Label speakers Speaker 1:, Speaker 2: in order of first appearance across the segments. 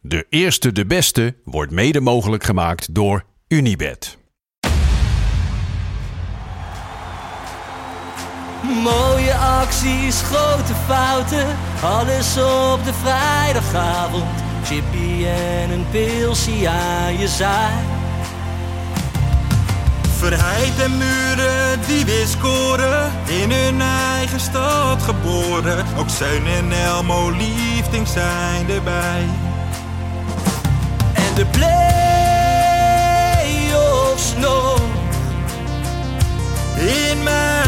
Speaker 1: De eerste, de beste wordt mede mogelijk gemaakt door Unibed.
Speaker 2: Mooie acties, grote fouten, alles op de vrijdagavond. Chippy en een pilsie aan je zaai.
Speaker 3: Verheid en muren die weer scoren, in hun eigen stad geboren. Ook Zeun en Elmo liefding zijn erbij.
Speaker 2: En de play-offs nog.
Speaker 3: In mij.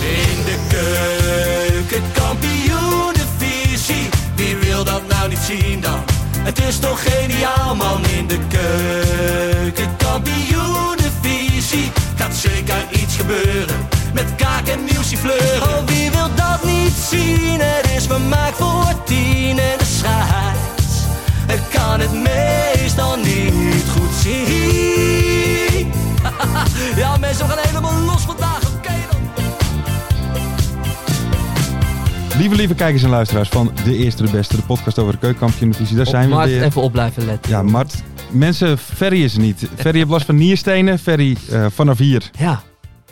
Speaker 2: In de keuken, kampioenenvisie. Wie wil dat nou niet zien dan? Het is toch geniaal man in de keuken, kampioenenvisie. Gaat zeker iets gebeuren met kaak en nieuwsie fleuren. Oh, wie wil dat niet zien? Het is vermaakt voor tien en de scheids. Ik kan het meestal niet goed zien. ja mensen, we gaan helemaal los vandaag, oké dan.
Speaker 4: Lieve, lieve kijkers en luisteraars van De Eerste de Beste, de podcast over de keukenkampioenvisie. Daar
Speaker 5: Op
Speaker 4: zijn we
Speaker 5: Mart
Speaker 4: weer.
Speaker 5: even op blijven letten.
Speaker 4: Ja, Mart. Mensen, Ferry is er niet. Ferry heeft last van nierstenen. Ferry eh, vanaf hier
Speaker 5: Ja,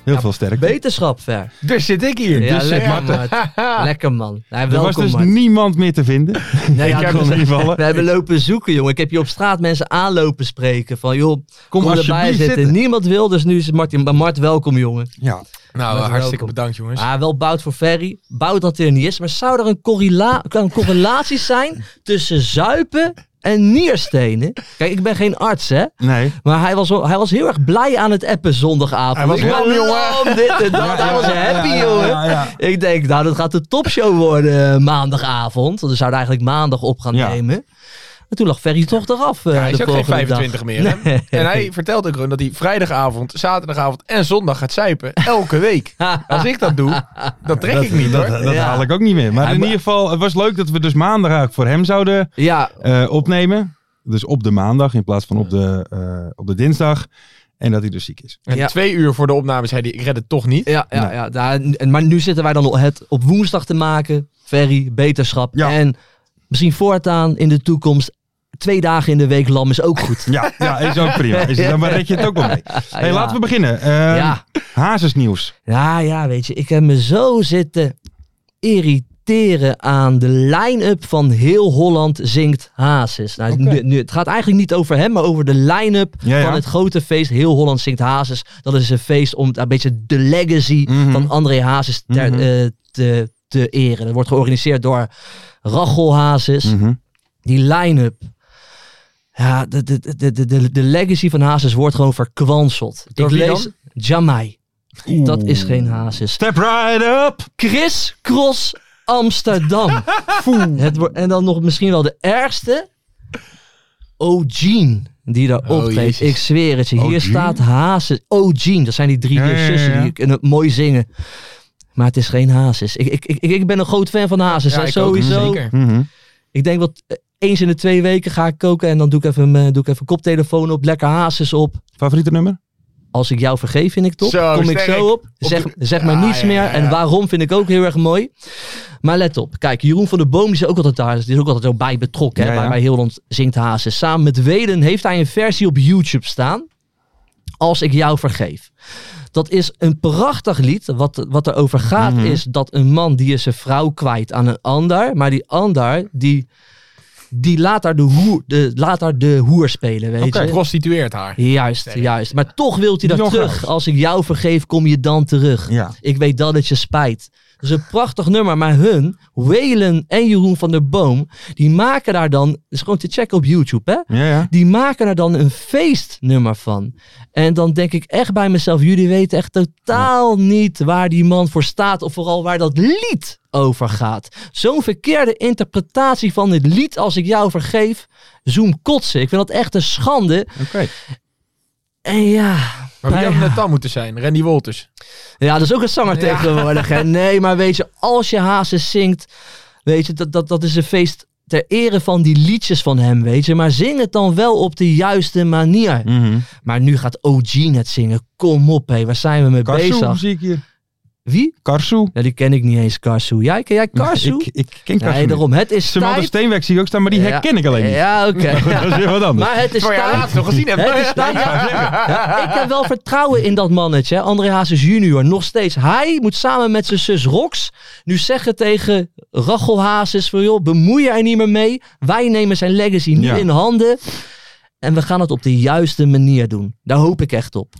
Speaker 4: heel
Speaker 5: Ja,
Speaker 4: veel sterk.
Speaker 5: wetenschap ver.
Speaker 4: Dus zit ik hier.
Speaker 5: Ja,
Speaker 4: dus zit
Speaker 5: lekker
Speaker 4: Mart er.
Speaker 5: Mart. lekker man. Nou,
Speaker 4: Er was
Speaker 5: eh, welkom
Speaker 4: dus
Speaker 5: Mart.
Speaker 4: niemand meer te vinden.
Speaker 5: Nee, ja,
Speaker 4: ik
Speaker 5: het
Speaker 4: kon
Speaker 5: was-
Speaker 4: er niet vallen.
Speaker 5: We hebben lopen zoeken, jongen. Ik heb hier op straat mensen aanlopen spreken. Van, joh, kom, erbij
Speaker 4: alsjeblieft
Speaker 5: zitten.
Speaker 4: zitten.
Speaker 5: Niemand wil, dus nu is Martin. Maar Mart, welkom, jongen.
Speaker 4: Ja.
Speaker 6: Nou,
Speaker 5: Met
Speaker 6: hartstikke
Speaker 5: welkom.
Speaker 6: bedankt jongens.
Speaker 5: Ah, wel bout voor Ferry. Bout dat hij er niet is. Maar zou er een, correla- kan een correlatie zijn tussen zuipen en nierstenen? Kijk, ik ben geen arts, hè.
Speaker 4: Nee.
Speaker 5: Maar hij was, wel- hij was heel erg blij aan het appen zondagavond.
Speaker 4: Hij was
Speaker 5: Ik
Speaker 4: lam, jongen.
Speaker 5: lam, dit en dat.
Speaker 4: Ja,
Speaker 5: hij Nou, was
Speaker 4: ja, ja,
Speaker 5: happy,
Speaker 4: ja, ja,
Speaker 5: jongen.
Speaker 4: ja, ja.
Speaker 5: Ik denk, nou, dat gaat de topshow worden eh, maandagavond. Want we zouden eigenlijk maandag op gaan
Speaker 4: Ja.
Speaker 5: nemen. Maar toen lag Ferry toch eraf. eh,
Speaker 6: Ja, hij
Speaker 5: de
Speaker 6: is ook geen
Speaker 5: volgende
Speaker 6: 25
Speaker 5: dag.
Speaker 6: meer. hè?
Speaker 5: Nee.
Speaker 6: En hij vertelt ook gewoon dat hij vrijdagavond, zaterdagavond en zondag gaat zuipen. Elke week. Als ik dat doe, dat trek
Speaker 4: dat,
Speaker 6: ik niet
Speaker 4: dat,
Speaker 6: hoor.
Speaker 4: dat
Speaker 5: Ja.
Speaker 4: haal ik ook niet meer. Maar
Speaker 5: Hij
Speaker 4: in
Speaker 5: mo-
Speaker 4: ieder geval, het was leuk dat we dus maandag eigenlijk voor hem zouden
Speaker 5: Ja,
Speaker 4: eh, opnemen. Dus op de maandag in plaats van op de, eh, op de dinsdag. En dat hij dus ziek is.
Speaker 6: En
Speaker 5: Ja.
Speaker 6: twee uur voor de opname zei hij, ik red het toch niet.
Speaker 5: ja, ja, ja. Daar- en- maar nu zitten wij dan het op woensdag te maken. Ferry, beterschap.
Speaker 4: Ja.
Speaker 5: En misschien voortaan in de toekomst. Twee dagen in de week lam is ook goed.
Speaker 4: Ja, ja is ook prima. Is het, maar red je het ook wel mee. Hey,
Speaker 5: Ja.
Speaker 4: Laten we beginnen. Eh,
Speaker 5: Ja.
Speaker 4: Hazesnieuws.
Speaker 5: Ja, ja, weet je, ik heb me zo zitten irriteren aan de line-up van heel Holland zingt Hazes. Nou, nu, nu- het gaat eigenlijk niet over hem, maar over de line-up
Speaker 4: Ja, ja.
Speaker 5: van het grote feest heel Holland zingt Hazes. Dat is een feest om een beetje de legacy
Speaker 4: Mhm.
Speaker 5: van André Hazes ter-
Speaker 4: Mhm.
Speaker 5: eh, te, te eren. Dat wordt georganiseerd door Rachel Hazes
Speaker 4: Mhm.
Speaker 5: die line-up. Ja, de, de, de, de, de, de legacy van Hazes wordt gewoon verkwanseld.
Speaker 6: Door
Speaker 5: ik
Speaker 6: wie
Speaker 5: lees
Speaker 6: dan?
Speaker 5: Jamai. Dat is geen Hazes.
Speaker 4: Step right up!
Speaker 5: Chris Cross Amsterdam. Het wordt- en dan nog misschien wel de ergste. O'Gene. Die daar
Speaker 6: Oh,
Speaker 5: optreedt.
Speaker 6: jezus.
Speaker 5: Ik zweer het je. Hier
Speaker 4: O'Gene?
Speaker 5: staat Hazes. O'Gene. Dat zijn die drie
Speaker 4: Ja, ja, ja,
Speaker 5: zussen
Speaker 4: ja.
Speaker 5: die kunnen mooi zingen. Maar het is geen Hazes. Ik, ik, ik, ik ben een groot fan van Hazes. hè,
Speaker 6: ik ook,
Speaker 5: sowieso.
Speaker 6: zeker.
Speaker 4: Mhm.
Speaker 5: Ik denk dat eh, eens in de twee weken ga ik koken en dan doe ik even, mijn- doe ik even koptelefoon op, lekker hazes op.
Speaker 4: Favoriete nummer?
Speaker 5: Als ik jou vergeef, vind ik top.
Speaker 6: Zo,
Speaker 5: Kom ik
Speaker 6: sterk.
Speaker 5: zo op.
Speaker 6: Op
Speaker 5: Zeg,
Speaker 6: de-
Speaker 5: zeg maar
Speaker 6: Ja,
Speaker 5: niets
Speaker 6: ja,
Speaker 5: meer.
Speaker 6: ja, ja.
Speaker 5: En waarom vind ik ook heel erg mooi. Maar let op. Kijk, Jeroen van der Boom die is ook altijd daar. Dus Die is ook altijd zo bij betrokken.
Speaker 4: Ja,
Speaker 5: hè,
Speaker 4: ja.
Speaker 5: Bij, bij heel Holland zingt Hazes. Samen met Weden heeft hij een versie op YouTube staan. Als ik jou vergeef. Dat is een prachtig lied. Wat, wat erover gaat
Speaker 4: Mhm.
Speaker 5: is dat een man die is zijn vrouw kwijt aan een ander. Maar die ander die, die laat, haar de hoer, de, laat haar de hoer spelen. Weet
Speaker 6: Oké,
Speaker 5: je?
Speaker 6: prostitueert haar.
Speaker 5: Juist,
Speaker 6: Sterk.
Speaker 5: juist. Maar toch wilt hij dat
Speaker 4: Nog
Speaker 5: terug.
Speaker 4: eens.
Speaker 5: Als ik jou vergeef, kom je dan terug.
Speaker 4: Ja.
Speaker 5: Ik weet dat het je spijt. Dat is een prachtig nummer. Maar hun, Welen en Jeroen van der Boom, die maken daar dan, dat is gewoon te checken op YouTube hè.
Speaker 4: Ja, ja.
Speaker 5: Die maken er dan een feestnummer van. En dan denk ik echt bij mezelf, jullie weten echt totaal niet waar die man voor staat. Of vooral waar dat lied over gaat. Zo'n verkeerde interpretatie van dit lied als ik jou vergeef. Zoom kotsen. Ik vind dat echt een schande.
Speaker 4: Oké.
Speaker 5: En ja...
Speaker 6: Maar wie
Speaker 5: bij-
Speaker 6: had het dan moeten zijn? Randy Wolters.
Speaker 5: ja, dat is ook een zanger tegenwoordig. Hè? Nee, maar weet je, als je Hazes zingt, weet je, dat, dat, dat is een feest ter ere van die liedjes van hem, weet je. Maar zing het dan wel op de juiste manier.
Speaker 4: Mhm.
Speaker 5: Maar nu gaat OG het zingen. Kom op, hé, waar zijn we mee
Speaker 4: Karsu
Speaker 5: bezig?
Speaker 4: zie ik hier.
Speaker 5: Wie?
Speaker 4: Karsu.
Speaker 5: Ja, die ken ik niet eens, Karsu. Jij, ken jij Karsu?
Speaker 4: Ik, ik ken Karsu
Speaker 5: nee,
Speaker 4: niet.
Speaker 5: daarom. Het is
Speaker 4: Samantha
Speaker 5: tijd.
Speaker 4: Steenweg zie ik ook staan, maar die
Speaker 5: Ja.
Speaker 4: herken ik alleen niet.
Speaker 5: Ja, oké.
Speaker 4: Dat is weer wat anders.
Speaker 5: Maar het is
Speaker 6: Terwijl jij
Speaker 5: tijd.
Speaker 6: laatst nog gezien hebt.
Speaker 5: Het is tijd. Ja, ik heb wel vertrouwen in dat mannetje, hè. André Hazes junior. Nog steeds. Hij moet samen met zijn zus Rox nu zeggen tegen Rachel Hazes van joh, bemoei je er niet meer mee. Wij nemen zijn legacy nu
Speaker 4: Ja.
Speaker 5: in handen. En we gaan het op de juiste manier doen. Daar hoop ik echt op.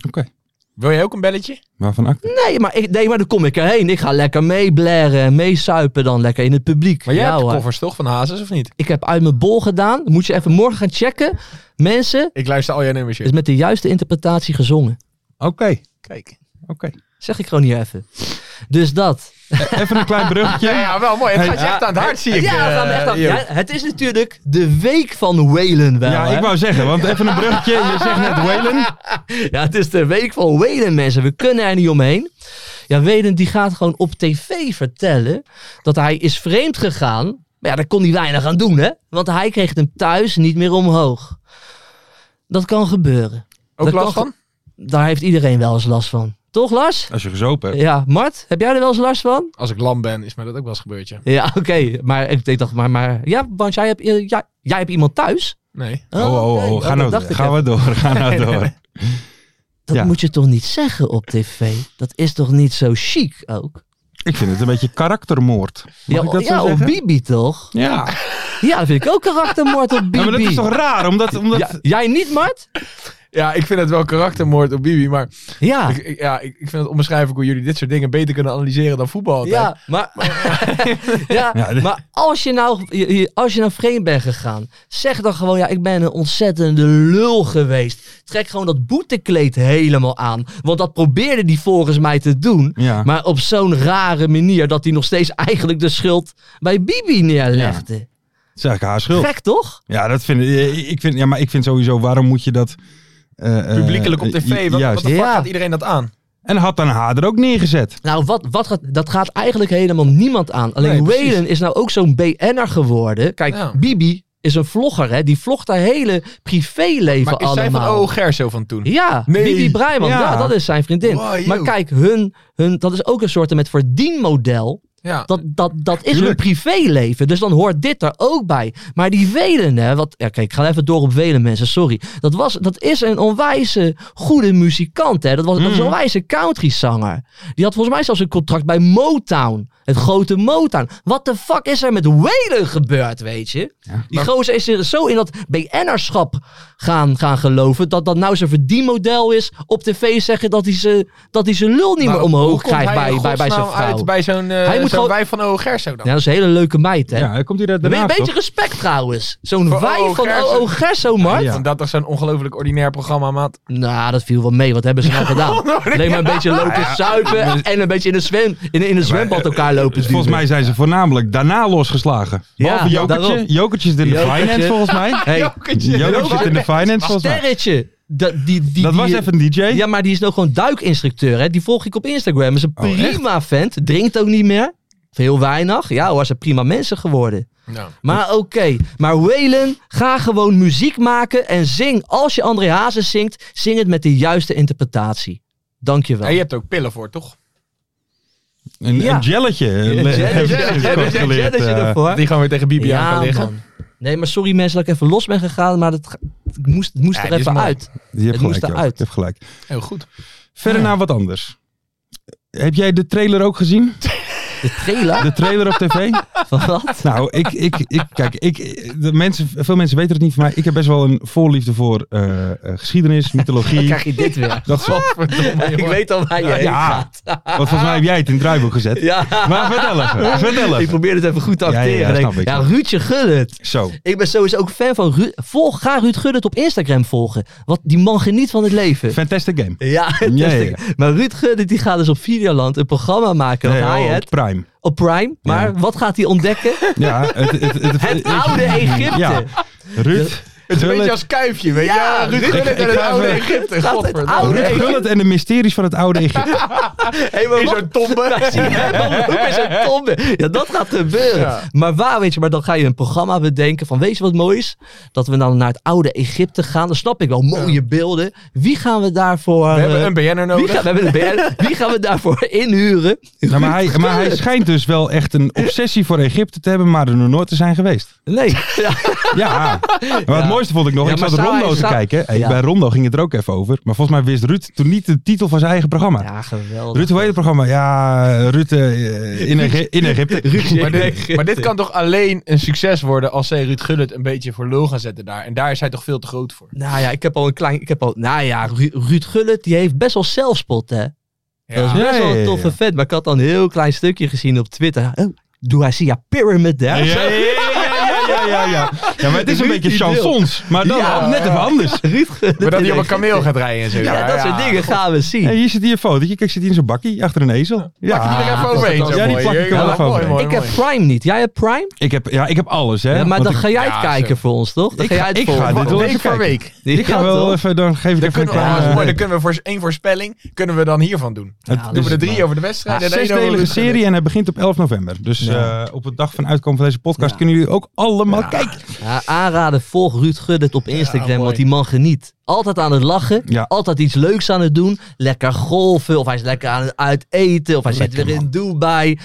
Speaker 6: Wil jij ook een belletje?
Speaker 4: Waarvan acte?
Speaker 5: Nee, maar, ik, nee, maar dan kom ik erheen. Ik ga lekker meeblaren en meesuipen dan lekker in het publiek.
Speaker 6: Maar jij
Speaker 5: Ja,
Speaker 6: hebt de
Speaker 5: hoor.
Speaker 6: koffers toch van Hazes of niet?
Speaker 5: Ik heb uit mijn bol gedaan. Moet je even morgen gaan checken. Mensen,
Speaker 6: Ik luister al jouw nummers.
Speaker 5: het is
Speaker 6: joh.
Speaker 5: met de juiste interpretatie gezongen.
Speaker 4: Oké.
Speaker 6: Kijk.
Speaker 4: Oké.
Speaker 5: Zeg ik gewoon hier even. Dus dat.
Speaker 4: Even een klein bruggetje.
Speaker 6: Ja, ja, wel mooi. Het
Speaker 4: Hey,
Speaker 6: gaat je echt aan het hart, zie ik.
Speaker 5: ja, we gaan
Speaker 6: eh,
Speaker 5: echt aan-
Speaker 6: Jo.
Speaker 5: ja, het is natuurlijk de week van Whalen wel.
Speaker 4: Ja,
Speaker 5: hè?
Speaker 4: ik wou zeggen, want even een bruggetje. Je zegt net Whalen.
Speaker 5: ja, het is de week van Whalen mensen. We kunnen er niet omheen. Ja, Whalen die gaat gewoon op tv vertellen dat hij is vreemd gegaan. Maar ja, daar kon hij weinig aan doen, hè. Want hij kreeg hem thuis niet meer omhoog. Dat kan gebeuren.
Speaker 6: Ook
Speaker 5: Dat
Speaker 6: last
Speaker 5: kan-
Speaker 6: van?
Speaker 5: Daar heeft iedereen wel eens last van. Toch, Lars?
Speaker 4: Als je gezopen hebt.
Speaker 5: Ja, Mart, heb jij er wel eens last van?
Speaker 6: Als ik lam ben, is mij dat ook wel eens gebeurd, ja.
Speaker 5: Ja, oké. Maar ik ik dacht, maar, maar ja, want jij hebt, eh, ja, jij hebt iemand thuis.
Speaker 6: Nee.
Speaker 4: Oh, oh,
Speaker 5: oké.
Speaker 4: oh,
Speaker 5: Ja,
Speaker 4: Ga
Speaker 5: dat
Speaker 4: nou
Speaker 5: dacht ik
Speaker 4: Gaan
Speaker 5: even.
Speaker 4: we door. Ga nou door.
Speaker 5: Dat
Speaker 4: ja.
Speaker 5: moet je toch niet zeggen op tv? Dat is toch niet zo chic ook?
Speaker 4: Ik vind het een beetje karaktermoord. oh, Mag
Speaker 5: ja,
Speaker 4: ik dat
Speaker 5: ja
Speaker 4: zo
Speaker 5: op
Speaker 4: zeggen?
Speaker 5: Bibi toch?
Speaker 4: Ja.
Speaker 5: Ja, dat vind ik ook karaktermoord op Bibi.
Speaker 4: ja, maar dat is toch raar? Omdat, omdat...
Speaker 5: Ja, jij niet, Mart?
Speaker 6: Ja, ik vind het wel karaktermoord op Bibi, maar
Speaker 5: Ja.
Speaker 6: ik, ik- ja, ik, ik vind het onbeschrijfelijk hoe jullie dit soort dingen beter kunnen analyseren dan voetbal altijd.
Speaker 5: Ja, maar, ja,
Speaker 4: Ja, dit-
Speaker 5: maar als, je nou, je- je- als je nou vreemd bent gegaan, zeg dan gewoon, ja, ik ben een ontzettende lul geweest. Trek gewoon dat boetekleed helemaal aan. Want dat probeerde die volgens mij te doen.
Speaker 4: Ja.
Speaker 5: Maar op zo'n rare manier dat hij nog steeds eigenlijk de schuld bij Bibi neerlegde.
Speaker 4: Dat is eigenlijk haar schuld.
Speaker 5: Gek toch?
Speaker 4: Ja, dat vind ik. eh, ik vind, ja, maar ik vind sowieso, waarom moet je dat... eh, eh,
Speaker 6: Publiekelijk op
Speaker 4: eh,
Speaker 6: tv, wat, wat
Speaker 4: Juist.
Speaker 6: de fuck
Speaker 5: Ja.
Speaker 6: gaat iedereen dat aan?
Speaker 4: En had dan haar er ook neergezet.
Speaker 5: Nou, wat, wat gaat, dat gaat eigenlijk helemaal niemand aan. Alleen
Speaker 6: Nee, precies.
Speaker 5: Waylon is nou ook zo'n BN'er geworden. Kijk,
Speaker 6: Ja.
Speaker 5: Bibi is een vlogger, hè. Die vlogt haar hele privéleven
Speaker 6: Maar is
Speaker 5: allemaal.
Speaker 6: zij van O.O. Gerso van toen?
Speaker 5: Ja,
Speaker 6: Nee.
Speaker 5: Bibi Breiman. Ja.
Speaker 4: Ja.
Speaker 5: dat is zijn vriendin.
Speaker 6: Wow, joh.
Speaker 5: maar kijk, hun, hun, dat is ook een soort met verdienmodel.
Speaker 6: Ja.
Speaker 5: Dat, dat, dat is hun
Speaker 4: Tuurlijk.
Speaker 5: privéleven. Dus dan hoort dit er ook bij. Maar die Welen, hè. Wat, ja, kijk, ik ga even door op Welen, mensen. Sorry. Dat, was, dat is een onwijze goede muzikant, hè. Dat, was,
Speaker 6: Mhm.
Speaker 5: dat is een onwijze countryzanger. Die had volgens mij zelfs een contract bij Motown. Het grote Motown. Wat de fuck is er met Welen gebeurd, weet je? Die gozer is er zo in dat BN'erschap gaan, gaan geloven. Dat dat nou zijn verdienmodel is. Op tv zeggen dat hij ze- dat hij zijn lul niet
Speaker 6: Maar
Speaker 5: meer
Speaker 6: hoe
Speaker 5: omhoog
Speaker 6: komt
Speaker 5: krijgt
Speaker 6: hij
Speaker 5: bij,
Speaker 6: in
Speaker 5: bij, bij zijn
Speaker 6: godsnaam
Speaker 5: vrouw.
Speaker 6: uit bij zo'n eh,
Speaker 5: Hij moet
Speaker 6: zo'n
Speaker 5: gewoon-
Speaker 6: wijf van O.O. Gerso dan?
Speaker 5: Ja, dat is een hele leuke meid, hè?
Speaker 4: Ja, dan komt hij daar
Speaker 5: een be-
Speaker 4: daarna,
Speaker 5: beetje
Speaker 4: toch?
Speaker 5: respect trouwens. Zo'n
Speaker 6: Voor
Speaker 5: wij
Speaker 6: O.O.
Speaker 5: van
Speaker 6: Gerso.
Speaker 5: O.O. Gerso, Mart.
Speaker 4: Ja.
Speaker 6: Want dat toch zo'n ongelooflijk ordinair programma, maat.
Speaker 5: Nou, dat viel wel mee. Wat hebben ze nou gedaan? Alleen maar een beetje lopen zuipen en een beetje in een, zwem, in, een- in een zwembad elkaar lopen
Speaker 4: Dus volgens
Speaker 5: duwen.
Speaker 4: mij zijn ze voornaampelijk daarna losgeslagen. Behalve
Speaker 5: Ja, daarom.
Speaker 4: Jokertje. Jokertje is er in de
Speaker 5: Jokertje.
Speaker 4: finance, volgens mij.
Speaker 5: Hey,
Speaker 4: Jokertje zit in de finance, volgens mij.
Speaker 5: Sterretje. Dat, die, die,
Speaker 4: Dat
Speaker 5: die-
Speaker 4: was even een DJ.
Speaker 5: Ja, maar die is nou gewoon duikinstructeur. Hè? Die volg ik op Instagram. Is een
Speaker 4: Oh,
Speaker 5: prima vent. Drinkt ook niet meer. Veel weinig. Ja, hoor, zijn prima mensen geworden.
Speaker 6: Nou.
Speaker 5: Maar oké. Maar Waylon, ga gewoon muziek maken en zing. Als je André Hazes zingt, zing het met de juiste interpretatie. Dank je wel.
Speaker 6: En je hebt er ook pillen voor, toch?
Speaker 4: Een,
Speaker 5: Ja.
Speaker 4: een jelletje.
Speaker 5: jelletje,
Speaker 4: Kort geleerd,
Speaker 5: Jelletje
Speaker 4: eh.
Speaker 5: ervoor.
Speaker 6: Dat die gewoon weer tegen Bibi aan
Speaker 5: Ja,
Speaker 6: kan liggen.
Speaker 5: man. Nee, maar sorry mensen dat ik even los ben gegaan, maar dat, ga- het moest, het moest
Speaker 6: Ja,
Speaker 5: er
Speaker 6: dit is
Speaker 5: even
Speaker 6: mooi.
Speaker 5: uit.
Speaker 4: Je hebt
Speaker 5: Het moest
Speaker 4: gelijk. joh.
Speaker 5: eruit.
Speaker 4: Je hebt gelijk.
Speaker 6: Heel goed.
Speaker 4: Verder naar wat anders. Heb jij de trailer ook gezien?
Speaker 5: De trailer?
Speaker 4: De trailer op tv?
Speaker 5: Van wat?
Speaker 4: Nou, ik, ik, ik kijk, ik, de mensen, veel mensen weten het niet van mij. Ik heb best wel een voorliefde voor eh, eh, geschiedenis, mythologie.
Speaker 5: Krijg je dit weer?
Speaker 4: dat soort.
Speaker 5: ik weet al waar je heen
Speaker 4: Ja,
Speaker 5: gaat.
Speaker 4: want volgens mij heb jij het in het draaiboek gezet.
Speaker 5: Ja.
Speaker 4: Maar vertel even, vertel
Speaker 5: Ik
Speaker 4: even.
Speaker 5: probeer het even goed te
Speaker 4: Ja, ja,
Speaker 5: acteren.
Speaker 4: ja,
Speaker 5: Ik denk,
Speaker 4: snap ik.
Speaker 5: ja Ruudje Gullit.
Speaker 4: Zo,
Speaker 5: Ik ben sowieso ook fan van Ruud. Volg, ga Ruud Gullit op Instagram volgen. Want die man geniet van het leven.
Speaker 4: fantastic game.
Speaker 5: Ja,
Speaker 4: Ja, ja, ja.
Speaker 5: maar Ruud Gullit die gaat dus op Videoland een programma maken.
Speaker 4: Nee,
Speaker 5: wat hij
Speaker 4: oh,
Speaker 5: het
Speaker 4: Prime.
Speaker 5: op Prime. Maar wat gaat hij ontdekken?
Speaker 4: Ja, het, het, het, het-
Speaker 5: Het
Speaker 4: ik-
Speaker 5: oude Egypte.
Speaker 4: Ja, Ruud.
Speaker 6: Het is een beetje
Speaker 4: Gullit-
Speaker 6: als kuifje, weet je?
Speaker 5: Ja,
Speaker 6: Ja, Ruud
Speaker 5: Ruud
Speaker 6: Gullit en
Speaker 4: Gullit. Ik
Speaker 6: het
Speaker 4: ga
Speaker 6: oude
Speaker 4: even-
Speaker 6: Egypte.
Speaker 5: Gaat het
Speaker 6: godverdamme.
Speaker 5: oude
Speaker 4: Ruud
Speaker 5: Egypte?
Speaker 4: Gullit en de mysteries van het oude Egypte.
Speaker 5: Hey, maar
Speaker 6: In
Speaker 5: wat-
Speaker 6: zo'n tombe.
Speaker 5: Zie je hem ook in zijn tombe? Ja, dat gaat gebeuren.
Speaker 6: Ja.
Speaker 5: Maar waar, weet je, maar dan ga je een programma bedenken van, weet je wat mooi is? Dat we dan naar het oude Egypte gaan. Dan snap ik wel, mooie beelden. Wie gaan we daarvoor... eh,
Speaker 6: We hebben een BN'er
Speaker 5: wie, gaan,
Speaker 6: nodig.
Speaker 5: we hebben een BN'er. wie gaan we daarvoor inhuren?
Speaker 4: Nou, maar, hij, maar hij schijnt dus wel echt een obsessie voor Egypte te hebben, maar er nog nooit te zijn geweest.
Speaker 5: Nee. Ja.
Speaker 4: Ja, maar het mooiste vond ik nog,
Speaker 5: Ja,
Speaker 4: ik
Speaker 5: maar
Speaker 4: zat
Speaker 5: zou
Speaker 4: Rondo
Speaker 5: hij-
Speaker 4: te
Speaker 5: zou-
Speaker 4: kijken. Hey,
Speaker 5: Ja.
Speaker 4: Bij Rondo ging het er ook even over. Maar volgens mij wist Ruud toen niet de titel van zijn eigen programma.
Speaker 5: ja, geweldig.
Speaker 4: Ah. Ruud, hoe heet het programma? Ja, Ruud eh, in, Egy- in Egypte.
Speaker 5: Ruudje
Speaker 6: Maar dit,
Speaker 5: Egypte.
Speaker 6: maar dit kan toch alleen een succes worden als zij Ruud Gullit een beetje voor lul gaan zetten daar. En daar is hij toch veel te groot voor.
Speaker 5: Nou ja, ik heb al een klein... Ik heb al, nou ja, Ru- Ruud Gullit, die heeft best wel zelfspot, hè? Dat is
Speaker 6: Ja.
Speaker 5: best wel
Speaker 4: Ja, ja,
Speaker 5: een
Speaker 4: ja,
Speaker 5: toffe
Speaker 4: ja.
Speaker 5: vet. Maar ik had dan een heel klein stukje gezien op Twitter. Oh, doe hij Sia Pyramid
Speaker 4: Ja,
Speaker 5: daar?
Speaker 4: ja, ja, ja, ja, ja, ja. Ja, maar het is een
Speaker 5: Ruud
Speaker 4: beetje
Speaker 5: die wil.
Speaker 4: chansons, maar dan
Speaker 5: Ja,
Speaker 4: net even anders.
Speaker 5: Ruud Gullit
Speaker 6: Maar
Speaker 5: in
Speaker 6: dat hij op een
Speaker 5: Egypte.
Speaker 6: kameel gaat rijden en zo.
Speaker 5: Ja, dat soort dingen gaan we zien.
Speaker 4: Hey, hier zit hier een fotootje. Kijk, zit hier in zo'n bakkie achter een ezel.
Speaker 6: Pak je er even
Speaker 5: dat
Speaker 6: overheen.
Speaker 4: is
Speaker 6: zo
Speaker 4: wel- Ja, die
Speaker 6: mooi.
Speaker 4: pak ik er wel even
Speaker 6: mooi,
Speaker 4: overheen.
Speaker 6: mooi,
Speaker 5: ik heb
Speaker 6: mooi.
Speaker 5: Prime niet. Jij hebt Prime?
Speaker 4: Ik heb, ja, ik heb alles, hè.
Speaker 5: Ja, maar
Speaker 4: Want
Speaker 5: dan
Speaker 4: ik-
Speaker 5: ga jij het
Speaker 6: Ja,
Speaker 5: kijken
Speaker 6: zo.
Speaker 5: voor ons, toch? Dan
Speaker 4: Ik
Speaker 5: ga jij
Speaker 4: ga-
Speaker 5: het
Speaker 4: ik
Speaker 5: voor
Speaker 4: ga
Speaker 5: ons.
Speaker 4: dit-
Speaker 6: Wat-
Speaker 4: wel
Speaker 6: Week
Speaker 4: even
Speaker 6: voor
Speaker 4: kijken.
Speaker 6: week.
Speaker 4: Ik ga
Speaker 5: Ja,
Speaker 4: wel
Speaker 5: toch?
Speaker 4: even, dan geef ik
Speaker 6: Dan
Speaker 4: even een
Speaker 6: kunnen, we, ja, dat is
Speaker 4: kleine...
Speaker 6: mooi. dan kunnen we voor één voorspelling kunnen we dan hiervan doen.
Speaker 4: Het-
Speaker 5: Ja,
Speaker 6: Doen
Speaker 4: dus-
Speaker 6: we er drie over de wedstrijd
Speaker 4: Ja,
Speaker 6: en één over
Speaker 4: zesdelige
Speaker 6: Ruud Gullit.
Speaker 4: serie en hij begint op 11 november. Dus
Speaker 5: Ja.
Speaker 4: eh, op de dag van uitkomen van deze podcast
Speaker 5: Ja.
Speaker 4: kunnen jullie ook allemaal kijken.
Speaker 5: Ja, aanraden, volg Ruud Guddet op Instagram,
Speaker 6: mooi.
Speaker 5: want die man geniet. Altijd aan het lachen,
Speaker 4: Ja.
Speaker 5: altijd iets leuks aan het doen. Lekker golfen, of hij is lekker aan het uiteten, of hij zit weer in Dubai,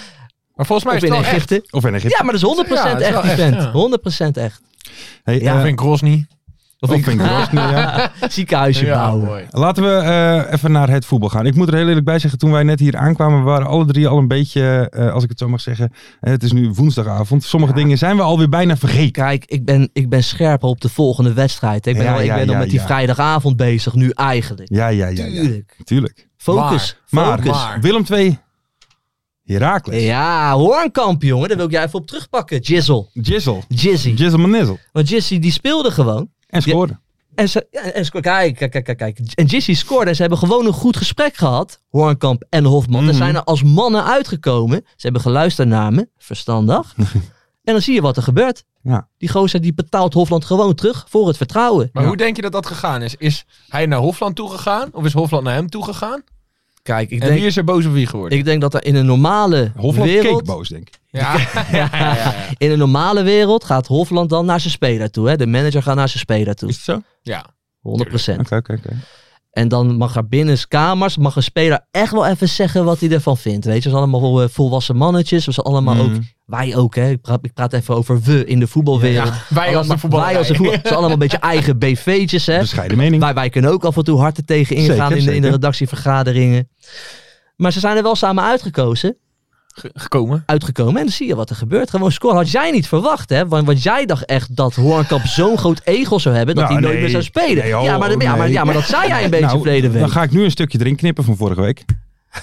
Speaker 6: Maar volgens mij
Speaker 5: of
Speaker 6: is het
Speaker 5: in
Speaker 6: wel echt.
Speaker 5: Egypte.
Speaker 4: Of in Egypte.
Speaker 5: Ja, maar dat is 100%
Speaker 6: Ja, dat is
Speaker 5: echt,
Speaker 6: wel
Speaker 5: die
Speaker 6: echt,
Speaker 5: vent.
Speaker 6: ja.
Speaker 5: 100% echt.
Speaker 4: Hey,
Speaker 5: Ja.
Speaker 4: eh,
Speaker 6: Of in Grozny.
Speaker 4: of in Grozny, ja.
Speaker 5: Ziekenhuisje
Speaker 6: Ja,
Speaker 5: bouwen.
Speaker 6: mooi.
Speaker 4: Laten we eh, even naar het voetbal gaan. Ik moet er heel eerlijk bij zeggen, toen wij net hier aankwamen, waren alle drie al een beetje, eh, als ik het zo mag zeggen, eh, het is nu woensdagavond. Sommige dingen zijn we alweer bijna vergeten.
Speaker 5: Kijk, ik ben, ik ben scherp op de volgende wedstrijd. Ik ben,
Speaker 4: Ja,
Speaker 5: al, ik
Speaker 4: ja,
Speaker 5: ben al
Speaker 4: ja,
Speaker 5: met die
Speaker 4: ja.
Speaker 5: vrijdagavond bezig nu eigenlijk.
Speaker 4: Ja, ja, ja. ja.
Speaker 5: Tuurlijk.
Speaker 4: Tuurlijk.
Speaker 5: Focus.
Speaker 4: Maar,
Speaker 5: focus.
Speaker 4: maar. Willem 2, Herakles.
Speaker 5: Ja, Hoornkamp, jongen. Daar wil ik jij even op terugpakken. Jizzle.
Speaker 4: Jizzle.
Speaker 5: Jizzy.
Speaker 4: Jizzle Manizzel.
Speaker 5: Want Jizzy die speelde gewoon.
Speaker 4: En scoren.
Speaker 5: En, ze, ja, en sco- kijk, kijk, kijk, kijk, kijk. En Jizzy scoorde. En ze hebben gewoon een goed gesprek gehad. Hoornkamp en Hofman.
Speaker 4: Mhm.
Speaker 5: En zijn er als mannen uitgekomen. Ze hebben geluisterd naar me. Verstandig. en dan zie je wat er gebeurt.
Speaker 4: Ja.
Speaker 5: Die gozer die betaalt Hofland gewoon terug voor het vertrouwen.
Speaker 6: Maar hoe denk je dat dat gegaan is? Is hij naar Hofland toegegaan? Of is Hofland naar hem toegegaan?
Speaker 5: Kijk, ik
Speaker 6: En wie
Speaker 5: denk,
Speaker 6: is er boos op wie geworden?
Speaker 5: ik denk dat er in een normale
Speaker 4: Hofland keek
Speaker 5: wereld...
Speaker 4: boos, denk ik.
Speaker 6: Ja. Ja, ja, ja.
Speaker 5: In een normale wereld gaat Hofland dan naar zijn speler toe. Hè? De manager gaat naar zijn speler toe.
Speaker 4: Is het zo? Oké,
Speaker 5: 100
Speaker 4: oké, oké.
Speaker 5: En dan mag er binnen kamers, mag een speler echt wel even zeggen wat hij ervan vindt. Weet je, ze zijn allemaal eh, volwassen mannetjes. We zijn allemaal
Speaker 4: Mhm.
Speaker 5: ook, wij ook hè. Ik praat, ik praat even over we in de voetbalwereld.
Speaker 6: Wij als de voetbal.
Speaker 5: Wij als de voetbal. Ze zijn allemaal een beetje eigen BV'tjes hè.
Speaker 4: Bescheiden mening.
Speaker 5: Wij, wij kunnen ook af en toe hard er tegen ingaan
Speaker 4: Dus- Zeker,
Speaker 5: in, de, in de
Speaker 4: zeker.
Speaker 5: redactievergaderingen. Maar ze zijn er wel samen uitgekozen
Speaker 6: gekomen.
Speaker 5: uitgekomen. En dan zie je wat er gebeurt. Gewoon scoren. Had jij niet verwacht, hè? Want, want jij dacht echt dat Hoornkamp zo'n groot ego zou hebben. dat
Speaker 4: Nou,
Speaker 5: hij nooit
Speaker 4: nee.
Speaker 5: meer zou spelen.
Speaker 4: Nee, oh,
Speaker 5: ja, maar, ja, maar,
Speaker 4: nee.
Speaker 5: ja, maar dat zei jij een beetje
Speaker 4: Nou,
Speaker 5: verleden week.
Speaker 4: Dan ga ik nu een stukje erin knippen van vorige week.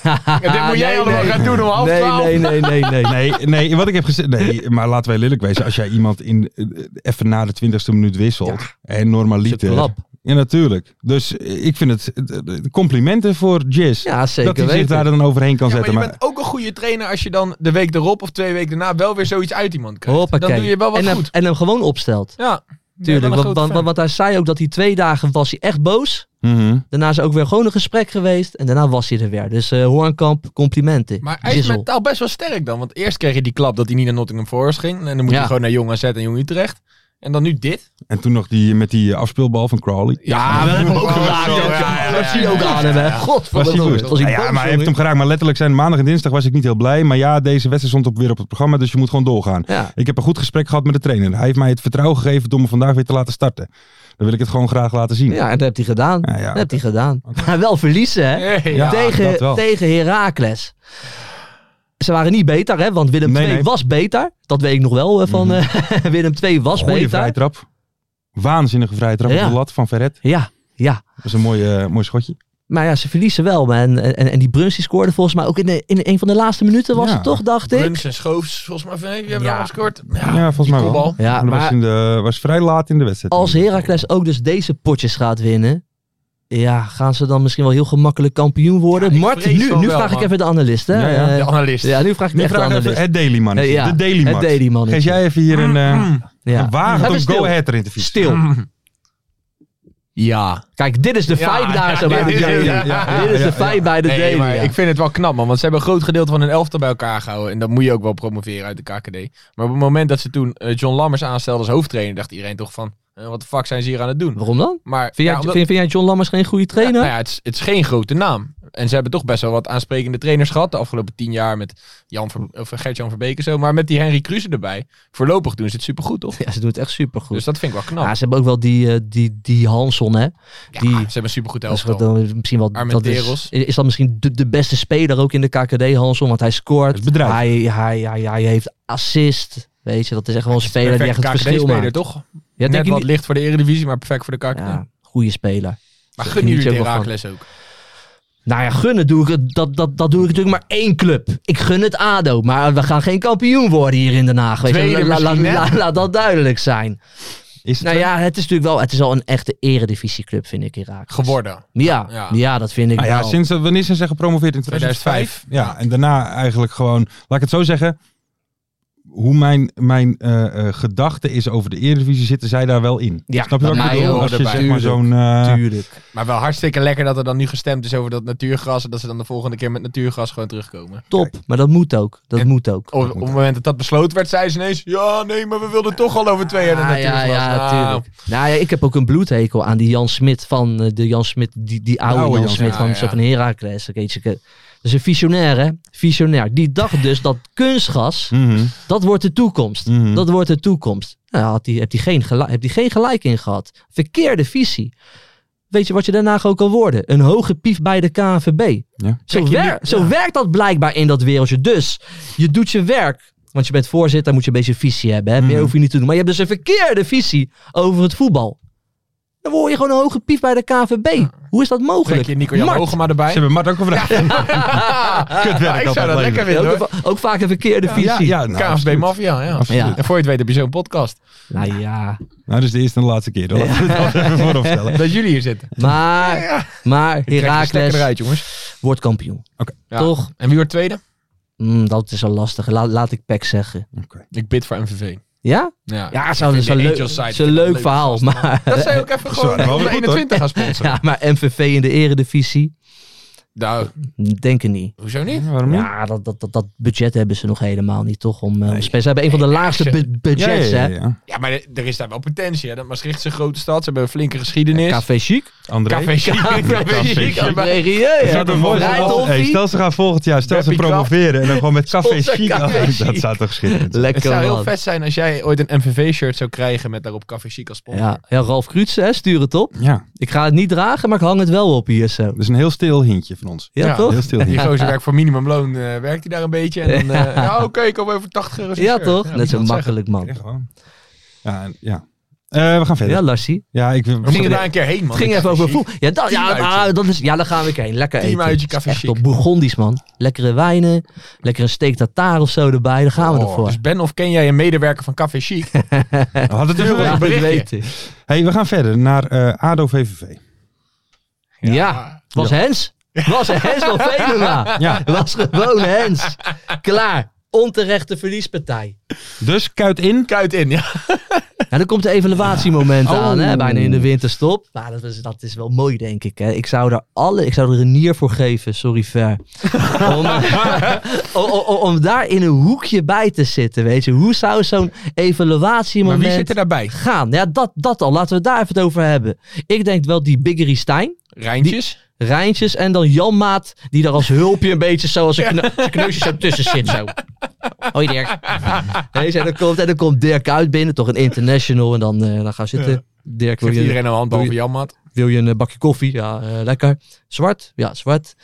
Speaker 6: Ja, dit moet jij allemaal gaan doen om half
Speaker 5: nee,
Speaker 6: twaalf.
Speaker 5: Nee, nee, nee, nee.
Speaker 4: Nee, nee, wat ik heb gezegd. Nee, maar laten wij lelijk wezen. Als jij iemand in, eh, even na de twintigste minuut wisselt. En
Speaker 5: Zit er
Speaker 4: normaliter.
Speaker 5: lap.
Speaker 4: Ja, natuurlijk. Dus eh, ik vind het eh, eh, complimenten voor Jizz.
Speaker 5: Ja, zeker
Speaker 4: dat hij zich
Speaker 5: weten.
Speaker 4: daar dan overheen kan
Speaker 6: Ja, maar
Speaker 4: zetten.
Speaker 6: je
Speaker 4: Maar,
Speaker 6: bent ook een goede trainer als je dan de week erop of twee weken daarna wel weer zoiets uit iemand
Speaker 4: Oh,
Speaker 6: krijgt.
Speaker 5: Hoppakee.
Speaker 6: Dan doe je wel wat
Speaker 5: en hem,
Speaker 6: goed.
Speaker 5: En hem gewoon opstelt.
Speaker 6: Ja. Ben je wel een
Speaker 5: Tuurlijk, want,
Speaker 6: grote
Speaker 5: want,
Speaker 6: fan.
Speaker 5: want, want hij zei ook dat hij twee dagen was hij echt boos.
Speaker 4: Mhm.
Speaker 5: Daarna is er ook weer gewoon een gesprek geweest. En daarna was hij er weer. Dus eh Hoornkamp, complimenten.
Speaker 6: Maar hij is
Speaker 5: Jizzle.
Speaker 6: mentaal best wel sterk dan. Want eerst kreeg je die klap dat hij niet naar Nottingham Forest ging. En dan moet
Speaker 5: Ja.
Speaker 6: je gewoon naar Jong AZ en Jong Utrecht. En dan nu dit.
Speaker 4: En toen nog die, met die eh, afspeelbal van Crowley.
Speaker 6: Ja, dat
Speaker 5: Ook gedaan, joh. Dat zie je ook aan hem, hè.
Speaker 4: Was hij
Speaker 5: Godverdomme.
Speaker 4: boos?
Speaker 5: Was hij
Speaker 4: Nou ja,
Speaker 5: boos,
Speaker 4: maar hij
Speaker 5: jongen?
Speaker 4: heeft hem geraakt. Maar letterlijk zijn maandag en dinsdag was ik niet heel blij. Maar ja, deze wedstrijd stond op, weer op het programma. Dus je moet gewoon doorgaan.
Speaker 5: Ja.
Speaker 4: Ik heb een goed gesprek gehad met de trainer. Hij heeft mij het vertrouwen gegeven door me vandaag weer te laten starten. Dan wil ik het gewoon graag laten zien.
Speaker 5: Ja, en dat heeft hij gedaan.
Speaker 4: Ja, ja,
Speaker 5: dat
Speaker 4: oké.
Speaker 5: heeft hij gedaan. Maar wel verliezen, hè?
Speaker 6: Hey,
Speaker 4: Ja, dat
Speaker 5: tegen
Speaker 4: wel.
Speaker 5: tegen Herakles. Ze waren niet beter, hè, want Willem
Speaker 4: Nee,
Speaker 5: II
Speaker 4: nee. Mhm.
Speaker 5: was beter. Dat weet ik nog wel eh, van eh, Willem II was
Speaker 4: Goeie
Speaker 5: beter.
Speaker 4: vrijtrap. Waanzinnige vrijtrap op
Speaker 5: Ja.
Speaker 4: de lat van Verret.
Speaker 5: Ja, ja.
Speaker 4: Dat is een mooi, eh, mooi schotje.
Speaker 5: Maar ja, ze verliezen wel. maar En, en, en die Bruns die scoorde volgens mij ook in, de, in een van de laatste minuten was
Speaker 4: Ja.
Speaker 5: het toch, dacht ik.
Speaker 6: Bruns en Schoofs, volgens mij, van, hey, wie hebben
Speaker 5: Ja.
Speaker 6: ja. gescoord?
Speaker 4: Ja, volgens mij wel.
Speaker 6: kopbal.
Speaker 5: Ja,
Speaker 4: Maar dat was,
Speaker 5: maar
Speaker 4: in de, was vrij laat in de wedstrijd.
Speaker 5: als Heracles ook dus deze potjes gaat winnen... Ja, gaan ze dan misschien wel heel gemakkelijk kampioen worden?
Speaker 6: Ja, ik
Speaker 5: Mart,
Speaker 6: vrees
Speaker 5: nu,
Speaker 6: van
Speaker 5: nu
Speaker 6: wel,
Speaker 5: vraag ik
Speaker 6: man.
Speaker 5: even de analist, hè?
Speaker 4: Ja, ja.
Speaker 5: Eh,
Speaker 6: De analist.
Speaker 5: ja, nu vraag ik
Speaker 4: Nu
Speaker 5: echt de
Speaker 4: vraag ik
Speaker 5: analist.
Speaker 4: even het Daily Man.
Speaker 5: Eh, ja,
Speaker 4: De Daily
Speaker 5: het
Speaker 4: Man.
Speaker 5: Daily Man.
Speaker 4: Geef jij even hier een, eh
Speaker 5: ja.
Speaker 4: een wagen
Speaker 5: Even
Speaker 4: om
Speaker 5: stil.
Speaker 4: Go Ahead erin te fietsen.
Speaker 5: Stil.
Speaker 6: Ja.
Speaker 5: Kijk, dit is de
Speaker 6: Ja,
Speaker 5: vibe daar
Speaker 6: ja,
Speaker 5: zo bij
Speaker 6: ja,
Speaker 5: de
Speaker 6: ja,
Speaker 5: Daily.
Speaker 6: ja, ja,
Speaker 5: Dit is
Speaker 4: ja,
Speaker 5: de vibe
Speaker 4: ja.
Speaker 5: bij de
Speaker 6: Nee,
Speaker 5: Daily.
Speaker 6: maar
Speaker 5: ja.
Speaker 6: ik vind het wel knap, man. Want ze hebben een groot gedeelte van hun elftal bij elkaar gehouden. En dat moet je ook wel promoveren uit de KKD. Maar op het moment dat ze toen eh, John Lammers aanstelde als hoofdtrainer, dacht iedereen toch van, eh, wat de fuck zijn ze hier aan het doen?
Speaker 5: Waarom dan?
Speaker 6: Maar,
Speaker 5: Vind jij,
Speaker 6: ja, omdat-
Speaker 5: vind, vind jij John Lammers geen goede
Speaker 6: ja,
Speaker 5: trainer?
Speaker 6: nou ja, het, is, het is geen grote naam. En ze hebben toch best wel wat aansprekende trainers gehad de afgelopen tien jaar. Met Jan Ver- of Gert-Jan Verbeek en zo. Maar met die Henry Kruse erbij. Voorlopig doen ze het supergoed, toch?
Speaker 5: Ja, ze doen het echt supergoed.
Speaker 6: Dus dat vind ik wel knap.
Speaker 5: Ja, ze hebben ook wel die, eh, die, die Hanson, hè?
Speaker 6: Ja,
Speaker 5: die-
Speaker 6: Ah, ze hebben een supergoed
Speaker 5: Dat is wat,
Speaker 6: elftal.
Speaker 5: dan misschien wel, dat is,
Speaker 6: Armenteros.
Speaker 5: is dat misschien de, de beste speler ook in de KKD, Hanson? Want hij scoort.
Speaker 4: Het bedrijf.
Speaker 5: Hij, hij, hij, hij heeft assist. Weet je, dat is echt wel een speler die echt het verschil
Speaker 6: KKD-speler,
Speaker 5: maakt.
Speaker 6: toch?
Speaker 5: Ja,
Speaker 6: Net
Speaker 5: denk je
Speaker 6: wat
Speaker 5: niet?
Speaker 6: licht voor de Eredivisie, maar perfect voor de KKD.
Speaker 5: Ja, goede speler.
Speaker 6: Maar
Speaker 5: geniet
Speaker 6: gun jullie
Speaker 5: je
Speaker 6: het
Speaker 5: ook wel van.
Speaker 6: Heracles ook.
Speaker 5: Nou ja, gunnen doe ik het. Dat, dat, dat doe ik natuurlijk maar één club. Ik gun het ADO. Maar we gaan geen kampioen worden hier in Den Haag. Weet je.
Speaker 6: Tweede
Speaker 5: La- la- la-
Speaker 6: misschien, hè?
Speaker 5: la- laat dat duidelijk zijn.
Speaker 4: Is het
Speaker 5: Nou ja, het is natuurlijk wel, het is al een echte eredivisieclub, vind ik, Irak.
Speaker 6: Geworden.
Speaker 5: Ja, ja.
Speaker 6: Ja.
Speaker 5: dat vind ik
Speaker 4: Nou ja,
Speaker 5: wel.
Speaker 4: sinds dat- wanneer zijn ze gepromoveerd in 2005?
Speaker 6: 2005?
Speaker 4: Ja, en daarna eigenlijk gewoon, laat ik het zo zeggen. Hoe mijn, mijn eh, eh, gedachte is over de Eredivisie, zitten zij daar wel in.
Speaker 5: Ja,
Speaker 4: Snap je wat ik
Speaker 5: bij mij
Speaker 4: bedoel?
Speaker 5: ook
Speaker 4: Als je
Speaker 6: erbij.
Speaker 4: zeg maar zo'n... eh,
Speaker 5: Tuurlijk.
Speaker 6: Maar wel hartstikke lekker dat er dan nu gestemd is over dat natuurgras. En dat ze dan de volgende keer met natuurgras gewoon terugkomen.
Speaker 5: Top, maar dat moet ook. Dat Oh,
Speaker 6: En- Oh,
Speaker 5: moet ook.
Speaker 6: Op, op het moment dat dat besloten werd, zei ze ineens... Ja, nee, maar we wilden toch al over twee jaar naar
Speaker 5: Ah, ja,
Speaker 6: natuurgras.
Speaker 5: ja,
Speaker 6: Nou,
Speaker 5: natuurlijk. Nou ja, ik heb ook een bloedhekel aan die Jan Smit van eh, de Jan Smit, die, die oude,
Speaker 4: oude
Speaker 5: Jan,
Speaker 4: Jan
Speaker 5: Smit
Speaker 6: Smit,
Speaker 5: van,
Speaker 6: ja,
Speaker 5: zo
Speaker 6: ja.
Speaker 5: van Heracles. Dat weet je, Dat is een visionair, hè? Visionair. Die dacht dus dat kunstgas,
Speaker 4: mhm.
Speaker 5: dat wordt de toekomst.
Speaker 4: Mhm.
Speaker 5: Dat wordt de toekomst. Nou, had die, heb die geen gelijk, heb die geen gelijk in gehad. Verkeerde visie. Weet je wat je daarna ook kan worden? Een hoge pief bij de KNVB.
Speaker 4: Ja.
Speaker 5: Zo,
Speaker 6: je
Speaker 5: wer-
Speaker 6: nu-
Speaker 5: zo werkt dat blijkbaar in dat wereldje. Dus je doet je werk. Want je bent voorzitter, moet je een beetje visie hebben. Hè?
Speaker 6: Mhm.
Speaker 5: Meer hoef je niet te doen. Maar je hebt dus een verkeerde visie over het voetbal. Dan word je gewoon een hoge pief bij de KNVB. Hoe is dat
Speaker 6: Trek
Speaker 5: mogelijk?
Speaker 6: je Nico Jan
Speaker 5: Mart,
Speaker 6: Hogema erbij.
Speaker 4: Ze hebben Mart ook gevraagd. Kutwerk
Speaker 6: Ja, ik
Speaker 4: altijd
Speaker 6: zou dat
Speaker 4: leveren.
Speaker 6: lekker
Speaker 5: ook,
Speaker 6: vinden hoor.
Speaker 5: va- ook vaak een verkeerde visie.
Speaker 4: Ja, ja, nou,
Speaker 6: KFB
Speaker 4: absoluut.
Speaker 6: Mafia, ja.
Speaker 4: Absoluut.
Speaker 5: Ja.
Speaker 6: En voor je het weet heb je zo'n podcast.
Speaker 5: Nou ja.
Speaker 4: Nou, dus de eerste en de laatste keer. Dat laten we het wel even vooropstellen.
Speaker 6: Dat jullie hier zitten.
Speaker 5: Maar, maar
Speaker 6: Ik trek de stekker
Speaker 5: Herakles
Speaker 6: eruit, jongens.
Speaker 5: wordt kampioen.
Speaker 6: Ja.
Speaker 5: Toch?
Speaker 6: En wie wordt tweede?
Speaker 5: Mm, dat is al lastig. Laat, laat ik Peck zeggen.
Speaker 6: Ik bid voor MVV.
Speaker 5: Ja?
Speaker 6: Ja,
Speaker 5: Ja, zo'n
Speaker 6: vind
Speaker 5: zo'n
Speaker 6: de
Speaker 5: leuk,
Speaker 6: Angels side
Speaker 5: zo'n
Speaker 6: vind ik
Speaker 5: leuk
Speaker 6: wel leuk.
Speaker 5: verhaal. Maar,
Speaker 6: dat zij ook even gewoon
Speaker 4: Sorry, maar
Speaker 6: de
Speaker 4: goed, hoor.
Speaker 6: 21 gaan sponsoren.
Speaker 5: ja, maar MVV in de eredivisie?
Speaker 6: Nou,
Speaker 5: Denk ik niet.
Speaker 6: hoezo niet?
Speaker 4: Ja, waarom niet?
Speaker 5: Ja, dat, dat, dat, dat budget hebben ze nog helemaal niet, toch? Om, eh, om spelers- Ze hebben een van de laagste bu-
Speaker 4: Ja, ja,
Speaker 5: budgets,
Speaker 4: ja, ja.
Speaker 6: Ja, maar er er is daar wel potentie. Hè? Dat Maastricht is een grote stad. Ze hebben een flinke geschiedenis.
Speaker 5: hè? Café Chic.
Speaker 4: André.
Speaker 6: Café Chic. Café Chic.
Speaker 5: André
Speaker 4: Zou toch mooi zijn als- Hey,
Speaker 5: Rieu.
Speaker 4: stel ze gaan volgend jaar, stel ze
Speaker 6: Beppie Kraft.
Speaker 4: promoveren en dan gewoon met café
Speaker 5: Sponsor
Speaker 4: chic.
Speaker 5: Café
Speaker 4: aan.
Speaker 5: Chic.
Speaker 4: Dat zou toch schitterend zijn.
Speaker 6: Het zou
Speaker 5: Lekker
Speaker 6: heel
Speaker 5: man.
Speaker 6: vet zijn als jij ooit een MVV-shirt zou krijgen met daarop Café Chic als sponsor.
Speaker 5: Ja, ja, Ralf Kruutse, hè, stuur het op.
Speaker 4: Ja,
Speaker 5: Ik ga het niet dragen, maar ik hang het wel op hier zo.
Speaker 4: dat is een heel stil hintje van ons.
Speaker 5: Ja,
Speaker 6: Ja,
Speaker 5: toch?
Speaker 4: Heel stil
Speaker 6: Die
Speaker 4: hintje.
Speaker 6: gozer werkt voor minimumloon. eh, werkt hij daar een beetje? En dan, eh, ja, oké, ik kom even 80 euro.
Speaker 5: Ja, toch? Net zo makkelijk,
Speaker 4: Ja,
Speaker 5: man.
Speaker 4: gewoon. Ja, en- ja. Eh, we gaan verder.
Speaker 5: Ja,
Speaker 4: Ja,
Speaker 5: Larsie.
Speaker 4: ik wil...
Speaker 6: We moeten
Speaker 5: er-
Speaker 6: daar een keer heen, man.
Speaker 5: Het ging
Speaker 6: Café
Speaker 5: even over
Speaker 6: Chic.
Speaker 5: voel. Ja, dat, ja,
Speaker 6: Teamuitje.
Speaker 5: ah, dat is, ja, daar gaan we heen. Lekker eten.
Speaker 6: Teamuitje,
Speaker 5: Het is
Speaker 6: café
Speaker 5: Echt
Speaker 6: chic.
Speaker 5: op Bourgondisch, man. Lekkere wijnen. Lekker een steak tartare of zo erbij. Daar gaan we nog
Speaker 6: Oh,
Speaker 5: voor.
Speaker 6: Dus Ben of ken jij een medewerker van Café Chic?
Speaker 4: We hadden het er wel.
Speaker 6: Ja. een
Speaker 5: wil het
Speaker 6: berichtje.
Speaker 5: weten.
Speaker 4: Hey, we gaan verder naar eh, ADO VVV.
Speaker 5: Ja. Het was Hens. Het was Hens van Venema.
Speaker 4: Ja.
Speaker 5: Het was gewoon Hens. Klaar. Onterechte verliespartij.
Speaker 4: Dus kuit in.
Speaker 6: Kuit in, ja.
Speaker 5: Ja, dan komt de evaluatiemoment
Speaker 4: Oh.
Speaker 5: aan, hè, bijna in de winterstop. Maar dat is, dat is wel mooi, denk ik. Hè. Ik, zou daar alle, ik zou er een nier voor geven, sorry Ver. om, om, om- om daar in een hoekje bij te zitten, weet je. Hoe zou zo'n
Speaker 6: Maar
Speaker 5: evaluatiemoment
Speaker 6: wie zit er daarbij?
Speaker 5: gaan? Ja, dat, dat al. Laten we het daar even over hebben. Ik denk wel die Biggery Stijn.
Speaker 6: Rijntjes?
Speaker 5: Rijntjes en dan Jan Maat, die daar als hulpje een beetje zo als een kne- zijn kneusje zo tussen zit. Zo. Hoi Dirk. Nee, zo, dan komt, en dan komt Dirk uit binnen, toch een international. En dan, eh, dan gaan we zitten. Dirk, wil
Speaker 6: Geeft
Speaker 5: je,
Speaker 6: iedereen een hand
Speaker 5: doe je-
Speaker 6: boven Janmaat?
Speaker 5: wil je een bakje koffie? Ja, eh, lekker. Zwart? Ja, zwart.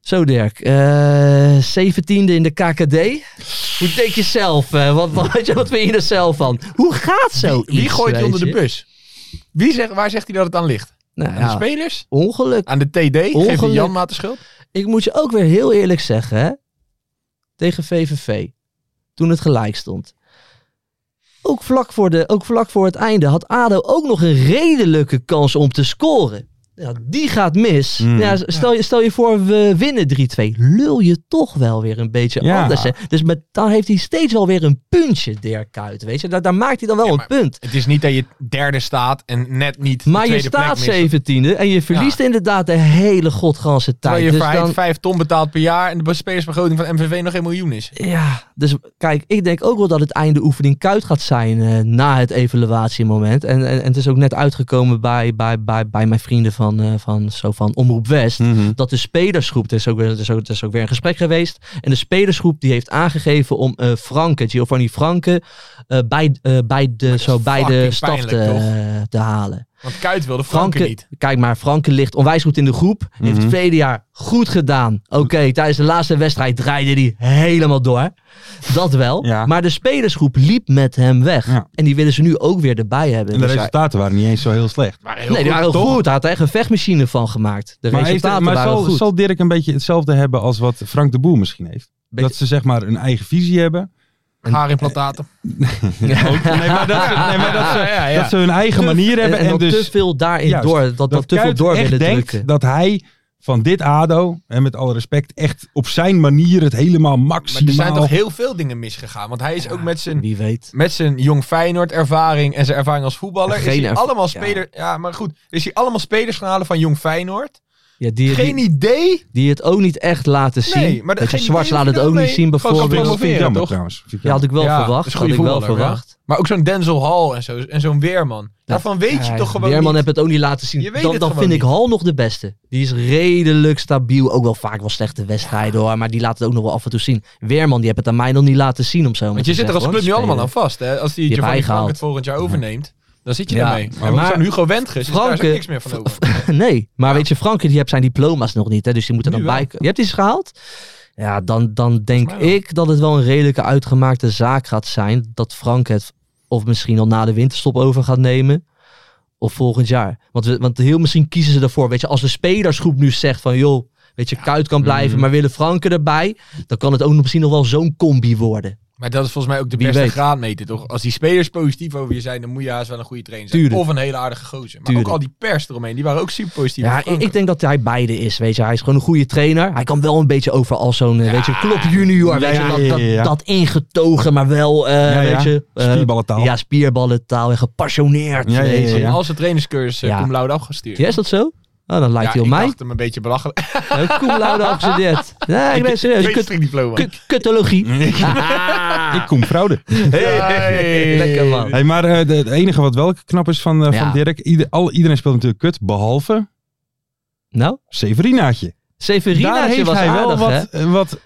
Speaker 5: Zo Dirk, Eh 17e in de KKD. Hoe denk je zelf? eh, wat, wat, wat vind je er zelf van? Hoe gaat zo?
Speaker 6: Wie gooit je onder de bus? Wie zegt, waar zegt hij dat het aan ligt?
Speaker 5: Nou,
Speaker 6: Aan
Speaker 5: ja,
Speaker 6: de spelers?
Speaker 5: ongeluk.
Speaker 6: Aan de TD? Geeft hij
Speaker 5: Ongeluk.
Speaker 6: Jan Maat de schuld?
Speaker 5: Ik moet je ook weer heel eerlijk zeggen, hè? tegen VVV, toen het gelijk stond. Ook vlak, voor de, ook vlak voor het einde had ADO ook nog een redelijke kans om te scoren. Ja, die gaat mis.
Speaker 4: Mm.
Speaker 5: ja, stel, je, stel je voor, we winnen 3-2. Lul je toch wel weer een beetje
Speaker 4: Ja.
Speaker 5: anders. Hè? Dus met, dan heeft hij steeds wel weer een puntje, Dirk Kuyt. Weet je? Daar, daar maakt hij dan wel
Speaker 6: Ja,
Speaker 5: een
Speaker 6: maar-
Speaker 5: punt.
Speaker 6: Het is niet dat je derde staat en net niet
Speaker 5: Maar
Speaker 6: de
Speaker 5: je
Speaker 6: tweede
Speaker 5: staat
Speaker 6: plek mist.
Speaker 5: 17e en je verliest inderdaad de hele godganse tijd.
Speaker 6: Terwijl je
Speaker 5: Dus
Speaker 6: vijf,
Speaker 5: dan-
Speaker 6: vijf ton betaalt per jaar en de spelersbegroting van MVV nog 1 miljoen is.
Speaker 5: Ja, dus kijk, ik denk ook wel dat het einde oefening kuit gaat zijn eh, na het evaluatiemoment. En, en, en het is ook net uitgekomen bij, bij, bij, bij mijn vrienden van, eh, van, zo van Omroep West.
Speaker 6: Mhm.
Speaker 5: Dat de spelersgroep, er is, ook, weer- er, is ook, er is ook weer een gesprek geweest. En de spelersgroep die heeft aangegeven om eh Franke, Giovanni Franke, eh, bij, eh, bij de,
Speaker 6: is
Speaker 5: zo, bij de
Speaker 6: fucking
Speaker 5: staf te, eh,
Speaker 6: pijnlijk,
Speaker 5: te halen.
Speaker 6: Want Kuit wilde Franke,
Speaker 5: Franke,
Speaker 6: niet.
Speaker 5: kijk maar, Franke ligt onwijs goed in de groep.
Speaker 4: Mhm.
Speaker 5: Heeft het tweede jaar goed gedaan. Oké, tijdens de laatste wedstrijd draaide hij helemaal door. Dat wel.
Speaker 4: Ja.
Speaker 5: Maar de spelersgroep liep met hem weg.
Speaker 4: Ja.
Speaker 5: En die willen ze nu ook weer erbij hebben.
Speaker 4: En de
Speaker 5: Dus hij-
Speaker 4: resultaten waren niet eens zo heel slecht.
Speaker 6: Maar heel
Speaker 5: nee, die
Speaker 6: goed,
Speaker 5: waren heel
Speaker 6: toch?
Speaker 5: goed. Hij had er echt een vechtmachine van gemaakt. De
Speaker 4: Maar, heeft,
Speaker 5: resultaten
Speaker 4: maar
Speaker 5: waren
Speaker 4: zal,
Speaker 5: goed.
Speaker 4: zal Dirk een beetje hetzelfde hebben als wat Frank de Boer misschien heeft?
Speaker 5: Beetje-
Speaker 4: Dat ze zeg maar een eigen visie hebben.
Speaker 6: Haarimplantaten.
Speaker 4: Nee, maar dat ze, nee, maar dat ze,
Speaker 6: Ja, ja, ja.
Speaker 4: Dat ze hun eigen manier
Speaker 5: en,
Speaker 4: hebben. En,
Speaker 5: dat
Speaker 4: dus
Speaker 5: te veel daarin
Speaker 4: Juist.
Speaker 5: door, dat, dat, te veel
Speaker 4: Kuyt
Speaker 5: door
Speaker 4: echt
Speaker 5: willen
Speaker 4: denkt
Speaker 5: drukken.
Speaker 4: dat hij van dit ADO, en met alle respect, echt op zijn manier het helemaal
Speaker 6: Maar
Speaker 4: maximaal...
Speaker 6: er zijn toch heel veel dingen misgegaan. Want hij is ook met zijn,
Speaker 5: Wie weet.
Speaker 6: met zijn jong Feyenoord ervaring en zijn ervaring als voetballer.
Speaker 5: Geen
Speaker 6: is hij
Speaker 5: erv-
Speaker 6: allemaal
Speaker 5: ja.
Speaker 6: spelers. Ja. maar goed. Is hij allemaal spelers gaan halen van jong Feyenoord?
Speaker 5: Ja, die,
Speaker 6: Geen
Speaker 5: die,
Speaker 6: idee.
Speaker 5: die het ook niet echt laten zien.
Speaker 6: Nee, maar dat-
Speaker 5: Weet je,
Speaker 6: geen
Speaker 5: Zwart
Speaker 6: idee
Speaker 5: laat
Speaker 6: of
Speaker 5: het
Speaker 6: je
Speaker 5: ook
Speaker 6: dat
Speaker 5: niet
Speaker 6: mee
Speaker 5: zien
Speaker 6: kan
Speaker 5: bijvoorbeeld.
Speaker 4: Dat vind ik
Speaker 6: promoveren,
Speaker 4: jammer
Speaker 6: toch?
Speaker 4: trouwens. Vind ik
Speaker 5: Ja, had
Speaker 4: jammer.
Speaker 5: ik wel
Speaker 6: Ja, dat
Speaker 5: verwacht.
Speaker 6: is
Speaker 5: Had
Speaker 6: goede
Speaker 5: ik wel
Speaker 6: voetballer, ja.
Speaker 5: verwacht.
Speaker 6: Maar ook zo'n Denzel Hall en, zo, en zo'n Weerman. Daarvan weet je
Speaker 5: Ja,
Speaker 6: toch gewoon
Speaker 5: Weerman
Speaker 6: niet.
Speaker 5: heb het ook niet laten zien.
Speaker 6: Je weet
Speaker 5: dan
Speaker 6: het
Speaker 5: dan
Speaker 6: gewoon
Speaker 5: vind ik
Speaker 6: niet.
Speaker 5: Hal nog de beste. Die is redelijk stabiel. Ook wel vaak wel slechte wedstrijden hoor. Maar die laat het ook nog wel af en toe zien. Weerman die heb het aan mij nog niet laten zien om zo maar
Speaker 6: Want
Speaker 5: te
Speaker 6: je zit er als
Speaker 5: zeggen,
Speaker 6: club
Speaker 5: hoor,
Speaker 6: nu allemaal aan
Speaker 5: spelen.
Speaker 6: vast. Hè? Als die
Speaker 5: hebt
Speaker 6: Giovanni Frank
Speaker 5: bijgehaald.
Speaker 6: het volgend jaar overneemt, dan zit je
Speaker 5: Ja.
Speaker 6: daarmee.
Speaker 5: Maar-
Speaker 6: Maar, zo'n Hugo Wendges is daar
Speaker 5: Franke-
Speaker 6: ook niks meer van over.
Speaker 5: nee, maar weet je, Frankie die hebt zijn diploma's nog niet. Hè, dus die moet er
Speaker 6: Nu
Speaker 5: dan
Speaker 6: wel.
Speaker 5: bij. Je hebt die eens gehaald? Ja, dan, dan denk
Speaker 6: mij wel.
Speaker 5: ik dat het wel een redelijke uitgemaakte zaak gaat zijn. Dat Frank het of misschien al na de winterstop over gaat nemen. Of volgend jaar. Want, we, want heel misschien kiezen ze ervoor. Weet je, als de spelersgroep nu zegt van joh, weet je, Kuit kan
Speaker 6: Mhm.
Speaker 5: blijven, maar willen Franken erbij. Dan kan het ook nog misschien nog wel zo'n combi worden.
Speaker 6: Maar dat is volgens mij ook de
Speaker 5: Wie
Speaker 6: beste
Speaker 5: weet.
Speaker 6: graadmeter, toch? Als die spelers positief over je zijn, dan moet je haast wel een goede trainer zijn.
Speaker 5: Tuurlijk.
Speaker 6: Of een hele aardige gozer. Maar
Speaker 5: Tuurlijk.
Speaker 6: ook al die pers eromheen, die waren ook super positief.
Speaker 5: Ja,
Speaker 6: over
Speaker 5: ik,
Speaker 6: Frank.
Speaker 5: ik denk dat hij beide is. Weet je, hij is gewoon een goede trainer. Hij kan wel een beetje over als zo'n, eh, weet je, klop junior. Weet
Speaker 4: Ja,
Speaker 5: je, dat,
Speaker 4: ja,
Speaker 5: dat,
Speaker 4: ja, ja.
Speaker 5: dat ingetogen, maar wel, eh,
Speaker 4: Ja, ja.
Speaker 5: weet je. eh,
Speaker 4: Spierballentaal.
Speaker 5: Ja, spierballentaal en gepassioneerd.
Speaker 4: Ja, ja,
Speaker 5: weet je.
Speaker 6: Ze hebben
Speaker 4: ja.
Speaker 6: al zijn trainerscursus eh,
Speaker 5: Ja.
Speaker 6: cum laude afgestuurd.
Speaker 5: Ja, is dat zo? Oh, dan lijkt
Speaker 6: ja,
Speaker 5: hij op
Speaker 6: ik
Speaker 5: mij.
Speaker 6: dacht hem een beetje belachelijk.
Speaker 5: Eh, Cum laude afgestudeerd. Nee, ik ben serieus. Kut,
Speaker 6: Kunstdiploma.
Speaker 5: kut- kuttologie.
Speaker 4: Ik kom fraude.
Speaker 5: Lekker man.
Speaker 4: Hey, maar eh, de- het enige wat wel knap is van, eh,
Speaker 5: Ja.
Speaker 4: van Dirk, ieder, al, iedereen speelt natuurlijk kut, behalve
Speaker 5: Nou,
Speaker 4: Severinaatje. Daar
Speaker 5: Severina
Speaker 4: heeft
Speaker 5: was
Speaker 4: hij
Speaker 5: aardig,
Speaker 4: wel
Speaker 5: hè? Eh,
Speaker 4: wat, eh, wat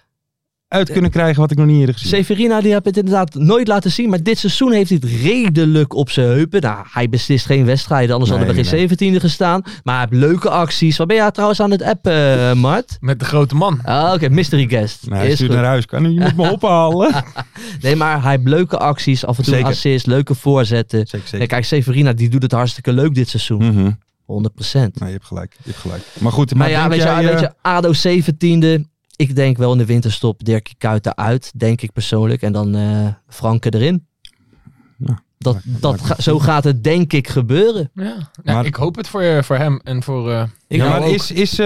Speaker 4: uit kunnen krijgen wat ik nog niet eerder gezien heb.
Speaker 5: Severina die heb het inderdaad nooit laten zien. Maar dit seizoen heeft hij het redelijk op zijn heupen. Nou, hij beslist geen wedstrijden. Anders
Speaker 4: Nee,
Speaker 5: hadden we geen 17e gestaan. Maar hij heeft leuke acties. Wat ben jij trouwens aan het appen, eh, Mart?
Speaker 6: Met de grote man.
Speaker 5: Ah, Oké, mystery guest.
Speaker 4: Nou, hij
Speaker 5: Is
Speaker 4: stuurt
Speaker 5: goed.
Speaker 4: naar huis. Kan, je moet me ophalen.
Speaker 5: Nee, maar hij heeft leuke acties. Af en toe een
Speaker 4: Zeker.
Speaker 5: assist, leuke voorzetten.
Speaker 4: Zeker,
Speaker 5: Nee,
Speaker 4: zeker.
Speaker 5: kijk, Severina die doet het hartstikke leuk dit seizoen.
Speaker 4: Mhm.
Speaker 5: 100%.
Speaker 4: Nee, je hebt gelijk. Je hebt gelijk. Maar goed, maar
Speaker 5: Maar Nou ja,
Speaker 4: denk
Speaker 5: weet je,
Speaker 4: jij,
Speaker 5: weet
Speaker 4: eh,
Speaker 5: je, ADO 17e. Ik denk wel in de winterstop Dirkie Kuyt eruit, denk ik persoonlijk. En dan eh Franke erin.
Speaker 4: Ja,
Speaker 5: dat,
Speaker 4: maakt-
Speaker 5: dat,
Speaker 4: maakt
Speaker 5: ga- zo gaat het denk ik gebeuren.
Speaker 6: Ja. Nou,
Speaker 4: Maar-
Speaker 6: ik hoop het voor, eh, voor hem en voor... eh,
Speaker 5: Ik
Speaker 4: ja,
Speaker 5: denk
Speaker 4: maar
Speaker 5: ook-
Speaker 4: is, is eh,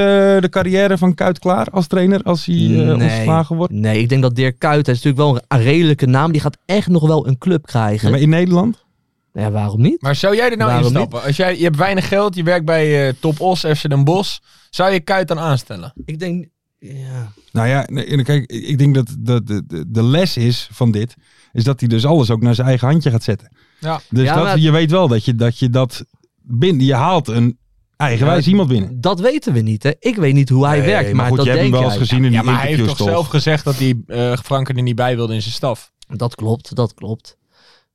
Speaker 4: de carrière van Kuit klaar als trainer als hij eh,
Speaker 5: Nee.
Speaker 4: ontslagen wordt?
Speaker 5: Nee, ik denk dat Dirk Kuyt, hij is natuurlijk wel een redelijke naam. Die gaat echt nog wel een club krijgen.
Speaker 4: Ja,
Speaker 5: Ja,
Speaker 4: maar in Nederland?
Speaker 5: waarom niet?
Speaker 6: Maar zou jij er nou
Speaker 5: Waarom
Speaker 6: in stappen? Als jij, je hebt weinig geld, je werkt bij eh, Top Os, FC Den Bosch. Zou je Kuit dan aanstellen?
Speaker 5: Ik denk... Ja.
Speaker 4: Nou ja, nee, en kijk, ik ik denk dat dat de, de, de les is van dit, is dat hij dus alles ook naar zijn eigen handje gaat zetten.
Speaker 6: Ja.
Speaker 4: Dus
Speaker 5: Ja,
Speaker 4: dat,
Speaker 5: maar-
Speaker 4: je weet wel dat je dat, je dat binnen, je haalt een eigenwijs iemand binnen.
Speaker 5: Dat weten we niet, hè. Ik weet niet hoe hij
Speaker 4: Nee,
Speaker 5: werkt, maar,
Speaker 4: goed,
Speaker 5: dat
Speaker 4: je hebt
Speaker 5: denk
Speaker 4: hem wel
Speaker 5: jij.
Speaker 4: eens gezien in
Speaker 6: Ja,
Speaker 4: die
Speaker 6: maar hij heeft
Speaker 4: interviews
Speaker 6: toch zelf gezegd dat hij eh Franken er niet bij wilde in zijn staf.
Speaker 5: Dat klopt, dat klopt.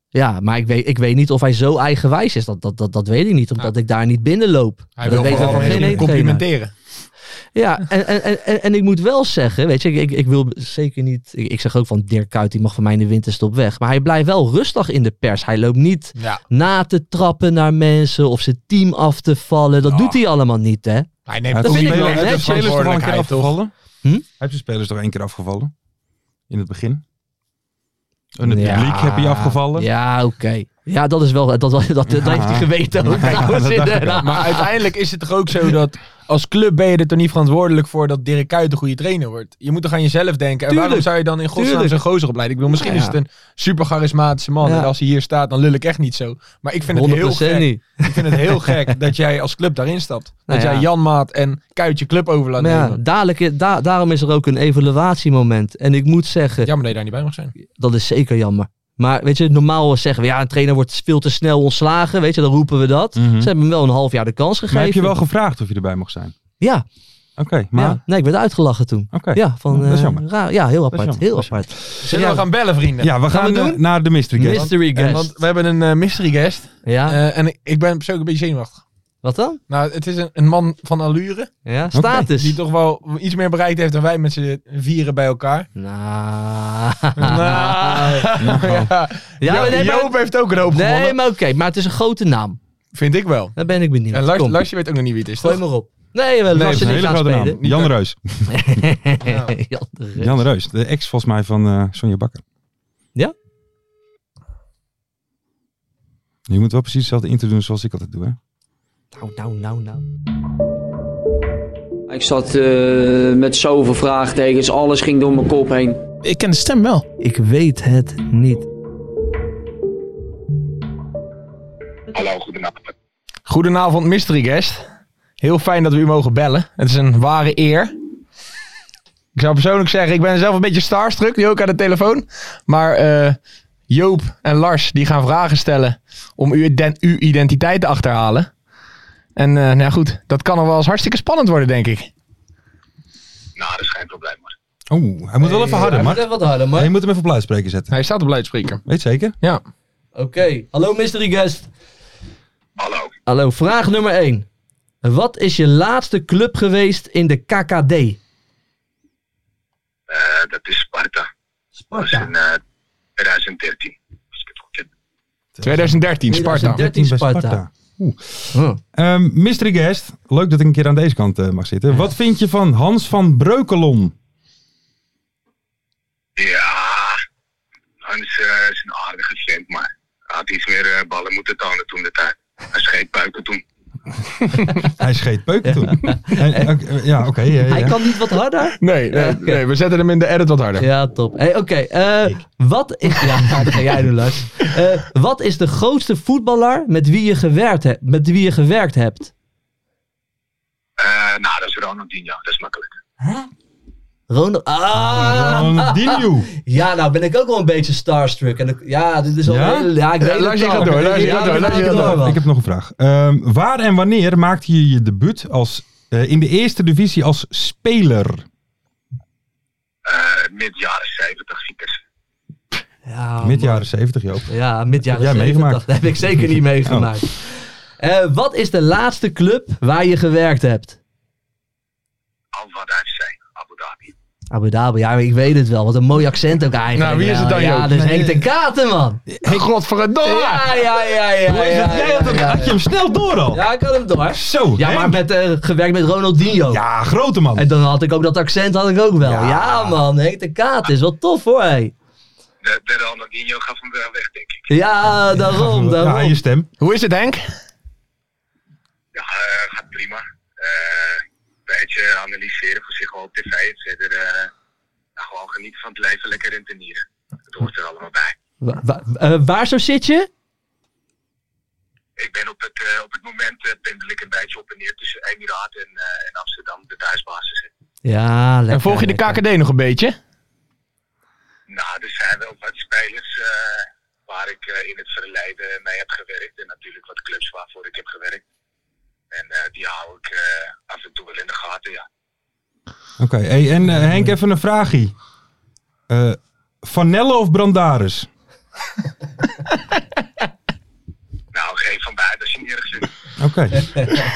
Speaker 5: Ja, maar ik weet, ik weet niet of hij zo eigenwijs is. Dat, dat, dat, dat weet ik niet, omdat ik daar niet binnenloop.
Speaker 6: Hij
Speaker 5: dat
Speaker 6: wil
Speaker 5: weet
Speaker 6: vooral
Speaker 5: ook geen
Speaker 6: hem
Speaker 5: ene trainer.
Speaker 6: complimenteren.
Speaker 5: Ja, en, en, en- en, en ik moet wel zeggen, weet je, ik, ik, ik wil zeker niet... Ik, ik zeg ook van Dirk Kuyt, die mag van mij in de winterstop weg. Maar hij blijft wel rustig in de pers. Hij loopt niet
Speaker 6: Ja,
Speaker 5: na te trappen naar mensen of zijn team af te vallen. Dat
Speaker 6: Ja.
Speaker 5: doet hij allemaal niet, hè?
Speaker 6: hij
Speaker 4: Hij
Speaker 6: neemt
Speaker 4: heeft
Speaker 5: dat
Speaker 6: toch
Speaker 4: de
Speaker 5: vind
Speaker 6: niet
Speaker 5: ik
Speaker 4: spelers-
Speaker 5: wel
Speaker 6: meer
Speaker 4: hij heeft
Speaker 5: net.
Speaker 4: de spelers toch al een keer
Speaker 6: verantwoordelijkheid, toch?
Speaker 4: afgevallen?
Speaker 5: Hm?
Speaker 4: Hij heeft de spelers toch één keer afgevallen? In het begin? In het publiek heb je afgevallen?
Speaker 5: Ja, oké. Ja, dat is wel... Dat, dat, dat, dat heeft hij geweten ook
Speaker 4: Ja,
Speaker 5: trouwens,
Speaker 4: dat dacht ik al.
Speaker 5: inderdaad.
Speaker 6: Maar uiteindelijk is het toch ook zo dat als club ben je er toch niet verantwoordelijk voor dat Dirk Kuyt een goede trainer wordt. Je moet toch aan jezelf denken. En
Speaker 5: Tuurlijk.
Speaker 6: waarom zou je dan in godsnaam
Speaker 5: Tuurlijk.
Speaker 6: zo'n gozer opleiden? Ik bedoel, misschien
Speaker 5: Ja,
Speaker 6: is het een super charismatische man.
Speaker 5: Ja.
Speaker 6: En als hij hier staat, dan lul ik echt niet zo. Maar ik vind het heel
Speaker 5: 100%
Speaker 6: gek.
Speaker 5: niet.
Speaker 6: Ik vind het heel gek dat jij als club daarin stapt.
Speaker 5: Nou
Speaker 6: dat
Speaker 5: ja.
Speaker 6: jij Janmaat en Kuyt je club
Speaker 4: Oh,
Speaker 6: over laat
Speaker 5: Maar ja,
Speaker 6: nemen.
Speaker 5: dadelijk, i- da- daarom is er ook een evaluatiemoment. En ik moet zeggen,
Speaker 6: Jammer dat je daar niet bij mag zijn.
Speaker 5: dat is zeker jammer. Maar weet je, normaal zeggen we, ja, een trainer wordt veel te snel ontslagen. Weet je, dan roepen we dat.
Speaker 4: Mhm.
Speaker 5: Ze hebben hem wel een half jaar de kans gegeven.
Speaker 4: Maar heb je wel gevraagd of je erbij mocht zijn?
Speaker 5: Ja,
Speaker 4: Oké, maar...
Speaker 5: ja. nee, ik werd uitgelachen toen.
Speaker 4: Oké.
Speaker 5: Ja, van,
Speaker 4: Dat is
Speaker 5: eh,
Speaker 4: jammer.
Speaker 5: raar. ja, heel apart.
Speaker 4: jammer.
Speaker 5: Heel
Speaker 4: Dat is
Speaker 5: apart.
Speaker 6: Zullen we gaan bellen, vrienden?
Speaker 4: Ja, we gaan,
Speaker 5: Gaan we
Speaker 4: eh,
Speaker 5: doen?
Speaker 4: naar de mystery guest.
Speaker 5: Mystery
Speaker 6: Eh,
Speaker 5: guest. Ah.
Speaker 6: want we hebben een eh, mystery guest.
Speaker 5: ja,
Speaker 6: Eh, en ik, ik ben persoonlijk een beetje zenuwachtig.
Speaker 5: wat dan?
Speaker 6: Nou, het is een, een man van allure.
Speaker 5: Ja, status.
Speaker 6: Die toch wel iets meer bereikt heeft dan wij met z'n vieren bij elkaar.
Speaker 5: Nou.
Speaker 6: Nou. ja.
Speaker 5: Ja, maar nee, maar-
Speaker 6: Joop heeft ook een hoop
Speaker 5: Nee,
Speaker 6: gewonnen.
Speaker 5: maar oké, maar het is een grote naam.
Speaker 6: Vind ik wel.
Speaker 5: Daar ben ik benieuwd.
Speaker 6: En Lars,
Speaker 5: Kom,
Speaker 6: Lars, je weet ook nog niet wie het is,
Speaker 5: gooi
Speaker 6: toch?
Speaker 5: maar op. Nee, wel,
Speaker 4: Nee, dat
Speaker 5: Lars
Speaker 4: is
Speaker 5: je
Speaker 4: een
Speaker 5: niet
Speaker 4: hele
Speaker 5: gaan
Speaker 4: grote naam.
Speaker 5: spelen.
Speaker 4: Jan Reus.
Speaker 5: Jan de Rus.
Speaker 4: Jan Reus, de ex volgens mij van eh, Sonja Bakker.
Speaker 5: Ja?
Speaker 4: Je moet wel precies hetzelfde intro doen zoals ik altijd doe, hè?
Speaker 5: Nou, nou, nou, nou.
Speaker 7: Ik zat eh, met zoveel vraagtekens, alles ging door mijn kop heen.
Speaker 8: Ik ken de stem wel.
Speaker 5: Ik weet het niet.
Speaker 6: Goedenavond, mystery guest. Heel fijn dat we u mogen bellen. Het is een ware eer. Ik zou persoonlijk zeggen, ik ben zelf een beetje starstruck, nu ook aan de telefoon. Maar eh, Joop en Lars, die gaan vragen stellen om uw, iden- uw identiteit te achterhalen. En eh, nou ja, goed, dat kan nog wel eens hartstikke spannend worden, denk ik.
Speaker 9: Nou,
Speaker 4: Oeh, hij moet wel even harder, Mark.
Speaker 5: wat harder,
Speaker 4: Ja, je moet hem even op luidspreker zetten.
Speaker 6: Hij staat op luidspreker.
Speaker 4: Weet zeker?
Speaker 6: Ja.
Speaker 5: Oké, hallo mystery guest. Hallo. Hallo, vraag nummer 1. Wat is je laatste club geweest in de KKD?
Speaker 9: Eh, dat is Sparta.
Speaker 5: Sparta.
Speaker 9: In eh, 2013. Als ik het goed heb.
Speaker 6: 2013, Sparta.
Speaker 5: 2013
Speaker 4: 13 bij
Speaker 5: Sparta. Huh.
Speaker 4: Ehm, mystery guest, leuk dat ik een keer aan deze kant eh, mag zitten. Wat vind je van Hans van Breukelon?
Speaker 9: Ja, Hans eh, is een aardige vent, maar hij had iets meer eh, ballen moeten tonen toen de tijd. Hij scheet buiken toen.
Speaker 4: Hij scheet peuken toen. En, ook, eh, ja, oké. ja, ja,
Speaker 5: Hij
Speaker 4: ja.
Speaker 5: kan niet wat harder?
Speaker 6: Nee, nee,
Speaker 5: Ja, oké.
Speaker 6: nee, we zetten hem in de edit wat harder.
Speaker 5: Ja, top. Hey, Oké, eh, wat is... Ja, dat ga jij doen, Lars. Eh, wat is de grootste voetballer met wie je gewerkt, hebt? met wie je gewerkt hebt?
Speaker 9: Eh, nou, dat is Ronaldinho, dat is makkelijk.
Speaker 5: Ronald... Ah!
Speaker 4: Ronaldinho.
Speaker 5: Ja, nou ben ik ook wel een beetje starstruck. En ik- ja, dit is al...
Speaker 4: Ja?
Speaker 5: heel- ja ik weet
Speaker 6: Ja,
Speaker 5: het
Speaker 6: Lars, je
Speaker 5: al.
Speaker 6: gaat door, Lars, je
Speaker 5: Ja,
Speaker 6: gaat door,
Speaker 5: dan
Speaker 6: Lars,
Speaker 5: ga
Speaker 6: je
Speaker 5: ik
Speaker 6: gaat
Speaker 5: door,
Speaker 6: door.
Speaker 5: man.
Speaker 4: Ik heb nog een vraag. Ehm, waar en wanneer maakte je je debuut als, eh, in de eerste divisie als speler?
Speaker 5: Oh,
Speaker 9: Eh mid jaren 70 ziekers.
Speaker 5: Ja,
Speaker 4: Mid
Speaker 5: man.
Speaker 4: jaren 70, Joop.
Speaker 5: Ja, mid jaren
Speaker 4: Heb jij
Speaker 5: 70.
Speaker 4: meegemaakt?
Speaker 5: Dat heb ik zeker niet meegemaakt. Eh, wat is de laatste club waar je gewerkt hebt?
Speaker 9: Al wat hij zei, Abu Dhabi.
Speaker 5: Abu Dhabi, ja, ik weet het wel. Wat een mooi accent ook eigenlijk.
Speaker 6: Nou, wie is het dan,
Speaker 5: Ja,
Speaker 6: Joop?
Speaker 5: dus
Speaker 6: Nee.
Speaker 5: Henk de Katen, man.
Speaker 6: Godverdomme!
Speaker 5: Ja, ja, ja, ja.
Speaker 4: Hoe is
Speaker 5: ja,
Speaker 4: het? Jij had,
Speaker 5: ja,
Speaker 4: hem-
Speaker 5: ja,
Speaker 4: had je
Speaker 5: ja.
Speaker 4: hem snel door al?
Speaker 5: Ja, ik had hem door.
Speaker 4: Zo,
Speaker 5: Ja, maar
Speaker 4: Henk.
Speaker 5: met, eh, gewerkt met Ronaldinho.
Speaker 4: Ja, grote man.
Speaker 5: En dan had ik ook dat accent had ik ook wel. Ja,
Speaker 4: Ja.
Speaker 5: man, Henk de Katen is wel tof hoor. hé.
Speaker 9: De, de Ronaldinho gaf hem wel weg, denk ik.
Speaker 5: Ja, daarom,
Speaker 4: Ja,
Speaker 5: daarom.
Speaker 4: je stem.
Speaker 6: Hoe is het, Henk?
Speaker 9: Ja, eh, gaat prima. Eh, een beetje analyseren voor zich wel op tv en verder eh, nou, gewoon genieten van het leven, lekker rentenieren. Dat hoort er allemaal bij.
Speaker 5: Wa- wa- eh, waar zo zit je?
Speaker 9: Ik ben op het, eh, op het moment eh, pendel ik een beetje op en neer tussen Emiraat en, eh, en Amsterdam, de thuisbasis.
Speaker 5: Ja, lekker.
Speaker 6: En volg je de
Speaker 5: lekker.
Speaker 6: KKD nog een beetje?
Speaker 9: Nou, er zijn wel wat spelers eh, waar ik eh, in het verleden mee heb gewerkt. En natuurlijk wat clubs waarvoor ik heb gewerkt. En eh, die hou ik eh, af en toe wel in de gaten, ja.
Speaker 4: Oké, hey, en eh, Henk, even een vraagje. Eh Vanelle of Brandaris?
Speaker 9: Nou, geen van beide als je nergens zit.
Speaker 4: Oké,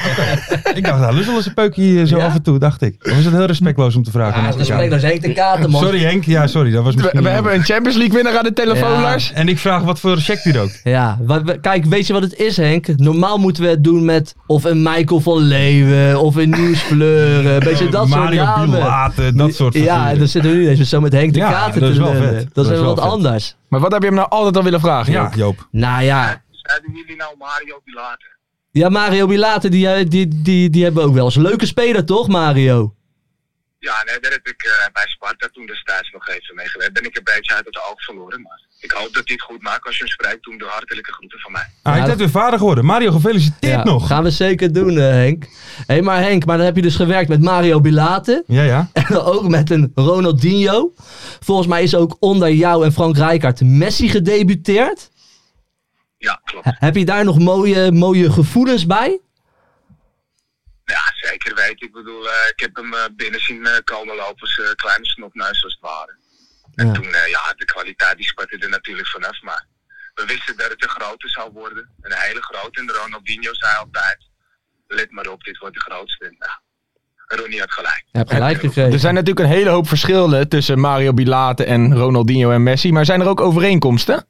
Speaker 4: Ik dacht, nou, lust wel eens een peukje hier zo
Speaker 5: Ja?
Speaker 4: af en toe, dacht ik. Dan is het heel respectloos om te vragen.
Speaker 5: Ja,
Speaker 4: aan
Speaker 5: dat is
Speaker 4: elkaar.
Speaker 5: spreekt als Henk de Katen, man.
Speaker 4: sorry Henk, ja sorry, dat was
Speaker 6: We,
Speaker 4: misschien...
Speaker 6: we
Speaker 4: niet
Speaker 6: hebben een Champions League winnaar aan de telefoon,
Speaker 5: Ja.
Speaker 6: Lars.
Speaker 4: En ik vraag wat voor check die rookt.
Speaker 5: Ja, wa- wa- kijk, weet je wat het is, Henk? Normaal moeten we het doen met of een Michael van Leeuwen, of een Nieuws Fleuren, weet je, dat soort
Speaker 4: Eh, Mario
Speaker 5: namen.
Speaker 4: Pilate, dat soort
Speaker 5: Ja, en dan zitten we nu eens zo met Henk de
Speaker 4: Ja,
Speaker 5: Katen
Speaker 4: dat
Speaker 5: te
Speaker 4: is wel
Speaker 5: lullen.
Speaker 4: vet.
Speaker 5: Dat
Speaker 4: Dat
Speaker 5: is
Speaker 4: is
Speaker 5: wel
Speaker 4: wel
Speaker 5: wat
Speaker 4: vet.
Speaker 5: anders.
Speaker 6: Maar wat heb je hem nou altijd al willen vragen?
Speaker 4: Ja,
Speaker 6: Joop?
Speaker 4: Joop. Ah,
Speaker 5: Nou ja,
Speaker 9: Zeiden jullie nou Mario Pilate?
Speaker 5: ja Mario Bilate, die, eh, die, die, die hebben we ook wel eens een leuke speler, toch, Mario?
Speaker 9: Ja, nee, daar heb ik eh, bij Sparta toen destijds nog even mee gewerkt. Ben ik een beetje uit het oog verloren, maar ik hoop dat hij het goed maakt. Als je hem spreekt, doe hem de hartelijke groeten van mij.
Speaker 4: Ah,
Speaker 5: Ja,
Speaker 4: je bent
Speaker 5: dat-
Speaker 4: weer vader geworden. Mario, gefeliciteerd
Speaker 5: Ja,
Speaker 4: nog.
Speaker 5: Gaan we zeker doen, eh, Henk. Hé, hey, maar Henk, maar dan heb je dus gewerkt met Mario Bilate.
Speaker 4: Ja, ja.
Speaker 5: En ook met een Ronaldinho. Volgens mij is ook onder jou en Frank Rijkaard Messi gedebuteerd.
Speaker 9: Ja, klopt.
Speaker 5: Heb je daar nog mooie, mooie gevoelens bij?
Speaker 9: Ja, zeker weten. Ik bedoel, eh, ik heb hem eh, binnen zien eh, komen lopen. Zijn kleine snopneus als het ware. En
Speaker 5: Ja.
Speaker 9: toen, eh, ja, de kwaliteit die spatte er natuurlijk vanaf. Maar we wisten dat het een grote zou worden. Een hele grote. En Ronaldinho zei altijd, let maar op, dit wordt de grootste. En, Nou, Ronnie had gelijk.
Speaker 5: Je hebt gelijk gekregen.
Speaker 6: Er zijn natuurlijk een hele hoop verschillen tussen Mario Bilate en Ronaldinho en Messi. Maar zijn er ook overeenkomsten?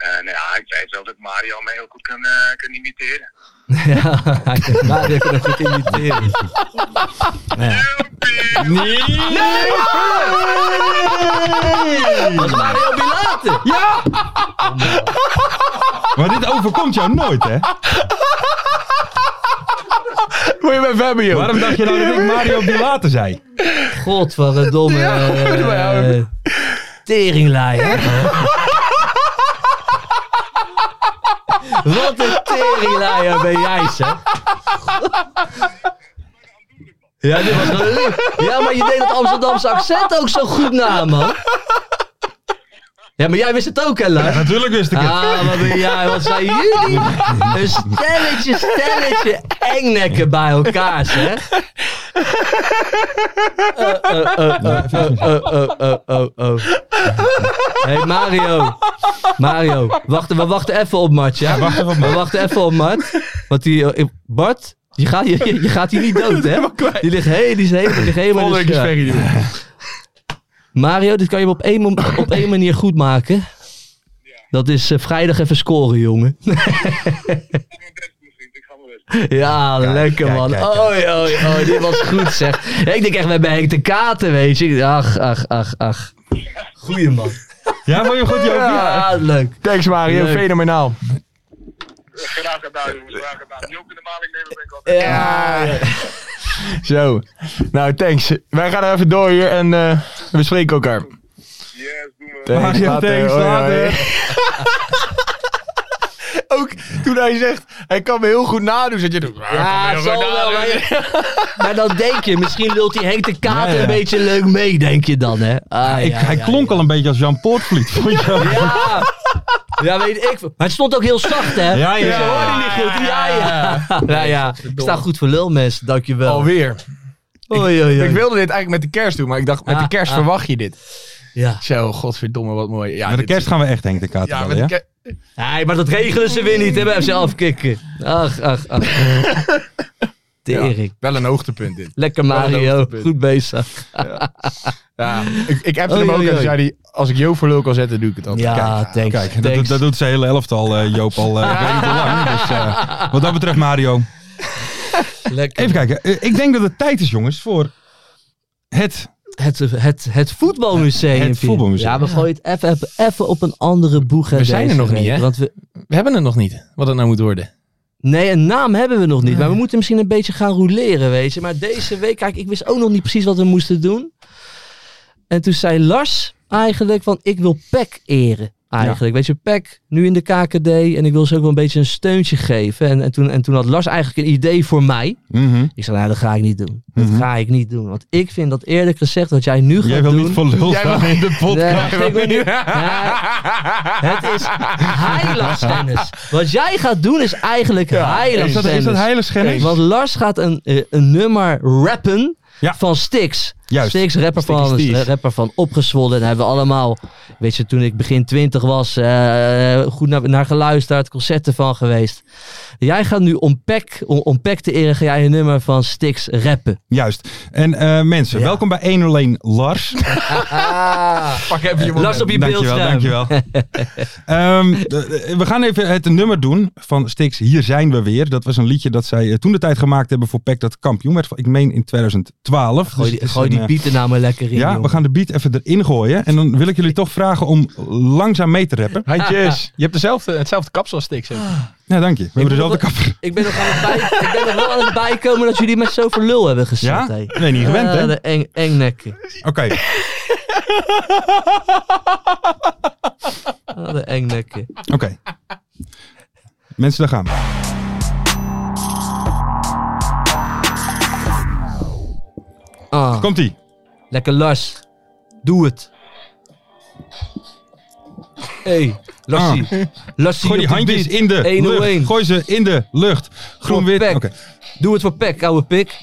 Speaker 9: Eh, nou ja, ik weet wel dat Mario mij heel goed kan, eh, kan imiteren.
Speaker 5: Ja, hij kan Mario kan het goed imiteren. Dat is Mario Bilate.
Speaker 4: Maar dit overkomt jou nooit, hè?
Speaker 6: Moet je bij Fabio?
Speaker 4: Waarom dacht je nou dat ik Mario Bilate zei?
Speaker 5: Godverdomme.
Speaker 6: Ja, goed, maar
Speaker 5: eh,
Speaker 6: ja.
Speaker 5: Teringlaai. hè? Wat een teringlaaier ben jij, zeg. Ja, dit was wel lief. Ja, maar je deed het Amsterdamse accent ook zo goed na, man. Ja, maar jij wist het ook, hè, Lars?
Speaker 4: Natuurlijk wist ik het.
Speaker 5: Ah, wat, een- ja, wat zijn jullie? Een stelletje, stelletje engnekken bij elkaar, zeg. Eh, eh, eh, eh, eh, eh, eh, eh, eh. hey Mario. Mario, wacht, we wachten even op Mart, ja?
Speaker 4: wacht even op Mart.
Speaker 5: We wachten even op Mart. Want die, eh, Bart, je gaat, je, je gaat hier niet dood, hè? Die ligt, he, die is he- die ligt helemaal in de
Speaker 6: Volgende keer
Speaker 5: schuur.
Speaker 6: Ferry doen.
Speaker 5: Mario, dit kan je op één, mom- op één manier goed maken. Dat is eh, vrijdag even scoren, jongen.
Speaker 9: Ik ga wel
Speaker 5: Ja, lekker
Speaker 4: kijk,
Speaker 5: man.
Speaker 4: kijk, kijk.
Speaker 5: Oei, oei, oei, dit was goed zeg. Ja, ik denk echt, we hebben Henk de Katen, weet je. Ach, ach, ach, ach. Goeie man.
Speaker 4: Ja, vond je hem goed, Joop?
Speaker 5: Ja, leuk.
Speaker 6: Thanks Mario,
Speaker 5: Leuk.
Speaker 6: fenomenaal.
Speaker 9: Graag gedaan, jongens. Graag gedaan. Joop in de maling nemen ben ik altijd.
Speaker 5: Ja.
Speaker 6: Ah. Zo. Nou, thanks. Wij gaan er even door hier en eh, we spreken elkaar.
Speaker 9: Yes, doen we.
Speaker 6: Thanks, Oh,
Speaker 4: Mario,
Speaker 6: later.
Speaker 4: thanks,
Speaker 6: Hoi, hoi.
Speaker 4: later.
Speaker 6: Ook toen hij zegt, hij kan me heel goed nadoen. Zat je doet,
Speaker 5: Ja, zal wel. maar- Maar dan denk je, misschien lult die Henk de Katen
Speaker 4: Ja, ja.
Speaker 5: een beetje leuk mee, denk je dan, hè? Ah,
Speaker 4: Ik,
Speaker 5: ja,
Speaker 4: hij
Speaker 5: ja,
Speaker 4: klonk
Speaker 5: ja.
Speaker 4: al een beetje als Jan Poortvliet, vond je wel?
Speaker 5: Ja. ja, weet ik. veel. Maar het stond ook heel zacht, hè?
Speaker 4: Ja, ja,
Speaker 5: Dus je hoorde
Speaker 4: ja.
Speaker 5: niet goed. Ja, ja. Ja, ja. Ik sta goed voor lul, mensen. Dankjewel.
Speaker 6: Alweer.
Speaker 5: Oei, oei, oei.
Speaker 6: Ik wilde dit eigenlijk met de kerst doen, maar ik dacht, met
Speaker 5: Ah,
Speaker 6: de kerst
Speaker 5: ah.
Speaker 6: verwacht je dit.
Speaker 5: Ja.
Speaker 6: Zo, godverdomme, wat mooi. Ja,
Speaker 4: Met de
Speaker 6: dit-
Speaker 4: kerst gaan we echt Henk de Kater
Speaker 6: Ja,
Speaker 4: bellen,
Speaker 6: met
Speaker 4: ja?
Speaker 6: de kerst.
Speaker 5: Nee, maar dat regelen ze weer niet, hè, bij FC afkicken. Ach, ach, ach. Tering.
Speaker 6: Wel een hoogtepunt dit.
Speaker 5: Lekker
Speaker 6: Wel een
Speaker 5: Mario,
Speaker 6: hoogtepunt.
Speaker 5: goed bezig.
Speaker 6: Ja, ik, ik appte
Speaker 5: Oei,
Speaker 6: hem ook
Speaker 5: oei,
Speaker 6: en toen
Speaker 5: oei.
Speaker 6: zei hij, als ik Jo voor lul kan zetten, doe ik het altijd.
Speaker 5: Ja, thanks.
Speaker 4: Kijk, dat,
Speaker 5: thanks.
Speaker 4: dat doet zijn hele helft al, eh, Joop, al eh, weet ik hoe lang. Dus, eh, wat dat betreft, Mario.
Speaker 5: Lekker.
Speaker 4: Even kijken. Eh, ik denk dat het tijd is, jongens, voor het...
Speaker 5: Het, het, het voetbalmuseum.
Speaker 4: Het voetbalmuseum,
Speaker 5: Ja, we gooien het even, even, even op een andere boeg. hè,
Speaker 6: We zijn er
Speaker 5: deze
Speaker 6: nog niet,
Speaker 5: week,
Speaker 6: hè?
Speaker 5: Want we,
Speaker 6: We hebben het nog niet, wat het nou moet worden.
Speaker 5: nee, een naam hebben we nog niet. Maar we moeten misschien een beetje gaan rouleren, weet je. Maar deze week, kijk, ik wist ook nog niet precies wat we moesten doen. En toen zei Lars eigenlijk van, ik wil PEC eren. Eigenlijk, weet je, PEC nu in de KKD. En ik wil ze ook wel een beetje een steuntje geven. En, en, toen, en toen had Lars eigenlijk een idee voor mij.
Speaker 4: Mhm.
Speaker 5: Ik zei, nou, dat ga ik niet doen. Dat
Speaker 4: Mhm.
Speaker 5: ga ik niet doen. Want ik vind dat eerlijk gezegd, wat jij nu gaat
Speaker 4: Jij wil
Speaker 5: doen...
Speaker 4: niet voor lul
Speaker 6: Jij wil-
Speaker 4: staan in de podcast.
Speaker 5: Nee, ik wil niet- Nee, het is heiligschennis. Wat jij gaat doen is eigenlijk
Speaker 4: Is dat, is dat
Speaker 5: heiligschennis.
Speaker 4: heiligschennis?
Speaker 5: Want Lars gaat een, eh, een nummer rappen
Speaker 4: Ja.
Speaker 5: van Styx.
Speaker 4: Juist.
Speaker 5: Six, rapper
Speaker 4: Sticky
Speaker 5: van,
Speaker 4: Steve.
Speaker 5: rapper van Opgezwollen. Daar hebben we allemaal, weet je, toen ik begin twintig was, eh, goed naar, naar geluisterd, concerten van geweest. Jij gaat nu om Peck, om, om Peck te eren, ga jij een nummer van Stix rappen.
Speaker 4: Juist. En eh, mensen,
Speaker 5: Ja.
Speaker 4: welkom bij 101 Lars.
Speaker 6: Pak even je
Speaker 5: Last op je
Speaker 4: Eh, dankjewel,
Speaker 5: beeldscherm.
Speaker 4: dankjewel. Ehm, de- de- we gaan even het nummer doen van Stix. Hier zijn we weer. Dat was een liedje dat zij eh, toen de tijd gemaakt hebben voor Peck dat kampioen werd. Ik meen in 2012. Dus
Speaker 5: Gooi
Speaker 4: het
Speaker 5: die,
Speaker 4: is
Speaker 5: gooi
Speaker 4: een,
Speaker 5: die
Speaker 4: eh,
Speaker 5: beat er nou maar lekker in,
Speaker 4: Ja, we
Speaker 5: jongen.
Speaker 4: gaan de beat even erin gooien. En dan wil ik jullie toch vragen om langzaam mee te rappen.
Speaker 6: Handjes. Je hebt dezelfde, hetzelfde kapsel als Stix.
Speaker 4: Ah. Ja, dank je. We hebben dezelfde
Speaker 5: moet wel-
Speaker 4: kapper.
Speaker 5: Ik ben nog aan het, bij, ik ben nog wel aan het bijkomen dat jullie met zoveel lul hebben gezet.
Speaker 4: Ja?
Speaker 5: hé.
Speaker 4: Nee, niet gewend,
Speaker 5: Ah,
Speaker 4: hè?
Speaker 5: de eng, engnekken.
Speaker 4: Oké.
Speaker 5: Ah, de engnekken.
Speaker 4: Oké. Mensen, daar gaan we.
Speaker 5: Ah,
Speaker 4: Komt-ie.
Speaker 5: lekker Lars. Doe het. hey, Lassie. Lassie
Speaker 4: Ah. Gooi
Speaker 5: op
Speaker 4: die
Speaker 5: de
Speaker 4: handjes
Speaker 5: beat.
Speaker 4: in de
Speaker 5: 101.
Speaker 4: lucht. Gooi ze in de lucht. Groen-wit. Oké.
Speaker 5: Pek. Doe het voor Pek, ouwe pik.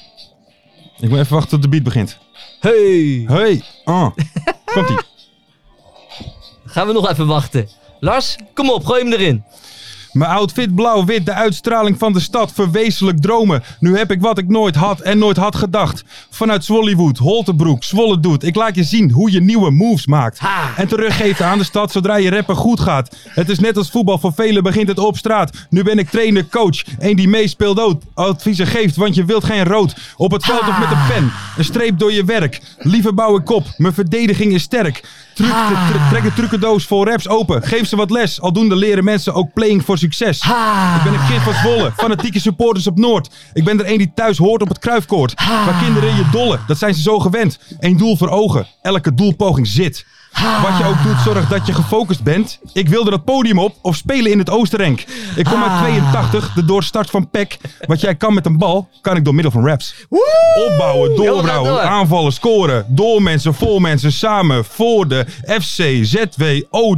Speaker 4: Ik moet even wachten tot de beat begint.
Speaker 5: Hey.
Speaker 4: Hey. Ah. Komt-ie.
Speaker 5: Gaan we nog even wachten. Lars, kom op, gooi hem erin.
Speaker 4: Mijn outfit blauw-wit, de uitstraling van de stad, verwezenlijk dromen. Nu heb ik wat ik nooit had en nooit had gedacht. Vanuit Zwollywood, Holtebroek, Zwolle doet. Ik laat je zien hoe je nieuwe moves maakt.
Speaker 5: Ha.
Speaker 4: En teruggeeft aan de stad zodra je rapper goed gaat. Het is net als voetbal, voor velen begint het op straat. Nu ben ik trainer, coach, een die meespeelt ook. Adviezen geeft, want je wilt geen rood. Op het veld of met een pen, een streep door je werk. Liever bouw ik op, mijn verdediging is sterk. Truc, tr- trek een trucendoos vol raps open. Geef ze wat les. Aldoende leren mensen ook playing voor succes. Ik ben een kind van Zwolle. Fanatieke supporters op Noord. Ik ben er een die thuis hoort op het kruifkoord. Waar kinderen je dollen. Dat zijn ze zo gewend. Eén doel voor ogen. Elke doelpoging zit. Wat je ook doet, zorg dat je gefocust bent. Ik wilde dat podium op of spelen in het Oostenrijk. Ik kom uit 82, de doorstart van PEC. Wat jij kan met een bal, kan ik door middel van raps. Opbouwen,
Speaker 5: Heel
Speaker 4: doorbouwen,
Speaker 5: erg door.
Speaker 4: aanvallen, scoren. Door mensen, voor mensen, samen, voor de FC, ZW,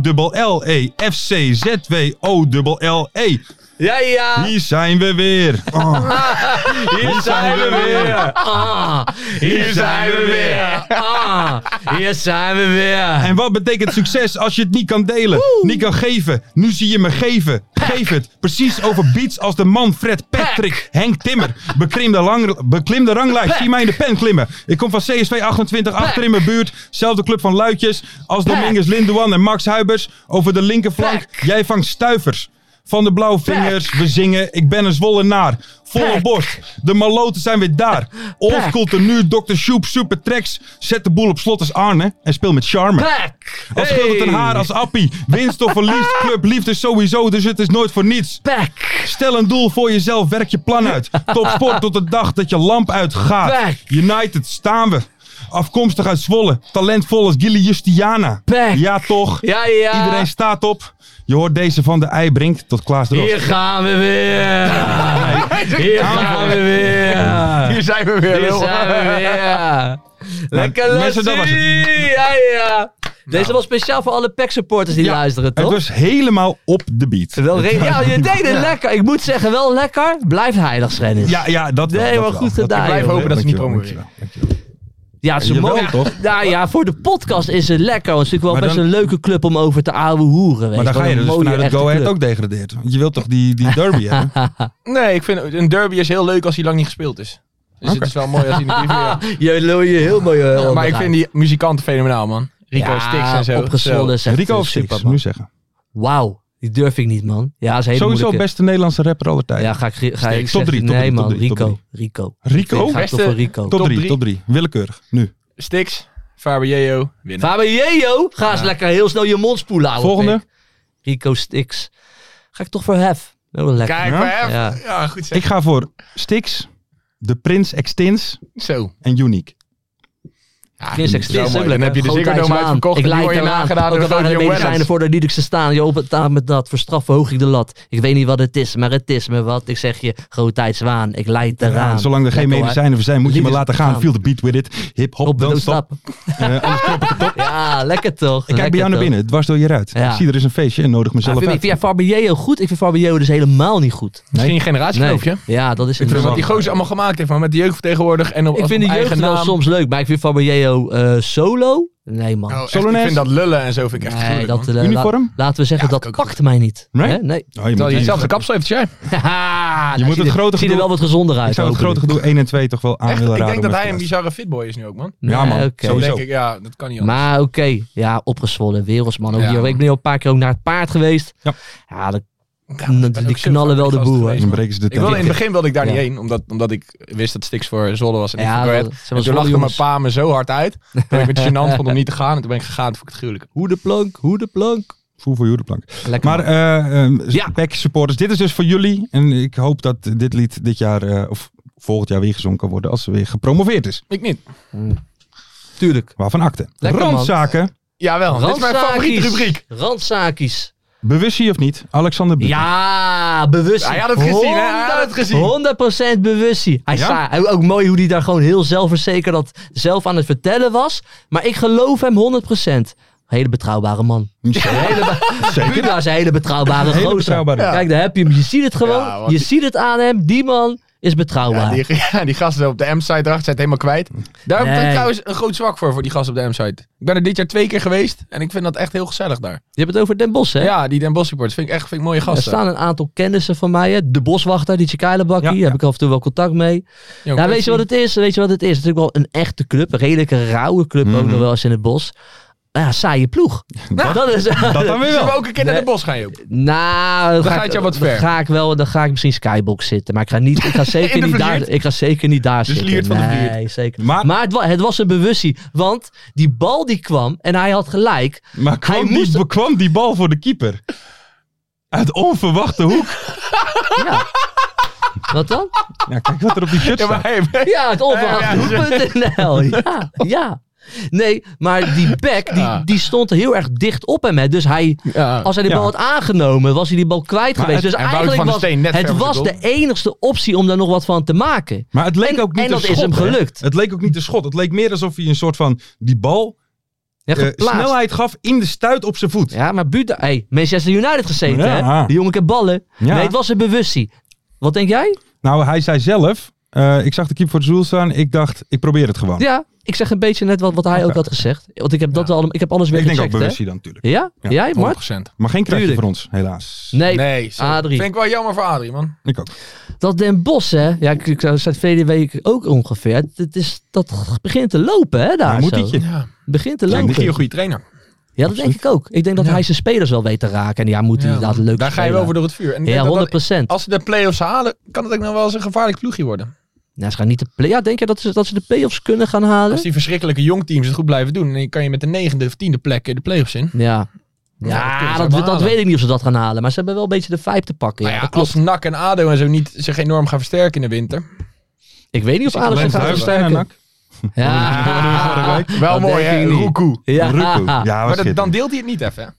Speaker 4: O-L-L-E. FC, ZW, O-L-L-E.
Speaker 5: Ja, ja.
Speaker 4: E. Hier zijn we weer. Oh,
Speaker 5: Ah. Hier
Speaker 4: zijn we weer.
Speaker 5: Ah, hier zijn we weer. Ah, hier zijn we weer.
Speaker 4: En wat betekent succes als je het niet kan delen? Niet kan geven. Nu zie je me geven. Geef het. Precies over beats als de man Fred Patrick. Henk Timmer. Beklim de, lang, beklim de ranglijst. Zie mij in de pen klimmen. Ik kom van CSV 28 achter in mijn buurt. Zelfde club van Luitjes. Als Dominguez Lindoan en Max Huibers. Over de linkerflank. Jij vangt stuivers. Van de blauwe vingers, we zingen. Ik ben een zwollenaar. Volle
Speaker 5: Pek.
Speaker 4: borst. De maloten zijn weer daar. Oldschool tenue, Dr. Shoep, super tracks. Zet de boel op slot als Arne. En speel met charme.
Speaker 5: Pek.
Speaker 4: Als scheelt het een haar als appie. Winst of verlies, club, liefde sowieso, dus het is nooit voor niets.
Speaker 5: Pek.
Speaker 4: Stel een doel voor jezelf, werk je plan uit. Topsport tot de dag dat je lamp uitgaat.
Speaker 5: Pek.
Speaker 4: United, staan we. Afkomstig uit Zwolle, talentvol als Gilly Justiana.
Speaker 5: Pek.
Speaker 4: Ja toch,
Speaker 5: Ja, ja.
Speaker 4: iedereen staat op. Je hoort deze van de Eibrink tot Klaas Drost.
Speaker 5: Hier gaan we weer. Hier gaan we weer.
Speaker 6: Hier zijn we weer.
Speaker 5: Hier
Speaker 6: lul.
Speaker 5: zijn we weer. Lekker
Speaker 4: Nou, mensen, dat was het. Nou.
Speaker 5: lassie. Ja, ja. Deze was speciaal voor alle PEC supporters die luisteren,
Speaker 4: Het
Speaker 5: toch?
Speaker 4: was helemaal op de beat.
Speaker 5: Wel re- ja, je deed het lekker. Ik moet zeggen, wel lekker. Blijf heilig, Schrennis.
Speaker 4: Ja, ja, dat wel,
Speaker 5: Nee,
Speaker 4: dat
Speaker 5: maar
Speaker 4: wel.
Speaker 5: goed eh,
Speaker 4: Dat-
Speaker 5: gedaan.
Speaker 6: blijf
Speaker 5: joh.
Speaker 6: hopen dat ze niet
Speaker 4: Dankjewel,
Speaker 6: promoveren.
Speaker 5: Ja, ze
Speaker 4: Jawel,
Speaker 5: mogen.
Speaker 4: toch?
Speaker 5: Nou ja, voor de podcast is het lekker. Het is natuurlijk wel
Speaker 4: Maar
Speaker 5: best
Speaker 4: dan-
Speaker 5: een leuke club om over te ouwe hoeren. weet
Speaker 4: Maar dan
Speaker 5: wel
Speaker 4: ga je
Speaker 5: een
Speaker 4: dus
Speaker 5: mooie,
Speaker 4: vanuit het
Speaker 5: echte
Speaker 4: Go Ahead
Speaker 5: club.
Speaker 4: ook degradeert. Want je wilt toch die, die derby hebben?
Speaker 6: Nee, ik vind een derby is heel leuk als hij lang niet gespeeld is. Dus het is wel mooi als hij niet weer...
Speaker 5: Je lul je heel mooi. eh,
Speaker 6: Maar ik
Speaker 5: onderuit.
Speaker 6: vind die muzikanten fenomenaal, man. Rico
Speaker 5: Ja,
Speaker 6: Stix en zo.
Speaker 5: Opgezwollen is echt
Speaker 4: Rico
Speaker 5: een
Speaker 4: of Six,
Speaker 5: superman.
Speaker 4: nu zeggen.
Speaker 5: Wauw, die durf ik niet, man. Ja, is een hele
Speaker 4: Sowieso
Speaker 5: moeilijke.
Speaker 4: beste Nederlandse rapper aller tijden.
Speaker 5: Ja, ga ik, ga ik
Speaker 4: Top
Speaker 5: zeggen,
Speaker 4: drie, top
Speaker 5: nee
Speaker 4: drie, top
Speaker 5: man,
Speaker 4: drie, top
Speaker 5: Rico,
Speaker 4: drie.
Speaker 5: Rico.
Speaker 4: Rico?
Speaker 5: Ik ga
Speaker 6: Beste-
Speaker 5: toch voor Rico.
Speaker 4: Top
Speaker 6: Top
Speaker 4: 3,
Speaker 6: drie.
Speaker 4: top 3. Willekeurig. Nu.
Speaker 6: Zo. Stix, Fabio, winnen.
Speaker 5: Faber Jejo, ga eens lekker heel snel je mond spoelen, ouwe
Speaker 4: Volgende.
Speaker 5: pik. Rico Stix. Ga ik toch voor Hef. Oh, lekker.
Speaker 6: Kijk,
Speaker 4: Ja?
Speaker 6: maar even-
Speaker 5: Ja.
Speaker 6: ja. goed zeg.
Speaker 4: Ik ga voor Stix, De Prins Extins
Speaker 6: Zo.
Speaker 4: en Unique.
Speaker 6: Ja,
Speaker 5: Vince Extreme.
Speaker 6: zo mooi. Dan heb je de Ziggo Dome uitverkocht
Speaker 5: Ik
Speaker 6: en die
Speaker 5: leid
Speaker 6: word je
Speaker 5: hem aan.
Speaker 6: nagedaan
Speaker 5: Ook
Speaker 6: door
Speaker 5: al waren er
Speaker 6: Sergio
Speaker 5: de medicijnen
Speaker 6: Williams.
Speaker 5: voor de Lidix te staan. Je opent met dat. Voor straf verhoog ik de lat. Ik weet niet wat het is, maar het is me wat. Ik zeg je, grootheidswaan. Ik leid eraan.
Speaker 4: Zolang er geen
Speaker 5: Lekker, hoor.
Speaker 4: medicijnen voor zijn, moet je maar
Speaker 5: Liedjes
Speaker 4: laten gaan.
Speaker 5: gaan.
Speaker 4: Feel the beat with it. Hip hop,
Speaker 5: Op de
Speaker 4: don't stop.
Speaker 5: stap. Ja, lekker toch.
Speaker 4: Ik kijk bij jou naar binnen, dwars door je ruit.
Speaker 5: Ja.
Speaker 4: Ik zie er is een feestje en nodig mezelf
Speaker 5: Ik vind,
Speaker 4: uit.
Speaker 5: jij Fabio goed? Ik vind Fabio dus helemaal niet goed.
Speaker 6: Misschien een generatiekloof.
Speaker 5: Ja, dat is het.
Speaker 4: vind
Speaker 6: Wat
Speaker 4: wel-
Speaker 6: die gozer allemaal gemaakt heeft, man. Met de jeugd vertegenwoordig en op
Speaker 5: Ik
Speaker 6: als
Speaker 5: vind de
Speaker 6: op
Speaker 5: jeugd
Speaker 6: eigen
Speaker 5: wel
Speaker 6: naam.
Speaker 5: soms leuk, maar ik vind Fabio eh, solo? Nee man.
Speaker 6: Oh, echt,
Speaker 4: Solo
Speaker 6: ik
Speaker 4: Nes?
Speaker 6: vind dat lullen en zo vind ik echt
Speaker 5: nee,
Speaker 6: gruwelijk,
Speaker 5: dat,
Speaker 6: man.
Speaker 5: eh, la-
Speaker 4: Uniform?
Speaker 5: laten we zeggen,
Speaker 6: Ja,
Speaker 5: dat
Speaker 6: dat
Speaker 5: pakt mij niet.
Speaker 4: Nee?
Speaker 5: Hè? Nee.
Speaker 4: Oh, je
Speaker 6: Terwijl
Speaker 4: moet
Speaker 6: je
Speaker 4: zelf
Speaker 6: hetzelfde kapsel heeft als jij.
Speaker 5: Haha,
Speaker 4: moet
Speaker 5: nou,
Speaker 4: het
Speaker 5: ziet er-
Speaker 4: grote
Speaker 5: Ziet er wel
Speaker 4: gedoe-
Speaker 5: wat gezonder uit.
Speaker 4: Ik zou het
Speaker 5: hopelijk.
Speaker 4: grote gedoe 1 en 2 toch wel aan
Speaker 6: Echt,
Speaker 4: willen
Speaker 6: ik
Speaker 4: raden.
Speaker 6: denk dat
Speaker 4: om
Speaker 6: hij een
Speaker 4: even te
Speaker 6: bizarre fitboy is nu ook, man.
Speaker 4: Ja, man.
Speaker 5: Nee, oké.
Speaker 4: Sowieso.
Speaker 6: Denk ik, ja, dat kan niet anders.
Speaker 5: Oh, Maar oké, ja, opgezwollen, wereldsman. Ook
Speaker 6: Ja,
Speaker 5: hier.
Speaker 6: man.
Speaker 5: Ik ben al een paar keer ook naar het paard geweest.
Speaker 4: Ja.
Speaker 5: ja dat-
Speaker 6: Ja,
Speaker 5: die
Speaker 6: ik ben ook zo
Speaker 5: knallen wel
Speaker 6: vaak
Speaker 5: de
Speaker 6: gast
Speaker 5: boel, hè.
Speaker 4: luisteren. Dan
Speaker 6: geweest, man.
Speaker 4: breken ze de
Speaker 6: Ik wilde in
Speaker 4: tent.
Speaker 6: het begin wilde ik daar
Speaker 5: Ja.
Speaker 6: niet heen, omdat, omdat ik wist dat Stix voor Zwolle was en niet
Speaker 5: Ja,
Speaker 6: voor Go Ahead.
Speaker 5: dat- ze was
Speaker 6: En Dus toen
Speaker 5: Zwolle,
Speaker 6: lachte mijn
Speaker 5: jongens.
Speaker 6: pa me zo hard uit, dat ik het gênant vond om niet te gaan. En toen ben ik gegaan, toen vond ik het gruwelijk.
Speaker 5: Hoe de plank, hoe de plank.
Speaker 4: Voel voor je hoedenplank.
Speaker 5: Lekker.
Speaker 4: Maar
Speaker 5: man.
Speaker 4: eh ehm,
Speaker 5: Ja.
Speaker 4: PEC supporters, dit is dus voor jullie. En ik hoop dat dit lied dit jaar eh, of volgend jaar weer gezongen kan worden als ze weer gepromoveerd is.
Speaker 6: Ik niet.
Speaker 5: tuurlijk.
Speaker 4: Waarvan akte.
Speaker 5: Lekker, man.
Speaker 4: Randzaken,
Speaker 6: Jawel,
Speaker 4: eh,
Speaker 6: dat is mijn favoriete rubriek.
Speaker 5: Randzakies.
Speaker 4: bewust je of niet, Alexander Bieber.
Speaker 5: Ja, bewust.
Speaker 6: Hij had het gezien, hè? Hij had het gezien.
Speaker 5: 100% bewustie. Hij
Speaker 4: Ja?
Speaker 5: sta- hij- ook mooi hoe hij daar gewoon heel zelfverzekerd dat zelf aan het vertellen was. Maar ik geloof hem 100%. Hele betrouwbare man.
Speaker 4: Zeker.
Speaker 5: Buda is een hele betrouwbare
Speaker 4: Hele
Speaker 5: gozer.
Speaker 4: betrouwbare.
Speaker 5: Kijk, daar heb je hem. Je ziet het gewoon.
Speaker 6: Ja, want
Speaker 5: je
Speaker 6: die-
Speaker 5: ziet het aan hem. Die man is
Speaker 6: Ja,
Speaker 5: betrouwbaar.
Speaker 6: die, ja, die gasten op de M-site erachter zijn het helemaal kwijt. Daar heb ik
Speaker 5: Nee.
Speaker 6: trouwens een groot zwak voor, voor die gasten op de M-site. Ik ben er dit jaar twee keer geweest en ik vind dat echt heel gezellig daar.
Speaker 5: Je hebt het over Den Bos, hè?
Speaker 6: Ja, die Den Bosch supporters vind ik echt vind ik mooie
Speaker 5: Er
Speaker 6: gasten.
Speaker 5: staan een aantal kennissen van mij. Hè? De boswachter, die Chikailenbakkie.
Speaker 4: Ja,
Speaker 5: Daar heb ik af en toe wel contact mee.
Speaker 6: Yo,
Speaker 5: Ja,
Speaker 6: Kirsty.
Speaker 5: Nou, weet je wat het is? Weet je wat het is? Het is natuurlijk wel een echte club. Een redelijke rauwe club ook
Speaker 6: Mhm.
Speaker 5: nog wel eens in het bos. Maar Ja, saaie ploeg. Nou, dat is...
Speaker 4: Dat dan weer
Speaker 6: Zullen we
Speaker 4: wel.
Speaker 6: ook een keer naar Den Bosch gaan, Joop?
Speaker 5: Nou, dan
Speaker 6: gaat
Speaker 5: ik-
Speaker 6: jou wat ver.
Speaker 5: Dan ga ik wel, dan ga ik misschien skybox zitten, maar ik ga niet, ik ga
Speaker 6: In
Speaker 5: zeker
Speaker 6: de
Speaker 5: niet daar,
Speaker 6: vliert.
Speaker 5: ik ga zeker niet daar
Speaker 6: De
Speaker 5: zitten.
Speaker 6: vliert van de
Speaker 5: nee,
Speaker 6: vliert.
Speaker 5: zeker.
Speaker 4: Maar-
Speaker 5: Maar, het, wa- het was een bewustie, want die bal die kwam en hij had gelijk.
Speaker 4: Maar kwam
Speaker 5: Hij
Speaker 4: die,
Speaker 5: moest-
Speaker 4: kwam die bal voor de keeper? Uit onverwachte hoek.
Speaker 5: Ja. Wat dan?
Speaker 4: Ja, kijk wat er op die shirt
Speaker 6: Ja,
Speaker 4: staat.
Speaker 6: maar hey,
Speaker 5: Ja, het onverwachthoek.nl. Ja, ja. Nee, maar die back die,
Speaker 6: Ja.
Speaker 5: die stond heel erg dicht op hem. Hè. Dus hij,
Speaker 6: Ja.
Speaker 5: als hij de
Speaker 4: Ja.
Speaker 5: bal had aangenomen, was hij die bal kwijt
Speaker 4: Maar
Speaker 5: geweest.
Speaker 4: het-
Speaker 5: Dus
Speaker 6: en Wout
Speaker 5: eigenlijk
Speaker 6: van der
Speaker 5: was
Speaker 6: Steen net ver
Speaker 5: het
Speaker 6: voor de
Speaker 5: was de
Speaker 6: goal.
Speaker 5: enigste optie om daar nog wat van te maken.
Speaker 4: Maar het leek
Speaker 5: En-
Speaker 4: ook niet
Speaker 5: en
Speaker 4: een
Speaker 5: dat is
Speaker 4: schot,
Speaker 5: hem
Speaker 4: hè?
Speaker 5: gelukt.
Speaker 4: Het leek ook niet een schot. Het leek meer alsof hij een soort van die bal
Speaker 5: Ja,
Speaker 4: eh,
Speaker 5: geplaatst.
Speaker 4: snelheid gaf in de stuit op zijn voet.
Speaker 5: Ja, maar Buda... Hey, Manchester United gezeten,
Speaker 4: Ja.
Speaker 5: hè? Die jongen kan ballen.
Speaker 4: Ja.
Speaker 5: Nee, het was een bewustie. Wat denk jij?
Speaker 4: Nou, hij zei zelf, eh, ik zag de keeper voor de zoel staan. Ik dacht, ik probeer het gewoon.
Speaker 5: Ja, ik zeg een beetje net wat, wat hij ook had gezegd. Want ik heb, dat wel, ik heb alles weer
Speaker 4: ik denk ook
Speaker 5: gecheckt, hè?
Speaker 4: bewustzijn dan natuurlijk.
Speaker 5: Ja?
Speaker 4: Ja.
Speaker 5: Jij, Mart?
Speaker 6: 100%.
Speaker 4: Maar geen kruidje
Speaker 5: Tuurlijk.
Speaker 4: voor ons, helaas.
Speaker 5: Nee.
Speaker 6: Nee, sorry.
Speaker 5: Adrie.
Speaker 6: Vind ik wel jammer voor Adrie, man.
Speaker 4: Ik ook.
Speaker 5: Dat Den Bos, hè? Ja, ik, ik zei het verleden week ook ongeveer. Het, het is, dat begint te lopen, hè? Daar
Speaker 4: Hij moet
Speaker 5: zo.
Speaker 4: ietsje.
Speaker 6: Ja.
Speaker 5: Het begint te
Speaker 6: Ik denk dat hij
Speaker 5: lopen.
Speaker 6: een goede trainer.
Speaker 5: Ja, dat denk ik ook. Ik denk dat hij zijn spelers wel weet te raken. En ja, moet hij
Speaker 6: Ja,
Speaker 5: inderdaad
Speaker 6: man.
Speaker 5: leuk
Speaker 6: Daar ga je
Speaker 5: spelen.
Speaker 6: wel voor door het vuur. En ik denk
Speaker 5: Ja,
Speaker 6: dat Oh. dat-
Speaker 5: 100 procent.
Speaker 6: Als ze de play-offs halen, kan het ook nog wel eens een gevaarlijk ploegje worden.
Speaker 5: ze gaan niet de play- ja, denk je dat ze, dat ze de play-offs kunnen gaan
Speaker 6: Als
Speaker 5: halen?
Speaker 6: die verschrikkelijke jongteams het goed blijven doen, dan kan je met de negende of tiende plek eh, de play-offs in.
Speaker 5: Ja.
Speaker 6: Ja, dat
Speaker 5: Ja,
Speaker 6: kunnen ze
Speaker 5: dat, dat,
Speaker 6: halen.
Speaker 5: weet ik niet of ze dat gaan halen. Maar ze hebben wel een beetje de vibe te pakken. Ja,
Speaker 6: Nou ja,
Speaker 5: dat klopt. Ah,
Speaker 6: als NAC en ADO en zo niet zich enorm gaan versterken in de winter.
Speaker 5: Ik weet niet of
Speaker 6: Ik
Speaker 5: Alex
Speaker 6: ben
Speaker 5: zich gaat
Speaker 6: duivel.
Speaker 5: versterken. Ja.
Speaker 6: Wel
Speaker 5: Dat
Speaker 6: mooi,
Speaker 5: denk
Speaker 6: hè?
Speaker 5: ik niet. Ah,
Speaker 6: Roekoe.
Speaker 5: Ja.
Speaker 4: Ruku. Ja, was
Speaker 6: Maar dat- dan
Speaker 4: schitterend.
Speaker 6: deelt hij het niet even, hè?
Speaker 4: Nee,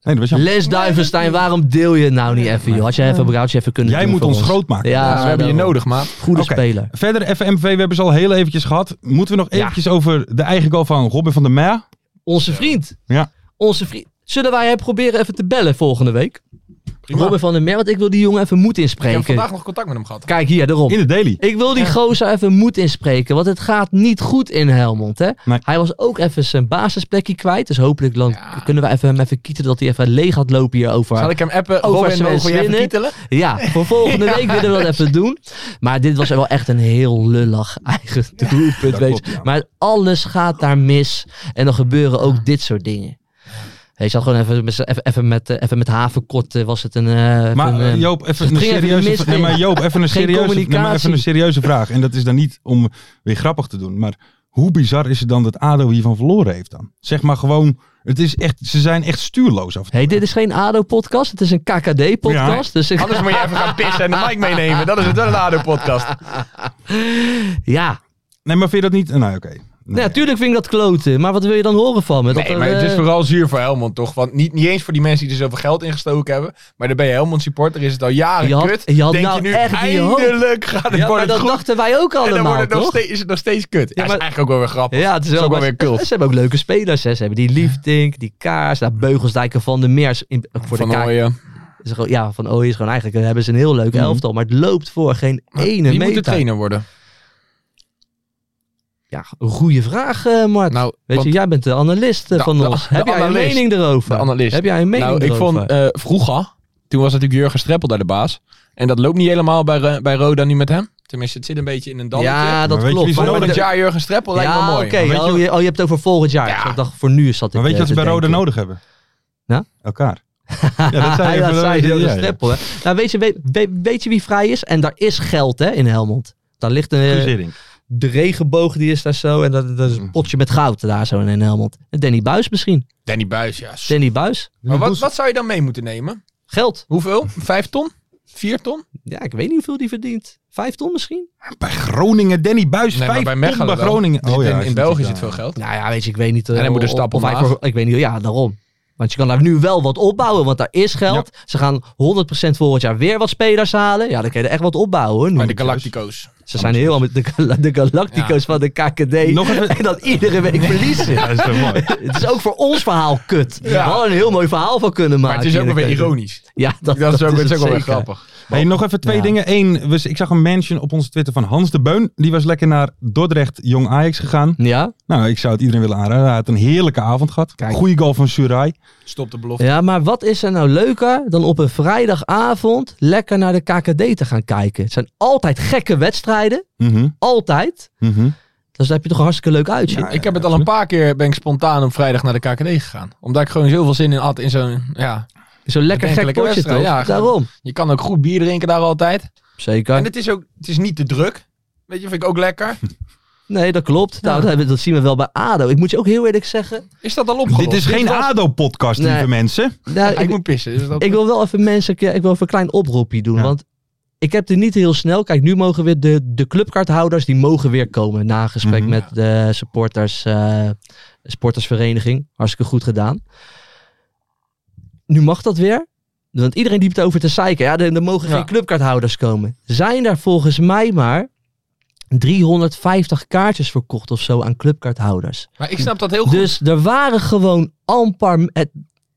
Speaker 4: dat was jammer.
Speaker 5: Les Duivenstein, waarom deel je het nou niet even? Joh? Had je even, had je even kunnen
Speaker 4: Jij
Speaker 5: doen
Speaker 4: moet
Speaker 5: voor
Speaker 4: ons groot maken.
Speaker 5: Ja,
Speaker 6: Ja, we hebben je
Speaker 5: daarom.
Speaker 6: nodig, maat.
Speaker 5: Goede
Speaker 4: Oké.
Speaker 5: speler.
Speaker 4: Verder, FMV, we hebben ze al heel eventjes gehad. Moeten we nog eventjes over de eigen goal van Robin van der Meer?
Speaker 5: Onze vriend.
Speaker 4: Ja.
Speaker 5: Onze vriend. Zullen wij hem proberen even te bellen volgende week? Robin van der Mer, want ik wil die jongen even moed
Speaker 6: Ik heb
Speaker 5: inspreken.
Speaker 6: vandaag nog contact met hem gehad.
Speaker 5: Kijk hier, daarom.
Speaker 4: In de daily.
Speaker 5: Ik wil die gozer even moed inspreken, want het gaat niet goed in Helmond. Hè?
Speaker 4: Nee.
Speaker 5: Hij was ook even zijn basisplekje kwijt, dus hopelijk dan
Speaker 6: Ja.
Speaker 5: kunnen we even hem even kieten dat hij even leeg gaat lopen hierover.
Speaker 6: Zal ik hem appen?
Speaker 5: Over
Speaker 6: Robin,
Speaker 5: Sven
Speaker 6: mogen we je even
Speaker 5: Swinnen.
Speaker 6: kietelen?
Speaker 5: Ja, voor volgende week willen we dat even doen. Maar dit was wel echt een heel lullig eigen doelpunt. weet je.
Speaker 4: klopt, ja.
Speaker 5: Maar alles gaat daar mis. En dan gebeuren ook dit soort dingen. Weet je, had gewoon even, met z'n- even, even, met, eh, even met havenkot eh, was het een... eh,
Speaker 4: Maar
Speaker 5: een, eh,
Speaker 4: eh, Joop, even
Speaker 5: het
Speaker 4: een
Speaker 5: ging even
Speaker 4: serieuze,
Speaker 5: mis,
Speaker 4: vra- nee,
Speaker 5: nee.
Speaker 4: maar Joop, even een
Speaker 5: Geen
Speaker 4: serieuze, nee, maar even
Speaker 5: communicatie.
Speaker 4: een serieuze vraag. En dat is dan niet om weer grappig te doen. Maar hoe bizar is het dan dat ADO hiervan verloren heeft dan? Zeg maar gewoon, het is echt, ze zijn echt stuurloos af en toe.
Speaker 5: hey, dit is geen ADO-podcast, het is een KKD-podcast. Dus ik,
Speaker 6: Anders moet je even gaan pissen en de mic meenemen. Dat is het wel een ADO-podcast.
Speaker 5: ja,
Speaker 4: Nee, maar vind je dat niet? Nou, oké.
Speaker 5: Nee, natuurlijk vind ik dat kloten. Maar wat wil je dan horen van me? Dat
Speaker 6: Nee,
Speaker 5: er,
Speaker 6: maar het is
Speaker 5: eh,
Speaker 6: vooral zuur voor Helmond, toch? Want niet, niet eens voor die mensen die er zoveel geld in gestoken hebben. Maar dan ben je Helmond supporter, is het al jaren
Speaker 5: Je had-
Speaker 6: kut.
Speaker 5: je had
Speaker 6: Denk
Speaker 5: nou
Speaker 6: je nu,
Speaker 5: echt die hoop.
Speaker 6: eindelijk gaat het
Speaker 5: ja, maar
Speaker 6: worden
Speaker 5: dat
Speaker 6: goed.
Speaker 5: dachten wij ook
Speaker 6: en dan
Speaker 5: allemaal,
Speaker 6: wordt het nog
Speaker 5: toch?
Speaker 6: steeds, is het nog steeds kut. Ja,
Speaker 5: maar-
Speaker 6: is eigenlijk ook wel weer grappig.
Speaker 5: Ja, het is,
Speaker 6: ook
Speaker 5: wel,
Speaker 6: wel weer
Speaker 5: maar-
Speaker 6: kult.
Speaker 5: Ze hebben ook leuke spelers. Hè. Ze hebben die Liefdink, die Kaars, daar Beugelsdijken van de Meers. In, voor
Speaker 6: van
Speaker 5: de Kaars.
Speaker 6: Hooijen.
Speaker 5: is gewoon- ja, van Ooyen is gewoon eigenlijk, eh, hebben ze een heel leuk elftal, maar het loopt voor geen ene
Speaker 6: Mhm. Wie moet de
Speaker 5: meter.
Speaker 6: trainer worden?
Speaker 5: Ja, een goede vraag, eh Mart.
Speaker 6: Nou,
Speaker 5: Weet
Speaker 6: want- Nou,
Speaker 5: je, jij bent de analist eh,
Speaker 6: De
Speaker 5: van
Speaker 6: ana-
Speaker 5: ons.
Speaker 6: de
Speaker 5: Heb jij
Speaker 6: analist.
Speaker 5: een mening erover?
Speaker 6: De analist.
Speaker 5: Heb jij een mening
Speaker 6: nou, ik
Speaker 5: erover?
Speaker 6: vond eh, vroeger, toen was natuurlijk Jurgen Streppel daar de baas. En dat loopt niet helemaal bij, Ro- bij Roda nu met hem. Tenminste, het zit een beetje in een dammetje.
Speaker 5: ja,
Speaker 4: Maar
Speaker 5: dat
Speaker 4: weet je
Speaker 5: klopt.
Speaker 4: wie ze
Speaker 5: Maar
Speaker 4: nodig
Speaker 6: Volgend
Speaker 5: de-
Speaker 6: jaar Jurgen Streppel lijkt me
Speaker 5: Ja,
Speaker 6: mooi.
Speaker 5: oké.
Speaker 4: Maar weet
Speaker 5: Oh,
Speaker 4: je-
Speaker 5: je, oh, je hebt het over volgend jaar.
Speaker 6: Ja.
Speaker 5: Dus ik dacht, voor nu zat ik
Speaker 4: Maar weet je
Speaker 5: eh,
Speaker 4: wat ze
Speaker 5: te
Speaker 4: bij Rode
Speaker 5: denken. Nou?
Speaker 4: nodig hebben?
Speaker 5: Ja?
Speaker 4: Elkaar. Ja, dat zei je.
Speaker 5: ja, dat zei je,
Speaker 4: ja,
Speaker 5: de
Speaker 4: ja.
Speaker 5: streppel, hè. Nou, weet je, weet, weet, weet je wie vrij is? En daar is geld, hè, in Helmond. Daar ligt een, eh,
Speaker 4: Verziering.
Speaker 5: de regenboog, die is daar zo. En dat, dat is
Speaker 4: Mm.
Speaker 5: een potje met goud daar zo in Helmond. En Danny Buis misschien.
Speaker 6: Danny Buis, ja.
Speaker 5: Danny Buis.
Speaker 6: Maar wat, wat zou je dan mee moeten nemen?
Speaker 5: Geld.
Speaker 6: Hoeveel? Vijf ton? Vier ton?
Speaker 5: Ja, ik weet niet hoeveel die verdient. Vijf ton misschien?
Speaker 4: Bij Groningen, Danny Buis,
Speaker 6: Nee, maar
Speaker 4: vijf
Speaker 6: bij
Speaker 4: ton
Speaker 6: Mechelen
Speaker 4: bij
Speaker 6: wel.
Speaker 4: Groningen. Oh
Speaker 6: Dus in, in
Speaker 4: is
Speaker 6: België zit
Speaker 4: natuurlijk
Speaker 6: veel
Speaker 4: daar.
Speaker 6: geld.
Speaker 5: Nou ja, weet je, ik weet niet. eh,
Speaker 6: En hij moet een
Speaker 5: of-
Speaker 6: stap
Speaker 5: of hij
Speaker 6: omlaag.
Speaker 5: voor- Ik weet niet, ja, daarom. Want je kan daar nu wel wat opbouwen, want daar is geld. Ze gaan 100% volgend jaar weer wat spelers halen. Ja, dan kun je dus- er echt wat opbouwen hoor. nu.
Speaker 6: Bij de Galactico's.
Speaker 5: Ze zijn heel met de, gal- de Galactico's van de KKD.
Speaker 4: Nog even-
Speaker 5: En dan iedere week verliezen.
Speaker 4: Ja, dat is wel mooi.
Speaker 5: Het is ook voor ons verhaal kut. We
Speaker 6: Ja.
Speaker 5: hadden een heel mooi verhaal van kunnen maken.
Speaker 6: Maar het is ook wel
Speaker 5: hier in
Speaker 6: weer
Speaker 5: de keuken.
Speaker 6: ironisch.
Speaker 5: Ja, dat,
Speaker 6: Dat is ook,
Speaker 5: het
Speaker 6: het is ook wel weer
Speaker 5: zeker.
Speaker 6: grappig.
Speaker 4: Hey, nog even twee
Speaker 5: Ja.
Speaker 4: dingen. Eén, we- ik zag een mention op onze Twitter van Hans de Beun. Die was lekker naar Dordrecht Jong Ajax gegaan.
Speaker 5: Ja?
Speaker 4: Nou, ik zou het iedereen willen aanraden. Hij had een heerlijke avond gehad.
Speaker 5: Kijk.
Speaker 4: Goeie goal van Surai.
Speaker 6: Stop de belofte.
Speaker 5: ja, maar wat is er nou leuker dan op een vrijdagavond lekker naar de KKD te gaan kijken? Het zijn altijd gekke wedstrijden.
Speaker 4: Mhm,
Speaker 5: Altijd.
Speaker 4: mhm.
Speaker 5: Dus daar heb je toch een hartstikke leuk uitje.
Speaker 6: Ik heb het al een paar keer, ben ik spontaan op vrijdag naar de KKD gegaan. Omdat ik gewoon zoveel zin in had in zo'n, ja.
Speaker 5: Zo'n lekker gek
Speaker 6: Bedenkelijke
Speaker 5: potje
Speaker 6: wedstrijd,
Speaker 5: toch?
Speaker 6: ja.
Speaker 5: Daarom.
Speaker 6: Je kan ook goed bier drinken daar altijd. En
Speaker 5: Zeker.
Speaker 6: het is ook, het is niet te druk. Weet je, vind ik ook lekker.
Speaker 5: Nee, dat klopt. Nou, dat, hebben- dat zien we wel bij ADO. Ik moet je ook heel eerlijk zeggen.
Speaker 6: Is dat al opgelost?
Speaker 4: Dit is geen
Speaker 6: was-
Speaker 4: ADO-podcast,
Speaker 5: Nee.
Speaker 4: lieve mensen.
Speaker 5: Nou,
Speaker 6: ik
Speaker 5: ik,
Speaker 6: moet pissen. dus dat-
Speaker 5: ik wil wel even mensen ik wil even een klein oproepje doen.
Speaker 4: Ja.
Speaker 5: Want ik heb er niet heel snel. Kijk, nu mogen weer de, de clubkaarthouders die mogen weer komen na een gesprek
Speaker 4: Mhm.
Speaker 5: met de supporters, eh, supportersvereniging. Hartstikke goed gedaan. Nu mag dat weer. Want iedereen die het over te zeiken. Ja, er, er mogen
Speaker 6: Ja.
Speaker 5: geen clubkaarthouders komen. Zijn er volgens mij maar 350 kaartjes verkocht of zo aan clubkaarthouders.
Speaker 6: Maar ik snap dat heel goed.
Speaker 5: Dus er waren gewoon amper... Het,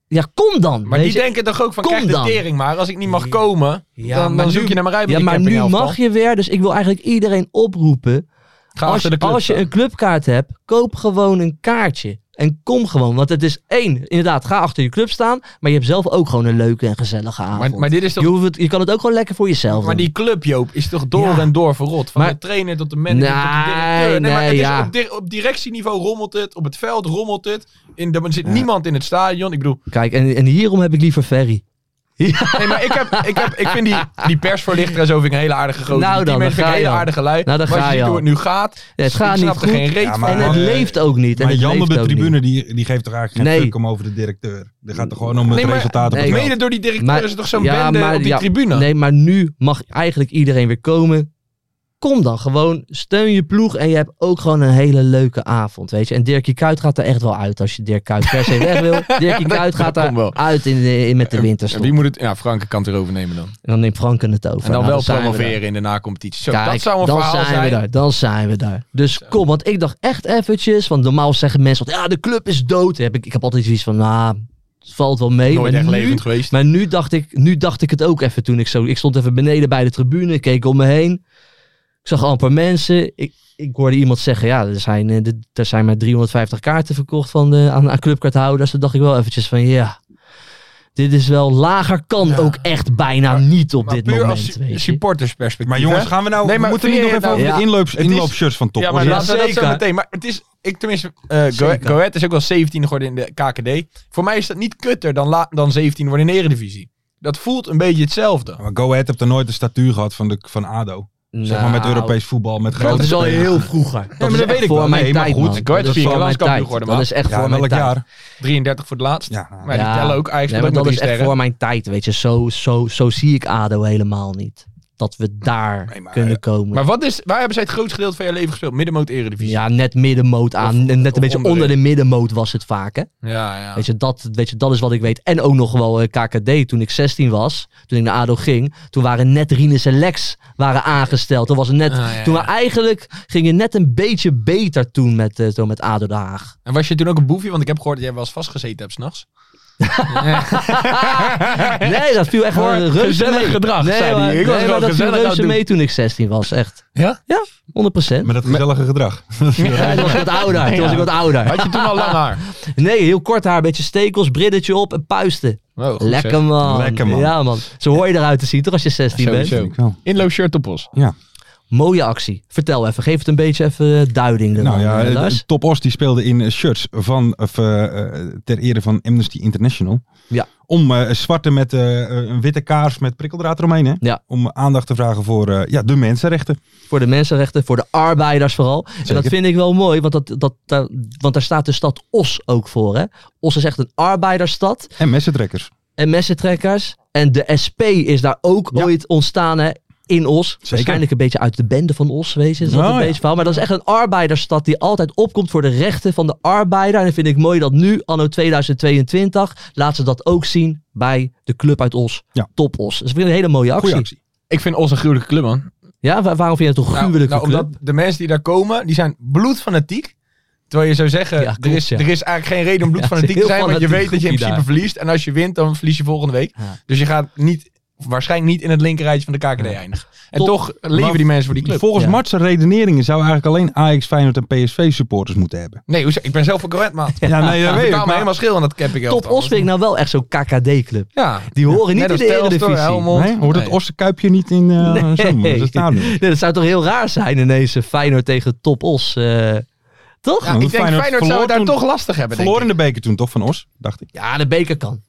Speaker 5: ja, kom dan.
Speaker 6: maar
Speaker 5: weet
Speaker 6: die
Speaker 5: je.
Speaker 6: denken toch ook van,
Speaker 5: kom
Speaker 6: krijg de
Speaker 5: dan.
Speaker 6: tering maar. Als ik niet mag komen,
Speaker 5: Ja,
Speaker 6: dan,
Speaker 5: maar
Speaker 6: dan zoek
Speaker 5: nu-
Speaker 6: je naar mijn rijbewijs.
Speaker 5: Ja, maar nu mag je weer. Dus ik wil eigenlijk iedereen oproepen.
Speaker 6: Ga
Speaker 5: als
Speaker 6: achter
Speaker 5: je,
Speaker 6: de club
Speaker 5: als je
Speaker 6: staan.
Speaker 5: een clubkaart hebt, koop gewoon een kaartje. En kom gewoon. Want het is één, inderdaad, ga achter je club staan. Maar je hebt zelf ook gewoon een leuke en gezellige avond.
Speaker 6: Maar, maar dit is
Speaker 5: je,
Speaker 6: toch...
Speaker 5: hoeft het, je kan het ook gewoon lekker voor jezelf
Speaker 6: Maar
Speaker 5: doen.
Speaker 6: die club, Joop, is toch door
Speaker 5: Ja.
Speaker 6: en door verrot? Van
Speaker 5: Maar-
Speaker 6: de trainer tot de manager tot de
Speaker 5: Nee,
Speaker 6: directeur.
Speaker 5: nee,
Speaker 6: maar het is
Speaker 5: ja.
Speaker 6: op, dir- op directieniveau rommelt het. Op het veld rommelt het. In de, er zit niemand in het stadion. Ik bedoel...
Speaker 5: Kijk, en, en hierom heb ik liever Ferry.
Speaker 6: Nee, maar ik, heb, ik, heb, ik vind die, die persvoorlichter en zo vind ik een hele aardige gozer.
Speaker 5: Nou dan,
Speaker 6: die
Speaker 5: dan
Speaker 6: teammate vind ik
Speaker 5: ga
Speaker 6: een hele
Speaker 5: je al.
Speaker 6: aardige lui.
Speaker 5: Nou, dan
Speaker 6: maar
Speaker 5: ga
Speaker 6: als je
Speaker 5: je
Speaker 6: ziet hoe
Speaker 5: al.
Speaker 6: het nu gaat...
Speaker 5: het gaat
Speaker 6: ik snap
Speaker 5: niet
Speaker 6: er
Speaker 5: goed.
Speaker 6: geen reet
Speaker 4: Ja,
Speaker 6: van.
Speaker 4: maar-
Speaker 5: en het
Speaker 4: eh,
Speaker 5: leeft ook niet. En
Speaker 4: Maar
Speaker 5: het
Speaker 4: Jan op
Speaker 5: leeft
Speaker 4: de
Speaker 5: ook
Speaker 4: tribune,
Speaker 5: niet.
Speaker 4: die, die geeft toch eigenlijk geen
Speaker 5: Nee.
Speaker 4: fuck om over de directeur. Die gaat er gewoon om het
Speaker 6: Nee, maar-
Speaker 4: resultaat op
Speaker 5: nee,
Speaker 4: het
Speaker 5: maar-
Speaker 4: veld.
Speaker 6: Mede door die directeur is er toch zo'n
Speaker 5: ja,
Speaker 6: bende
Speaker 5: maar-
Speaker 6: op die
Speaker 5: ja,
Speaker 6: tribune.
Speaker 5: Nee, maar nu mag eigenlijk iedereen weer komen. Kom dan gewoon, steun je ploeg en je hebt ook gewoon een hele leuke avond, weet je. En Dirkie Kuyt gaat er echt wel uit als je Dirk Kuyt per se weg wil. Dirkie Kuyt gaat
Speaker 6: komt wel.
Speaker 5: daar uit in de- in met de
Speaker 6: En
Speaker 5: winterstop.
Speaker 6: wie
Speaker 5: En
Speaker 6: moet het... Ja, Franke kan het weer overnemen dan.
Speaker 5: dan neemt Franken het over.
Speaker 6: En dan
Speaker 5: Nou,
Speaker 6: wel
Speaker 5: zijn we
Speaker 6: promoveren
Speaker 5: daar.
Speaker 6: in de nacompetitie. Zo,
Speaker 5: Kijk,
Speaker 6: dat zou een
Speaker 5: dan
Speaker 6: verhaal
Speaker 5: zijn, we
Speaker 6: zijn.
Speaker 5: daar, dan zijn we daar. Dus kom, want ik dacht echt eventjes, want normaal zeggen mensen, ja, de club is dood. Heb ik, ik heb altijd zoiets van, nou, het valt wel mee.
Speaker 6: Nooit
Speaker 5: maar
Speaker 6: echt
Speaker 5: nu-
Speaker 6: levend geweest.
Speaker 5: Maar nu dacht, ik, nu dacht ik het ook even toen ik zo... Ik stond even beneden bij de tribune, ik keek om me heen. Ik zag amper mensen. Ik, ik hoorde iemand zeggen, ja, er zijn, eh, dit- er zijn maar 350 kaarten verkocht van de, aan, aan clubkaarthouders. Toen dacht ik wel eventjes van, ja, dit is wel lager. Kan ook echt bijna niet op
Speaker 6: Maar
Speaker 5: dit
Speaker 6: puur
Speaker 5: moment,
Speaker 6: als
Speaker 5: weet je.
Speaker 6: supportersperspectief.
Speaker 4: Maar jongens,
Speaker 6: hè?
Speaker 4: gaan we nou...
Speaker 6: Nee,
Speaker 4: we
Speaker 6: maar
Speaker 4: moeten niet
Speaker 6: vind
Speaker 4: nog
Speaker 6: je
Speaker 4: even
Speaker 6: nou-
Speaker 4: over
Speaker 5: Ja.
Speaker 4: de inloops,
Speaker 6: Het is-
Speaker 4: inloopshirts van top.
Speaker 6: Ja, maar
Speaker 4: worden.
Speaker 6: laten we dat zo
Speaker 5: Zeker.
Speaker 6: meteen. Maar het is, ik tenminste, eh, Go
Speaker 5: Zeker.
Speaker 6: Go Ahead is ook wel 17 geworden in de KKD. Voor mij is dat niet kutter dan, la, dan 17 worden in de Eredivisie. Dat voelt een beetje hetzelfde.
Speaker 4: Maar Go Ahead heeft er nooit de statuur gehad van, de, van ADO. Zeg maar met
Speaker 5: Nou,
Speaker 4: Europees voetbal, met grote
Speaker 5: Dat is al
Speaker 4: spelers.
Speaker 5: heel vroeger. Dat
Speaker 6: maar
Speaker 5: is
Speaker 6: dat
Speaker 5: echt
Speaker 6: weet ik
Speaker 5: voor
Speaker 6: wel.
Speaker 5: mijn
Speaker 6: Nee, maar
Speaker 5: tijd,
Speaker 6: goed,
Speaker 5: man.
Speaker 6: ik
Speaker 5: Dat
Speaker 6: weet
Speaker 5: is
Speaker 6: het,
Speaker 5: voor mijn
Speaker 6: Nederlands kampioen
Speaker 5: tijd.
Speaker 6: geworden,
Speaker 5: Dat
Speaker 6: man.
Speaker 5: is echt
Speaker 4: Ja,
Speaker 5: voor mijn
Speaker 4: welk
Speaker 5: tijd.
Speaker 4: jaar?
Speaker 6: 33 voor het laatst.
Speaker 4: Ja, nou,
Speaker 6: Maar die tellen ook eigenlijk
Speaker 5: maar
Speaker 6: ook
Speaker 5: dat
Speaker 6: met
Speaker 5: is
Speaker 6: drie
Speaker 5: echt
Speaker 6: sterren.
Speaker 5: voor mijn tijd, weet je. Zo, zo, zo zie ik ADO helemaal niet. dat we daar
Speaker 6: Nee, maar-
Speaker 5: kunnen komen.
Speaker 6: Maar wat is, waar hebben zij het grootste gedeelte van je leven gespeeld? Middenmoot Eredivisie.
Speaker 5: ja, net middenmoot aan. en net een
Speaker 6: of
Speaker 5: beetje
Speaker 6: onderin.
Speaker 5: onder de middenmoot was het vaak. Hè?
Speaker 6: ja. ja.
Speaker 5: Weet, je, dat, weet je, dat is wat ik weet. En ook nog wel eh, KKD toen ik 16 was. Toen ik naar ADO ging. Toen waren net Rinus en Lex waren aangesteld. Toen was het net...
Speaker 6: Ah, ja,
Speaker 5: Toen we
Speaker 6: ja.
Speaker 5: eigenlijk gingen net een beetje beter toen met, eh, zo met ADO Den Haag.
Speaker 6: En was je toen ook een boefje? Want ik heb gehoord dat jij wel eens vastgezeten hebt s'nachts.
Speaker 5: Nee, dat viel echt wel
Speaker 6: Voor
Speaker 5: reuze
Speaker 6: gezellig
Speaker 5: mee.
Speaker 6: gedrag,
Speaker 5: nee,
Speaker 6: zei hij.
Speaker 5: maar-
Speaker 6: Ik was
Speaker 5: nee, maar dat
Speaker 6: wel
Speaker 5: viel
Speaker 6: gezellig aan het
Speaker 5: reuze
Speaker 6: doen.
Speaker 5: mee toen ik 16 was. Echt.
Speaker 6: Ja?
Speaker 5: Ja, 100%.
Speaker 4: Met dat gezellige gedrag.
Speaker 5: Ja, toen was ik wat ouder. Toen was ik wat ouder.
Speaker 6: Had je toen al lang haar?
Speaker 5: Nee, heel kort haar. Beetje stekels, brilletje op en puisten.
Speaker 6: Wow, Oh, goed zeg.
Speaker 5: Lekker man.
Speaker 4: Lekker, man.
Speaker 5: Ja man. Zo hoor je eruit te zien toch als je 16 bent.
Speaker 6: Sowieso. Inloopshirt op ons.
Speaker 4: Ja.
Speaker 5: Mooie actie. Vertel even. Geef het een beetje even eh, duiding. eraan,
Speaker 4: Nou ja,
Speaker 5: eh,
Speaker 4: eh,
Speaker 5: Lars.
Speaker 4: Top Os die speelde in eh, shirts van, of, eh, eh, ter ere van Amnesty International.
Speaker 5: Ja.
Speaker 4: Om eh, zwarte met eh, eh, een witte kaars met prikkeldraad eromheen. Hè?
Speaker 5: Ja.
Speaker 4: Om aandacht te vragen voor eh, ja, de mensenrechten.
Speaker 5: Voor de mensenrechten, voor de arbeiders vooral. En dat
Speaker 4: Zeker.
Speaker 5: vind ik wel mooi, want, dat, dat, daar- want daar staat de stad Os ook voor. Hè? Os is echt een arbeidersstad
Speaker 4: En messentrekkers.
Speaker 5: en messentrekkers. En de SP is daar ook
Speaker 4: Ja.
Speaker 5: ooit ontstaan hè, in Os. Waarschijnlijk een beetje uit de bende van Os wezen. Is dat
Speaker 4: Oh,
Speaker 5: een
Speaker 4: ja.
Speaker 5: beetje verhaal. Maar dat is echt een arbeidersstad die altijd opkomt voor de rechten van de arbeider. En dat vind ik mooi dat nu, anno 2022, laat ze dat ook zien bij de club uit Os.
Speaker 4: Ja.
Speaker 5: Top Os. Dus ik vind het een hele mooie actie.
Speaker 4: Goeie actie.
Speaker 6: Ik vind ons een gruwelijke club, man.
Speaker 5: Ja, wa- waarom vind je het een
Speaker 6: Nou,
Speaker 5: gruwelijke
Speaker 6: nou,
Speaker 5: club?
Speaker 6: Omdat de mensen die daar komen, die zijn bloedfanatiek. Terwijl je zou zeggen,
Speaker 5: Ja, klopt,
Speaker 6: er, is,
Speaker 5: ja.
Speaker 6: er is eigenlijk geen reden om bloedfanatiek
Speaker 5: Ja,
Speaker 6: te
Speaker 5: het is
Speaker 6: zijn.
Speaker 5: een
Speaker 6: Want je
Speaker 5: heel
Speaker 6: weet dat je in
Speaker 5: fanatiek
Speaker 6: principe verliest. En als je wint, dan verlies je volgende week.
Speaker 5: Ja.
Speaker 6: Dus je gaat niet, waarschijnlijk niet in het linkerrijtje van de KKD eindigen. En
Speaker 5: Top.
Speaker 6: toch leven
Speaker 4: Maar
Speaker 6: die mensen voor die club.
Speaker 4: Volgens
Speaker 5: Ja.
Speaker 4: Mart's redeneringen zou eigenlijk alleen Ajax, Feyenoord en PSV supporters moeten hebben.
Speaker 6: Nee, hoezo? ik ben zelf een gewend, man.
Speaker 4: Ja, nee,
Speaker 6: Ik
Speaker 4: dat weet
Speaker 6: betaal
Speaker 4: ik.
Speaker 6: me
Speaker 4: maar-
Speaker 6: helemaal schil aan dat cap ik
Speaker 5: Top Os vind ik nou wel echt zo'n KKD-club.
Speaker 6: Ja.
Speaker 5: Die horen niet
Speaker 6: Net
Speaker 5: in
Speaker 6: als
Speaker 5: de
Speaker 6: Telstar,
Speaker 5: Eredivisie.
Speaker 6: Helmond.
Speaker 4: Nee, hoort het
Speaker 6: Nee.
Speaker 4: Osse Kuipje niet in eh
Speaker 5: Nee.
Speaker 4: zo'n dat stadion?
Speaker 5: Nee, dat zou toch heel raar zijn ineens eh, Feyenoord tegen Top Os. eh, toch?
Speaker 6: Ja,
Speaker 5: Ja.
Speaker 6: ik
Speaker 4: Feyenoord
Speaker 6: denk Feyenoord, zou
Speaker 4: verloor
Speaker 6: het daar
Speaker 4: toen-
Speaker 6: toch lastig hebben, denk
Speaker 4: Verloren in
Speaker 6: ik.
Speaker 4: de beker toen toch van Os, dacht ik.
Speaker 5: de beker kan.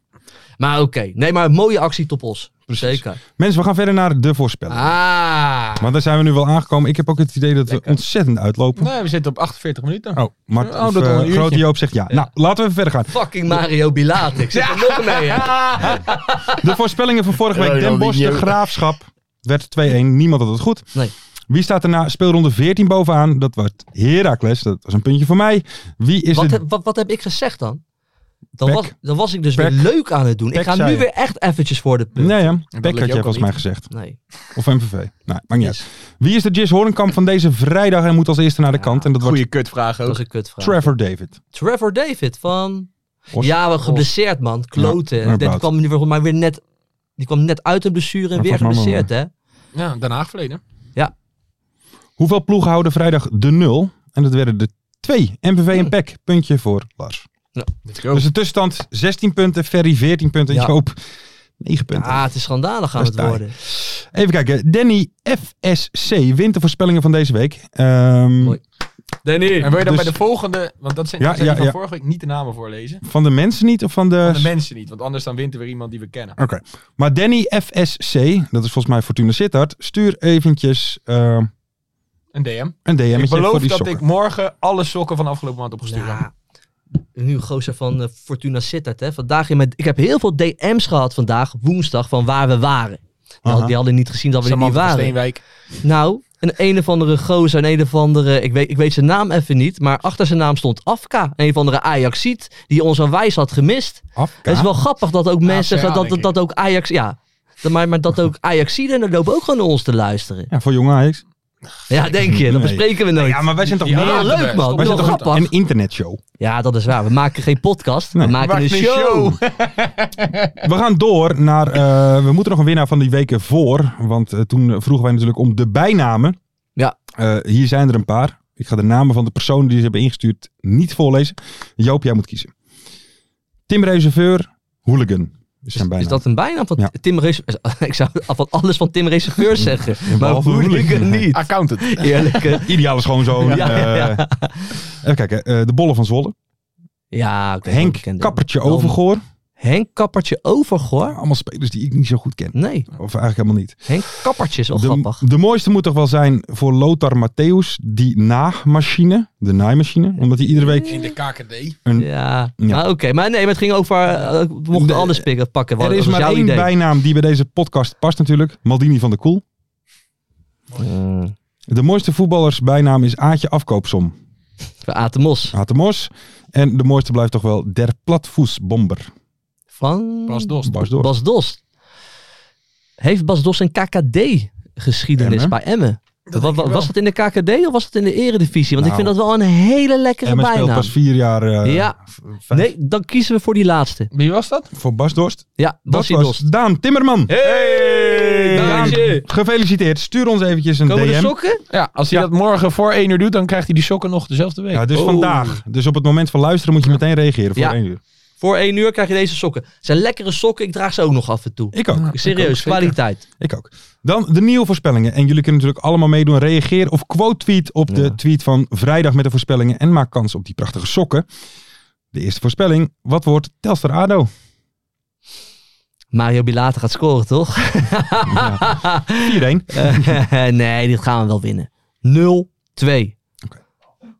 Speaker 5: Maar oké. Nee, maar een mooie actie Top Os. Zeker.
Speaker 4: Mensen, we gaan verder naar de voorspelling.
Speaker 5: Ah.
Speaker 4: Want daar zijn we nu wel aangekomen. Ik heb ook het idee dat we ontzettend uitlopen.
Speaker 6: Nee, we zitten op 48 minuten.
Speaker 4: Oh, Mart,
Speaker 6: Oh,
Speaker 4: of,
Speaker 6: dat al een
Speaker 4: eh,
Speaker 6: uurtje.
Speaker 4: grote Joop zegt ja. Nou, laten we even verder gaan.
Speaker 5: Fucking Mario Bilat. Ik zit er nog mee. hè.
Speaker 4: De voorspellingen van vorige week. Den
Speaker 6: Ronaldinho.
Speaker 4: Bosch, de Graafschap werd 2-1. Niemand had het goed.
Speaker 5: Nee.
Speaker 4: Wie staat er na speelronde 14 bovenaan? Dat wordt Heracles. Dat was een puntje voor mij. Wie is
Speaker 5: Wat,
Speaker 4: de...
Speaker 5: heb- wat, wat heb ik gezegd dan? Dan
Speaker 4: Pek.
Speaker 5: was, dan was ik dus weer
Speaker 4: Pek.
Speaker 5: leuk aan het doen.
Speaker 4: Pek,
Speaker 5: ik ga
Speaker 4: zei
Speaker 5: nu
Speaker 4: je.
Speaker 5: weer echt eventjes voor de punt.
Speaker 4: Nee, ja. Beck had
Speaker 6: lukt je
Speaker 4: jij
Speaker 6: ook
Speaker 4: volgens
Speaker 6: al
Speaker 4: mij
Speaker 6: niet.
Speaker 4: gezegd.
Speaker 5: Nee.
Speaker 4: Of MVV. Nou, maakt niet
Speaker 5: Yes.
Speaker 4: uit. Wie is de Jis Hoornkamp van deze vrijdag en moet als eerste naar de kant? En dat wordt
Speaker 6: Goeie kutvraag
Speaker 5: Dat was
Speaker 6: ook.
Speaker 5: een kutvraag.
Speaker 4: Trevor David.
Speaker 5: Trevor David van...
Speaker 4: Os.
Speaker 5: Ja, wel geblesseerd man. Kloten.
Speaker 4: Ja, maar
Speaker 5: die
Speaker 4: bout.
Speaker 5: kwam nu volgens mij weer net... Die kwam net uit een blessure en
Speaker 4: Maar
Speaker 5: weer
Speaker 4: volgens mij
Speaker 5: geblesseerd hè.
Speaker 6: Ja, Den Haag verleden.
Speaker 4: Hoeveel ploegen houden vrijdag de 0? En dat werden de 2. MVV en Peck. Puntje voor Lars.
Speaker 6: Oh.
Speaker 4: Dus de tussenstand 16 punten, Ferry 14 punten en
Speaker 5: Ja.
Speaker 4: Joop 9 punten.
Speaker 5: Ah, het is schandalig gaan
Speaker 4: Dat
Speaker 5: het
Speaker 4: is taai.
Speaker 5: worden.
Speaker 4: Even kijken. Danny FSC wint de voorspellingen van deze week. Ehm,
Speaker 5: Mooi.
Speaker 6: En wil je dan
Speaker 4: Dus-
Speaker 6: bij de volgende, want dat zijn
Speaker 4: Ja,
Speaker 6: dat zijn die
Speaker 4: ja, Dus-
Speaker 6: van
Speaker 4: ja.
Speaker 6: vorige week, niet de namen voorlezen.
Speaker 4: van de mensen niet of van de...
Speaker 6: Van de mensen niet, want anders dan wint er weer iemand die we kennen.
Speaker 4: Oké. Maar Danny FSC, dat is volgens mij Fortuna Sittard, stuur eventjes ehm,
Speaker 6: Een DM.
Speaker 4: een DM'tje
Speaker 6: Ik
Speaker 4: voor
Speaker 6: beloof
Speaker 4: die
Speaker 6: dat
Speaker 4: sokken.
Speaker 6: ik morgen alle sokken van de afgelopen maand opgestuurd heb.
Speaker 5: Ja. Nu gozer van eh, Fortuna Sittard. Hè. Vandaag in mijn, ik heb heel veel DM's gehad vandaag, woensdag, van waar we waren. Nou,
Speaker 4: Aha.
Speaker 5: die hadden niet gezien dat we er niet
Speaker 6: Samantha van
Speaker 5: waren.
Speaker 6: Steenwijk.
Speaker 5: Nou, een een of andere gozer, een een of andere... Ik weet, ik weet zijn naam even niet, maar achter zijn naam stond Afka. Een of andere Ajaxiet, die ons aan wijs had gemist.
Speaker 4: Af,
Speaker 5: Het is
Speaker 4: ja.
Speaker 5: wel grappig dat
Speaker 4: Nou,
Speaker 5: ook mensen...
Speaker 6: CA,
Speaker 5: dat,
Speaker 6: denk
Speaker 5: dat,
Speaker 6: ik.
Speaker 5: dat ook Ajax... Ja, dat- maar, maar dat ook Ajaxiden er lopen ook gewoon naar ons te luisteren.
Speaker 4: Ja, voor jonge Ajax.
Speaker 5: Ja, denk je. Dat
Speaker 4: Nee.
Speaker 5: bespreken we nooit.
Speaker 4: Ja, maar wij zijn toch
Speaker 6: Ja,
Speaker 4: meer-
Speaker 5: Ja,
Speaker 6: de
Speaker 5: leuk
Speaker 6: best.
Speaker 5: man.
Speaker 4: wij
Speaker 6: Wij
Speaker 5: Wel
Speaker 4: zijn toch
Speaker 5: grappig.
Speaker 4: een, een internetshow.
Speaker 5: Ja, dat is waar. We maken geen podcast.
Speaker 4: Nee.
Speaker 5: we maken een
Speaker 6: Maakt
Speaker 5: show.
Speaker 4: We gaan door naar... eh, we moeten nog een winnaar van die weken voor. Want eh, toen eh, vroegen wij natuurlijk om de bijnamen.
Speaker 5: Ja.
Speaker 4: Eh, hier zijn er een paar. Ik ga de namen van de personen die ze hebben ingestuurd niet voorlezen. Joop, jij moet kiezen. Tim Reserveur, Hooligan. Is, zijn bijnaam.
Speaker 5: Is dat een bijnaam van
Speaker 4: Ja.
Speaker 5: Tim Rees? Ik zou van alles van Tim Reserveur zeggen. maar
Speaker 4: behalve
Speaker 5: hoe ik het
Speaker 4: hooligan. eh,
Speaker 5: niet?
Speaker 6: Accountant.
Speaker 5: Eerlijk. hè?
Speaker 4: Ideaal is gewoon zo'n...
Speaker 5: Ja, ja, ja.
Speaker 4: eh, even kijken. eh, de Bollen van Zwolle.
Speaker 5: Ja, oké, wel
Speaker 4: Henk
Speaker 5: bekend.
Speaker 4: Kappertje
Speaker 5: Wel-
Speaker 4: Overgoor.
Speaker 5: Henk Kappertje Overgoor?
Speaker 4: Allemaal spelers die ik niet zo goed ken.
Speaker 5: Nee,
Speaker 4: Of eigenlijk helemaal niet.
Speaker 5: Henk Kappertje is wel
Speaker 4: De,
Speaker 5: grappig.
Speaker 4: de mooiste moet toch wel zijn voor Lothar Matthäus. Die naamachine. De naaimachine. Omdat hij iedere week...
Speaker 6: In de KKD.
Speaker 5: Ja,
Speaker 4: Ja.
Speaker 5: maar oké. Maar nee, maar het ging over... eh, we mochten
Speaker 4: De-
Speaker 5: alles pikken, pakken. Wat,
Speaker 4: Er is
Speaker 5: wat
Speaker 4: maar
Speaker 5: jouw
Speaker 4: één
Speaker 5: idee?
Speaker 4: bijnaam die bij deze podcast past natuurlijk. Maldini van de Koel.
Speaker 5: Eh.
Speaker 4: De mooiste voetballersbijnaam is Aatje Afkoopsom.
Speaker 5: Bij Aad de Mos.
Speaker 4: Aad de Mos. En de mooiste blijft toch wel Der Platvoetsbomber.
Speaker 5: Van
Speaker 8: Bas Dost.
Speaker 4: Bars door.
Speaker 5: Bas Dost. Heeft Bas Dost een KKD-geschiedenis
Speaker 4: Emmen?
Speaker 5: bij Emmen? Wa- wa- was dat in de KKD of was dat in de Eredivisie? Want ik
Speaker 4: Nou,
Speaker 5: vind dat wel een hele lekkere
Speaker 4: En men speelt
Speaker 5: bijnaam.
Speaker 4: pas vier jaar eh,
Speaker 5: Ja.
Speaker 4: v- vijf-
Speaker 5: Nee, dan kiezen we voor die laatste.
Speaker 6: Wie was dat?
Speaker 4: voor Bas Dorst.
Speaker 5: Ja,
Speaker 4: Dat
Speaker 5: Basie
Speaker 4: was
Speaker 5: Dost.
Speaker 4: Daan Timmerman.
Speaker 6: Hey!
Speaker 4: Daan,
Speaker 5: Daantje.
Speaker 4: gefeliciteerd. Stuur ons eventjes een
Speaker 5: Komen de
Speaker 4: DM.
Speaker 5: sokken?
Speaker 6: Ja, als hij
Speaker 4: Ja.
Speaker 6: dat morgen voor 1 uur doet, dan krijgt hij die sokken nog dezelfde week.
Speaker 4: Ja, dus
Speaker 5: Oh.
Speaker 4: vandaag. Dus op het moment van luisteren moet je meteen reageren voor
Speaker 5: Ja.
Speaker 4: één uur.
Speaker 5: Voor één uur krijg je deze sokken. Het zijn lekkere sokken. Ik draag ze ook nog af en toe.
Speaker 4: Ik ook.
Speaker 5: Serieus,
Speaker 6: zeker.
Speaker 5: kwaliteit.
Speaker 4: Ik ook. Dan de nieuwe voorspellingen. En jullie kunnen natuurlijk allemaal meedoen. Reageer of quote-tweet op de tweet van vrijdag met de voorspellingen. En maak kans op die prachtige sokken. De eerste voorspelling. Wat wordt Telstar ADO? 4-1.
Speaker 5: Mario Bilate gaat scoren, toch? Eh, nee, dit gaan we wel winnen. 0-2.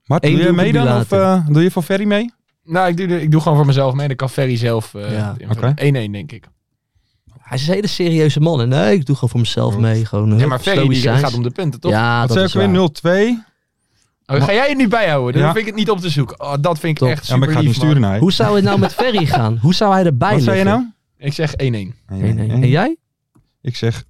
Speaker 4: Maar doe
Speaker 5: Eén
Speaker 4: je
Speaker 5: doelpunt
Speaker 4: mee dan? Of
Speaker 5: later. Ah,
Speaker 4: eh, doe je voor Ferry mee?
Speaker 6: Nou, ik doe, ik doe gewoon voor mezelf mee. Dan kan Ferry zelf eh,
Speaker 5: Ja.
Speaker 6: invullen.
Speaker 4: Oké.
Speaker 6: 1-1, denk ik.
Speaker 5: Hij is een hele serieuze man. En nee, ik doe gewoon voor mezelf mee. Gewoon,
Speaker 6: Ja,
Speaker 5: hup,
Speaker 6: maar Ferry die
Speaker 5: stoïcijns.
Speaker 6: gaat om de punten, toch?
Speaker 5: Ja,
Speaker 4: Wat
Speaker 5: dat
Speaker 4: zei
Speaker 5: is
Speaker 4: ik weer?
Speaker 5: waar.
Speaker 4: 0-2.
Speaker 6: Oh, ga jij het nu bijhouden? Dan
Speaker 4: Ja.
Speaker 6: vind ik het niet op te zoeken. Oh, dat vind ik
Speaker 5: Top.
Speaker 6: echt
Speaker 4: Ja,
Speaker 6: super
Speaker 4: maar ik ga het
Speaker 6: lief,
Speaker 4: niet sturen
Speaker 6: man.
Speaker 4: naar je.
Speaker 5: Hoe zou het nou met Ferry gaan? Hoe zou hij erbij
Speaker 4: Wat zei je
Speaker 5: liggen?
Speaker 4: nou?
Speaker 6: Ik zeg 1-1.
Speaker 5: Nee, nee. En jij?
Speaker 4: Ik zeg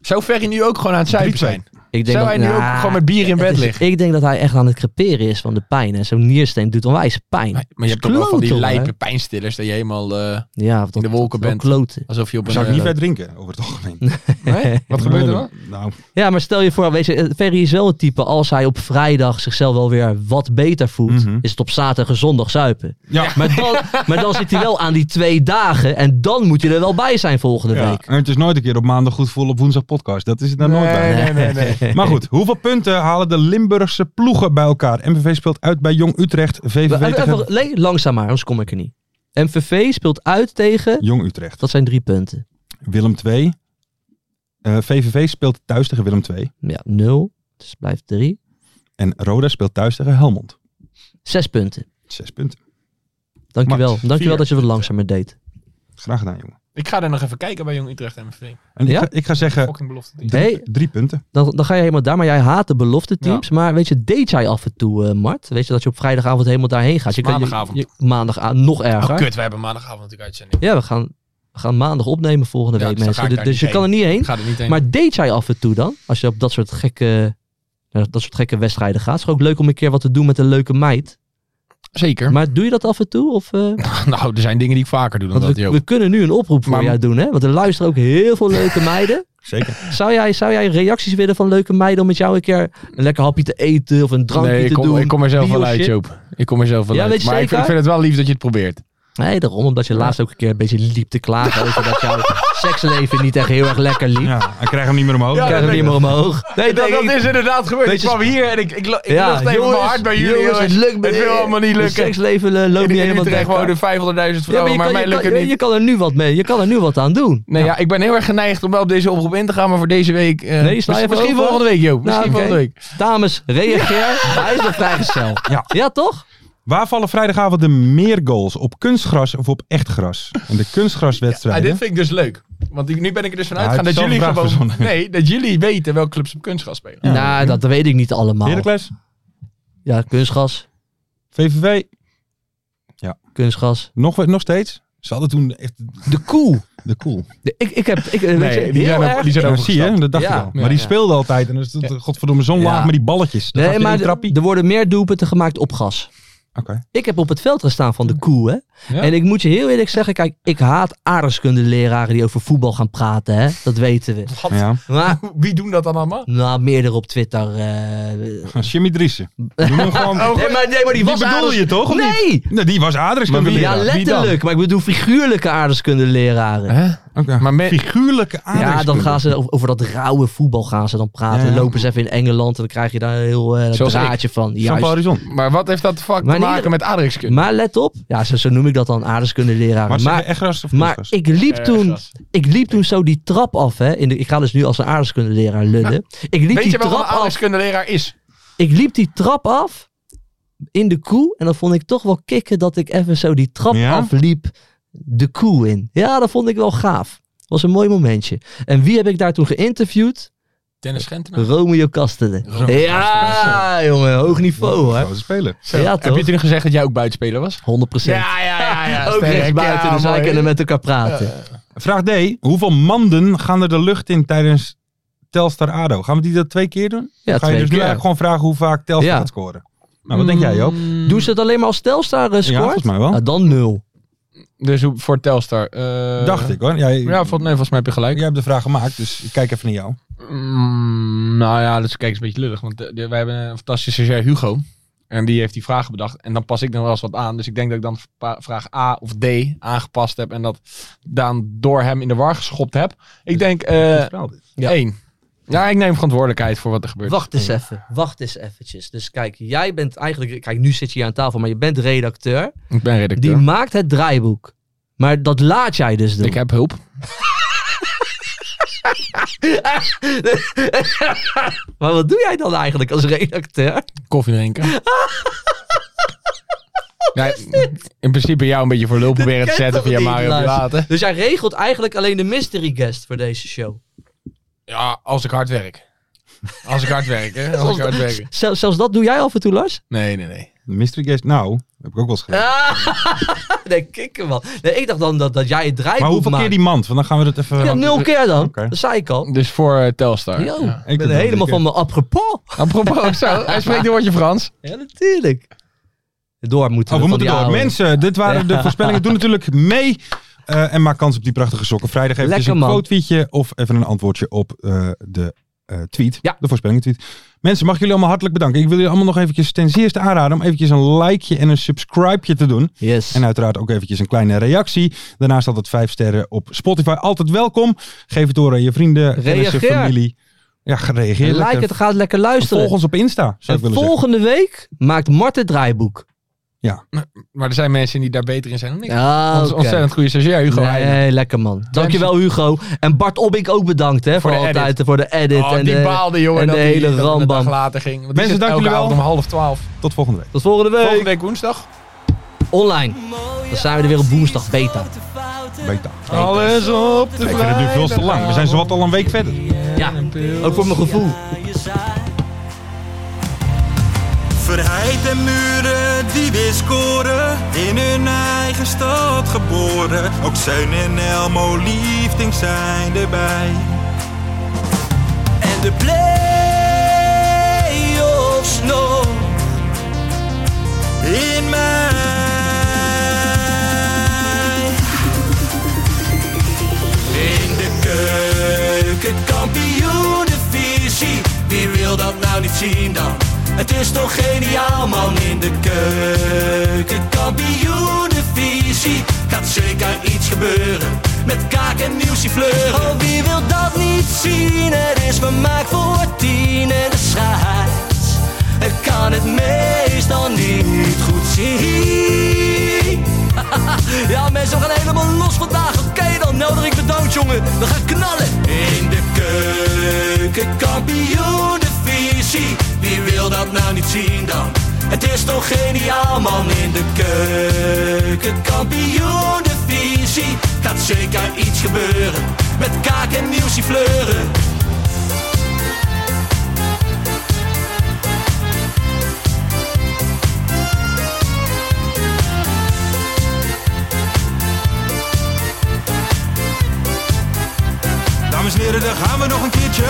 Speaker 6: Zou Ferry nu ook gewoon aan het zuipen zijn?
Speaker 5: Ik
Speaker 6: Zou hij nu ook
Speaker 5: nou,
Speaker 6: gewoon met bier in
Speaker 5: het
Speaker 6: bed
Speaker 5: is-
Speaker 6: liggen?
Speaker 5: Ik denk dat hij echt aan het creperen is van de pijn. En zo'n niersteen doet onwijs pijn.
Speaker 6: Maar, maar je hebt toch wel van die lijpe pijnstillers dat je helemaal eh,
Speaker 5: Ja, of dat,
Speaker 6: de wolken
Speaker 5: dat- dat
Speaker 6: bent.
Speaker 5: kloten.
Speaker 6: alsof je op een.
Speaker 4: zou ik niet
Speaker 6: eh,
Speaker 4: ver drinken, over het algemeen.
Speaker 6: nee? Wat gebeurt er dan?
Speaker 4: Nou,
Speaker 5: Ja, maar stel je voor, weet je, eh, Ferry is wel het type, als hij op vrijdag zichzelf wel weer wat beter voelt,
Speaker 4: Mhm.
Speaker 5: is het op zaterdag en zondag zuipen.
Speaker 4: ja.
Speaker 5: Maar dan, maar dan zit hij wel aan die twee dagen en dan moet hij er wel bij zijn volgende
Speaker 4: Ja.
Speaker 5: week.
Speaker 4: En het is nooit een keer op maandag goed voelen op woensdag podcast. Dat is het nou nooit bij.
Speaker 6: nee, nee, nee.
Speaker 4: Maar goed, hoeveel punten halen de Limburgse ploegen bij elkaar? MVV speelt uit bij Jong Utrecht, VVV
Speaker 5: We-
Speaker 4: tegen
Speaker 5: even- even- nee, langzaam maar, anders kom ik er niet. MVV speelt uit tegen,
Speaker 4: Jong Utrecht.
Speaker 5: dat zijn drie punten.
Speaker 4: Willem eh, 2. VVV speelt thuis tegen Willem 2.
Speaker 5: Ja, nul, dus blijft drie.
Speaker 4: En Roda speelt thuis tegen Helmond.
Speaker 5: Zes punten.
Speaker 4: Zes punten.
Speaker 5: Dankjewel,
Speaker 4: Max,
Speaker 5: dankjewel
Speaker 6: vier
Speaker 5: dat je wat langzamer deed.
Speaker 4: Graag gedaan, jongen.
Speaker 6: Ik ga er nog even kijken bij Jong Utrecht MVV.
Speaker 4: En
Speaker 5: Ja?
Speaker 4: ik, ga, ik ga zeggen
Speaker 6: Fucking belofte. team.
Speaker 4: drie,
Speaker 5: Nee.
Speaker 4: drie punten.
Speaker 5: Dan, dan ga je helemaal daar, maar jij haat de belofte teams. Maar weet je, deed jij af en toe, eh, Mart? Weet je dat je op vrijdagavond helemaal daarheen gaat? Je kan- je-
Speaker 6: Maandagavond.
Speaker 5: Je, maandag ah, nog erger.
Speaker 6: Oh, kut, we hebben maandagavond natuurlijk uitzending.
Speaker 5: Ja, we gaan, we gaan maandag opnemen volgende
Speaker 6: Ja,
Speaker 5: week,
Speaker 6: dus dan ga
Speaker 5: mensen.
Speaker 6: ik
Speaker 5: Dus,
Speaker 6: daar
Speaker 5: dus
Speaker 6: niet
Speaker 5: je kan er niet heen.
Speaker 6: Ik ga er niet heen.
Speaker 5: Maar deed jij af en toe dan? Als je op dat soort gekke, naar dat soort gekke wedstrijden gaat. Is het ook leuk om een keer wat te doen met een leuke meid.
Speaker 6: Zeker.
Speaker 5: Maar doe je dat af en toe? Of, eh,
Speaker 6: nou, er zijn dingen die ik vaker doe dan
Speaker 5: want
Speaker 6: dat,
Speaker 5: we,
Speaker 6: joh.
Speaker 5: we kunnen nu een oproep voor
Speaker 6: Maar-
Speaker 5: jou doen, hè? Want er luisteren ook heel veel leuke meiden.
Speaker 4: Zeker.
Speaker 5: Zou jij, zou jij reacties willen van leuke meiden om met jou een keer een lekker hapje te eten of een drankje
Speaker 6: Nee, ik
Speaker 5: te
Speaker 6: kom,
Speaker 5: doen?
Speaker 6: ik kom er zelf wel uit,
Speaker 5: bioshit?
Speaker 6: Joop. Ik kom er zelf wel
Speaker 5: Ja,
Speaker 6: uit.
Speaker 5: weet je
Speaker 6: maar ik
Speaker 5: zeker?
Speaker 6: vind, ik vind het wel lief dat je het probeert.
Speaker 5: Nee, daarom. Omdat je laatst ook een keer een beetje liep te klagen over dat jouw seksleven niet echt heel erg lekker liep.
Speaker 4: Ja, hij krijgt hem niet meer omhoog.
Speaker 5: Ik krijg hem niet meer omhoog.
Speaker 6: Nee, dat, dat is inderdaad gebeurd. Ik
Speaker 5: Weet je-
Speaker 6: kwam hier en ik, ik, lo- ik
Speaker 5: Ja,
Speaker 6: lost even
Speaker 5: jongens,
Speaker 6: mijn hart bij jullie.
Speaker 5: jongens, het lukt me
Speaker 6: Het
Speaker 5: niet.
Speaker 6: wil allemaal niet
Speaker 5: Het
Speaker 6: lukken.
Speaker 5: seksleven eh, loopt
Speaker 6: in,
Speaker 5: niet
Speaker 6: in
Speaker 5: helemaal
Speaker 6: Utrecht
Speaker 5: lekker.
Speaker 6: wonen 500.000
Speaker 5: Ja, maar je,
Speaker 6: vrouwen, maar,
Speaker 5: kan,
Speaker 6: mij
Speaker 5: je,
Speaker 6: lukt
Speaker 5: kan,
Speaker 6: het
Speaker 5: je,
Speaker 6: niet.
Speaker 5: je kan er nu wat mee. Je kan er nu wat aan doen.
Speaker 6: Nee, ja, ik ben heel erg geneigd om wel op deze oproep in te gaan, maar voor deze week... eh,
Speaker 5: Nee, sla je even
Speaker 6: Misschien
Speaker 5: over?
Speaker 6: volgende week, Joop. Misschien
Speaker 5: Nou, oké.
Speaker 6: volgende week.
Speaker 5: Dames, reageer. Hij is nog vrijgesteld.
Speaker 4: Ja.
Speaker 5: ja, toch?
Speaker 4: Waar vallen vrijdagavond de meer goals? Op kunstgras of op echt gras? En de kunstgraswedstrijden.
Speaker 6: Ah, dit vind ik dus leuk. Want ik- nu ben ik er dus van
Speaker 4: Ja,
Speaker 6: uitgegaan
Speaker 4: het
Speaker 6: dat
Speaker 4: is
Speaker 6: jullie
Speaker 4: zelf een
Speaker 6: gewoon...
Speaker 4: vraag verzonnen.
Speaker 6: Nee, dat jullie weten welke clubs op kunstgras spelen.
Speaker 5: nou, dat weet ik niet allemaal.
Speaker 4: Heracles,
Speaker 5: Ja, kunstgas.
Speaker 4: VVV,
Speaker 5: Kunstgas.
Speaker 4: nog, nog steeds. Ze hadden toen echt
Speaker 5: De koe.
Speaker 4: de cool.
Speaker 5: De- ik, ik heb... Ik, eh, weet je,
Speaker 6: Nee, die
Speaker 5: heel
Speaker 6: zijn,
Speaker 5: erg-
Speaker 6: op, die zijn
Speaker 4: Ja, zie
Speaker 6: overgestapt.
Speaker 4: je, dat dacht
Speaker 5: Ja.
Speaker 4: ik al.
Speaker 5: Ja,
Speaker 4: Maar die
Speaker 5: ja.
Speaker 4: speelde altijd. En dan stond, er, godverdomme, zo'n
Speaker 5: Ja.
Speaker 4: laag met die balletjes. Dat
Speaker 5: Nee, maar
Speaker 4: trappie.
Speaker 5: d- er worden meer doelpunten gemaakt op gas.
Speaker 4: Oké.
Speaker 5: Ik heb op het veld gestaan van de koe, hè.
Speaker 6: Ja.
Speaker 5: En ik moet je heel eerlijk zeggen, kijk, ik haat aardrijkskundeleraren die over voetbal gaan praten, hè. Dat weten we.
Speaker 4: Ja.
Speaker 5: Maar
Speaker 6: Wie doen dat dan allemaal?
Speaker 5: Nou, meerdere op Twitter. eh
Speaker 4: Jimmy Driessen. Doe hem gewoon...
Speaker 5: nee, maar, nee, maar die
Speaker 4: die
Speaker 5: was
Speaker 4: bedoel
Speaker 5: aardrijks-
Speaker 4: je toch, of
Speaker 5: nee!
Speaker 4: Nou, die was aardrijkskunde
Speaker 5: Ja, letterlijk. Maar ik bedoel figuurlijke aardrijkskundeleraren.
Speaker 6: Maar me-
Speaker 4: Figuurlijke
Speaker 5: Ja,
Speaker 4: aardrijkskunde.
Speaker 5: dan gaan ze over, over dat rauwe voetbal gaan ze dan praten.
Speaker 4: Ja, ja.
Speaker 5: Lopen ze even in Engeland en dan krijg je daar een heel eh
Speaker 6: Zoals
Speaker 5: draadje van.
Speaker 4: Van
Speaker 5: Juist.
Speaker 4: Horizon.
Speaker 6: Maar wat heeft dat te fuck
Speaker 5: Maar
Speaker 6: te
Speaker 5: in
Speaker 6: maken
Speaker 5: ieder-
Speaker 6: met aardrijkskunde?
Speaker 5: Maar let op. Ja, zo, zo noem ik dat dan
Speaker 4: Maar,
Speaker 5: aardrijkskundeleraren.
Speaker 4: maar
Speaker 5: Maar,
Speaker 4: echt gras of
Speaker 5: maar
Speaker 4: kunstgras?
Speaker 5: ik liep
Speaker 6: Eh,
Speaker 5: toen...
Speaker 6: gras.
Speaker 5: Ik liep toen zo die trap af, hè. In de, ik ga dus nu als een aardrijkskundeleraar lullen. Ik liep
Speaker 6: Weet
Speaker 5: die
Speaker 6: je wel wat
Speaker 5: trap
Speaker 6: een
Speaker 5: af.
Speaker 6: aardrijkskundeleraar is?
Speaker 5: Ik liep die trap af in de koe. En dan vond ik toch wel kicken dat ik even zo die trap
Speaker 4: Ja?
Speaker 5: afliep de koe in. Ja, dat vond ik wel gaaf. Was een mooi momentje. En wie heb ik daar toen geïnterviewd?
Speaker 8: Dennis Gentenaar.
Speaker 5: Romeo Kastelen. Ja, jongen, hoog niveau hè.
Speaker 4: Grote speler.
Speaker 5: Ja,
Speaker 6: Heb je
Speaker 5: toch? 100%.
Speaker 6: toen gezegd dat jij ook buitenspeler was? Ja, ja, ja. ja
Speaker 5: Ook
Speaker 6: sterk.
Speaker 5: rechts buiten,
Speaker 6: Ja,
Speaker 5: dus wij
Speaker 6: mooi.
Speaker 5: kunnen met elkaar praten.
Speaker 4: Vraag D. Hoeveel manden gaan er de lucht in tijdens Telstar ADO? Gaan we die dat twee keer doen?
Speaker 5: Ja,
Speaker 4: Ga je
Speaker 5: twee
Speaker 4: dus nu
Speaker 5: keer.
Speaker 4: eigenlijk gewoon vragen hoe vaak Telstar
Speaker 5: Ja.
Speaker 4: gaat scoren? Nou, wat denk jij Joop?
Speaker 6: Mm.
Speaker 5: Doen ze het alleen maar als Telstar eh, scoort?
Speaker 4: volgens mij wel.
Speaker 5: Ah, dan nul.
Speaker 8: Dus hoe- voor Telstar. eh,
Speaker 4: Dacht ik hoor. Jij,
Speaker 8: Ja, vol, nee, volgens mij heb je gelijk.
Speaker 4: jij hebt de vraag gemaakt, dus ik kijk even naar jou.
Speaker 8: Mm, nou ja, dat is, kijk, is een beetje lullig. Want eh, de- wij hebben een fantastische stagiair Hugo. En die heeft die vragen bedacht. En dan pas ik nog wel eens wat aan. Dus ik denk dat ik dan pa- vraag A of D aangepast heb. En dat dan door hem in de war geschopt heb. Ik denk eh
Speaker 5: Ja.
Speaker 8: één. Ja, ik neem verantwoordelijkheid voor wat er gebeurt.
Speaker 5: Wacht eens even, wacht eens eventjes. Dus kijk, jij bent eigenlijk, kijk nu zit je hier aan tafel, maar je bent redacteur.
Speaker 8: Ik ben redacteur.
Speaker 5: Die maakt het draaiboek. Maar dat laat jij dus doen.
Speaker 8: ik heb hulp.
Speaker 5: Maar wat doe jij dan eigenlijk als redacteur?
Speaker 8: Koffie drinken. ja, in principe jou een beetje voor lul proberen te
Speaker 5: Dit kent
Speaker 8: zetten
Speaker 5: toch
Speaker 8: via
Speaker 5: niet,
Speaker 8: Mario
Speaker 5: luister.
Speaker 8: Laten.
Speaker 5: Dus jij regelt eigenlijk alleen de mystery guest voor deze show.
Speaker 8: Ja, als ik hard werk. Als ik hard werk, hè. Als ik hard werk.
Speaker 5: Zel- zelfs dat doe jij af en toe, Lars?
Speaker 8: Nee, nee, nee.
Speaker 4: Mystery Guest, nou, heb ik ook wel eens gedaan.
Speaker 5: nee, kikker man. Nee, ik dacht dan dat, dat jij het draaiboek
Speaker 4: maar hoeveel
Speaker 5: maakt.
Speaker 4: keer die mand? Want dan gaan we dat even...
Speaker 5: Ja, nul keer dan.
Speaker 4: Oké.
Speaker 5: Dat zei ik al.
Speaker 8: Dus voor eh, Telstar.
Speaker 5: Yo,
Speaker 8: Ja.
Speaker 5: ik
Speaker 4: doe
Speaker 5: ben
Speaker 4: dat
Speaker 5: helemaal
Speaker 4: niet, hè.
Speaker 5: van mijn apropos.
Speaker 8: Apropos, zo, hij spreekt een woordje Frans.
Speaker 5: Ja, natuurlijk. Door moeten
Speaker 4: Oh, we moeten
Speaker 5: van die
Speaker 4: door.
Speaker 5: oude.
Speaker 4: Mensen, dit waren de voorspellingen. Doe natuurlijk mee. eh, en maak kans op die prachtige sokken. Vrijdag even
Speaker 5: Lekker,
Speaker 4: een
Speaker 5: man.
Speaker 4: quote-tweetje of even een antwoordje op eh, de eh, tweet.
Speaker 5: Ja.
Speaker 4: De voorspellingen-tweet. Mensen, mag ik jullie allemaal hartelijk bedanken. Ik wil jullie allemaal nog eventjes ten zeerste aanraden om eventjes een likeje en een subscribeje te doen.
Speaker 5: Yes.
Speaker 8: nou,
Speaker 4: En uiteraard ook eventjes een kleine reactie. Daarnaast altijd vijf sterren op Spotify. Altijd welkom. Geef het door aan je vrienden, kennissen,
Speaker 5: Reageer.
Speaker 4: familie. Ja, gereageer.
Speaker 5: like het,
Speaker 4: lekker.
Speaker 5: gaat lekker luisteren.
Speaker 4: Volg ons op Insta, zou ik
Speaker 5: en
Speaker 4: willen zeggen.
Speaker 5: volgende week maakt Mart het draaiboek.
Speaker 8: Maar er zijn mensen die daar beter in zijn dan ik.
Speaker 5: Ah,
Speaker 8: Ons ontzettend goede stagiair, Hugo. Heijden.
Speaker 5: Nee, lekker man. Dankjewel Hugo. En Bart Obink ook bedankt hè, voor,
Speaker 8: de
Speaker 5: altijd voor de edit.
Speaker 8: Oh,
Speaker 5: en
Speaker 8: die
Speaker 5: de,
Speaker 8: baalde, jongen.
Speaker 5: en
Speaker 8: dat
Speaker 5: de
Speaker 8: die-
Speaker 5: hele
Speaker 8: dat het een
Speaker 5: rambam.
Speaker 8: dag later ging. Want die
Speaker 4: Mensen,
Speaker 8: zit
Speaker 4: dank
Speaker 8: elke
Speaker 4: jullie wel.
Speaker 8: avond om half twaalf.
Speaker 4: Tot volgende week.
Speaker 5: Tot volgende week.
Speaker 8: Volgende week woensdag.
Speaker 5: week. Online. Dan zijn we er weer op woensdag beta.
Speaker 4: Beta.
Speaker 8: Alles op de
Speaker 4: Ik vind het nu veel te lang. We zijn zowat al een week verder.
Speaker 5: Ja, ook voor mijn gevoel.
Speaker 3: Verheid en muren die weer scoren, in hun eigen stad geboren. Ook Zijn en Elmo liefding zijn erbij.
Speaker 2: en de play-offs nog in mij. In de keuken, kampioen Wie wil dat nou niet zien dan? Het is toch geniaal man in de keuken, kampioen Gaat zeker iets gebeuren met kaak en nieuwsje fleuren. Oh, wie wil dat niet zien? Het is vermaakt voor tien en de scheids. Het kan het meestal niet goed zien. Ja, mensen, we gaan helemaal los vandaag. Oké, dan nodig ik de dood, jongen. We gaan knallen. In de keuken, kampioen, de visie. Wie wil dat nou niet zien dan? Het is toch geniaal, man. In de keuken, kampioen, de visie. Gaat zeker iets gebeuren. Met kaak en nieuwsie fleuren.
Speaker 3: Dames en heren, daar gaan we nog een keertje.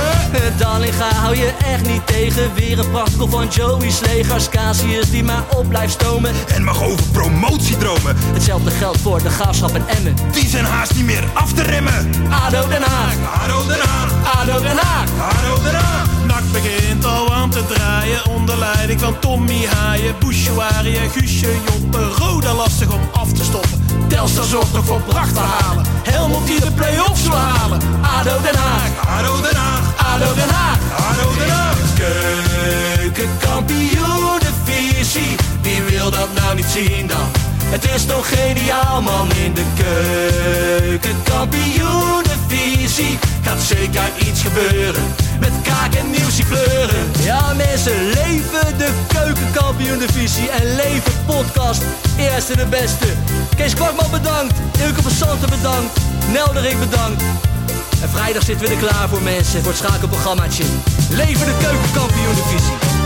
Speaker 2: Dallinga hou je echt niet tegen. Weer een prachtkel van Joey's legers. Casius die maar op blijft stomen.
Speaker 3: En mag over promotiedromen,
Speaker 2: Hetzelfde geldt voor de graafschap en Emmen.
Speaker 3: die zijn haast niet meer af te remmen.
Speaker 2: ADO Den Haag,
Speaker 3: Haro eraan,
Speaker 2: ADO Den Haag.
Speaker 3: haro eraan.
Speaker 10: Nak begint al aan te draaien onder leiding van Tommy Haaien, Bouchouari en Guusje Joppen. Roda lastig om af te stoppen. Telstar zorgt nog voor pracht te halen. Helmond die de play-offs wil halen.
Speaker 2: ADO Den Haag,
Speaker 3: Haro Den Haag,
Speaker 2: ADO Den Haag.
Speaker 3: Haro Den Haag.
Speaker 2: Keukenkampioenenvisie, wie wil dat nou niet zien dan? Het is toch geniaal man in de keukenkampioenenvisie. Gaat zeker iets gebeuren, met kaak en nieuwsie kleuren. Ja mensen, leven de keukenkampioenenvisie en leven podcast. Eerste de beste. Kees Kwakman bedankt, Ilke van Santen bedankt, Nelderik bedankt. En vrijdag zitten we er klaar voor mensen. Voor het schakelprogrammaatje. Leven de keukenkampioen divisie.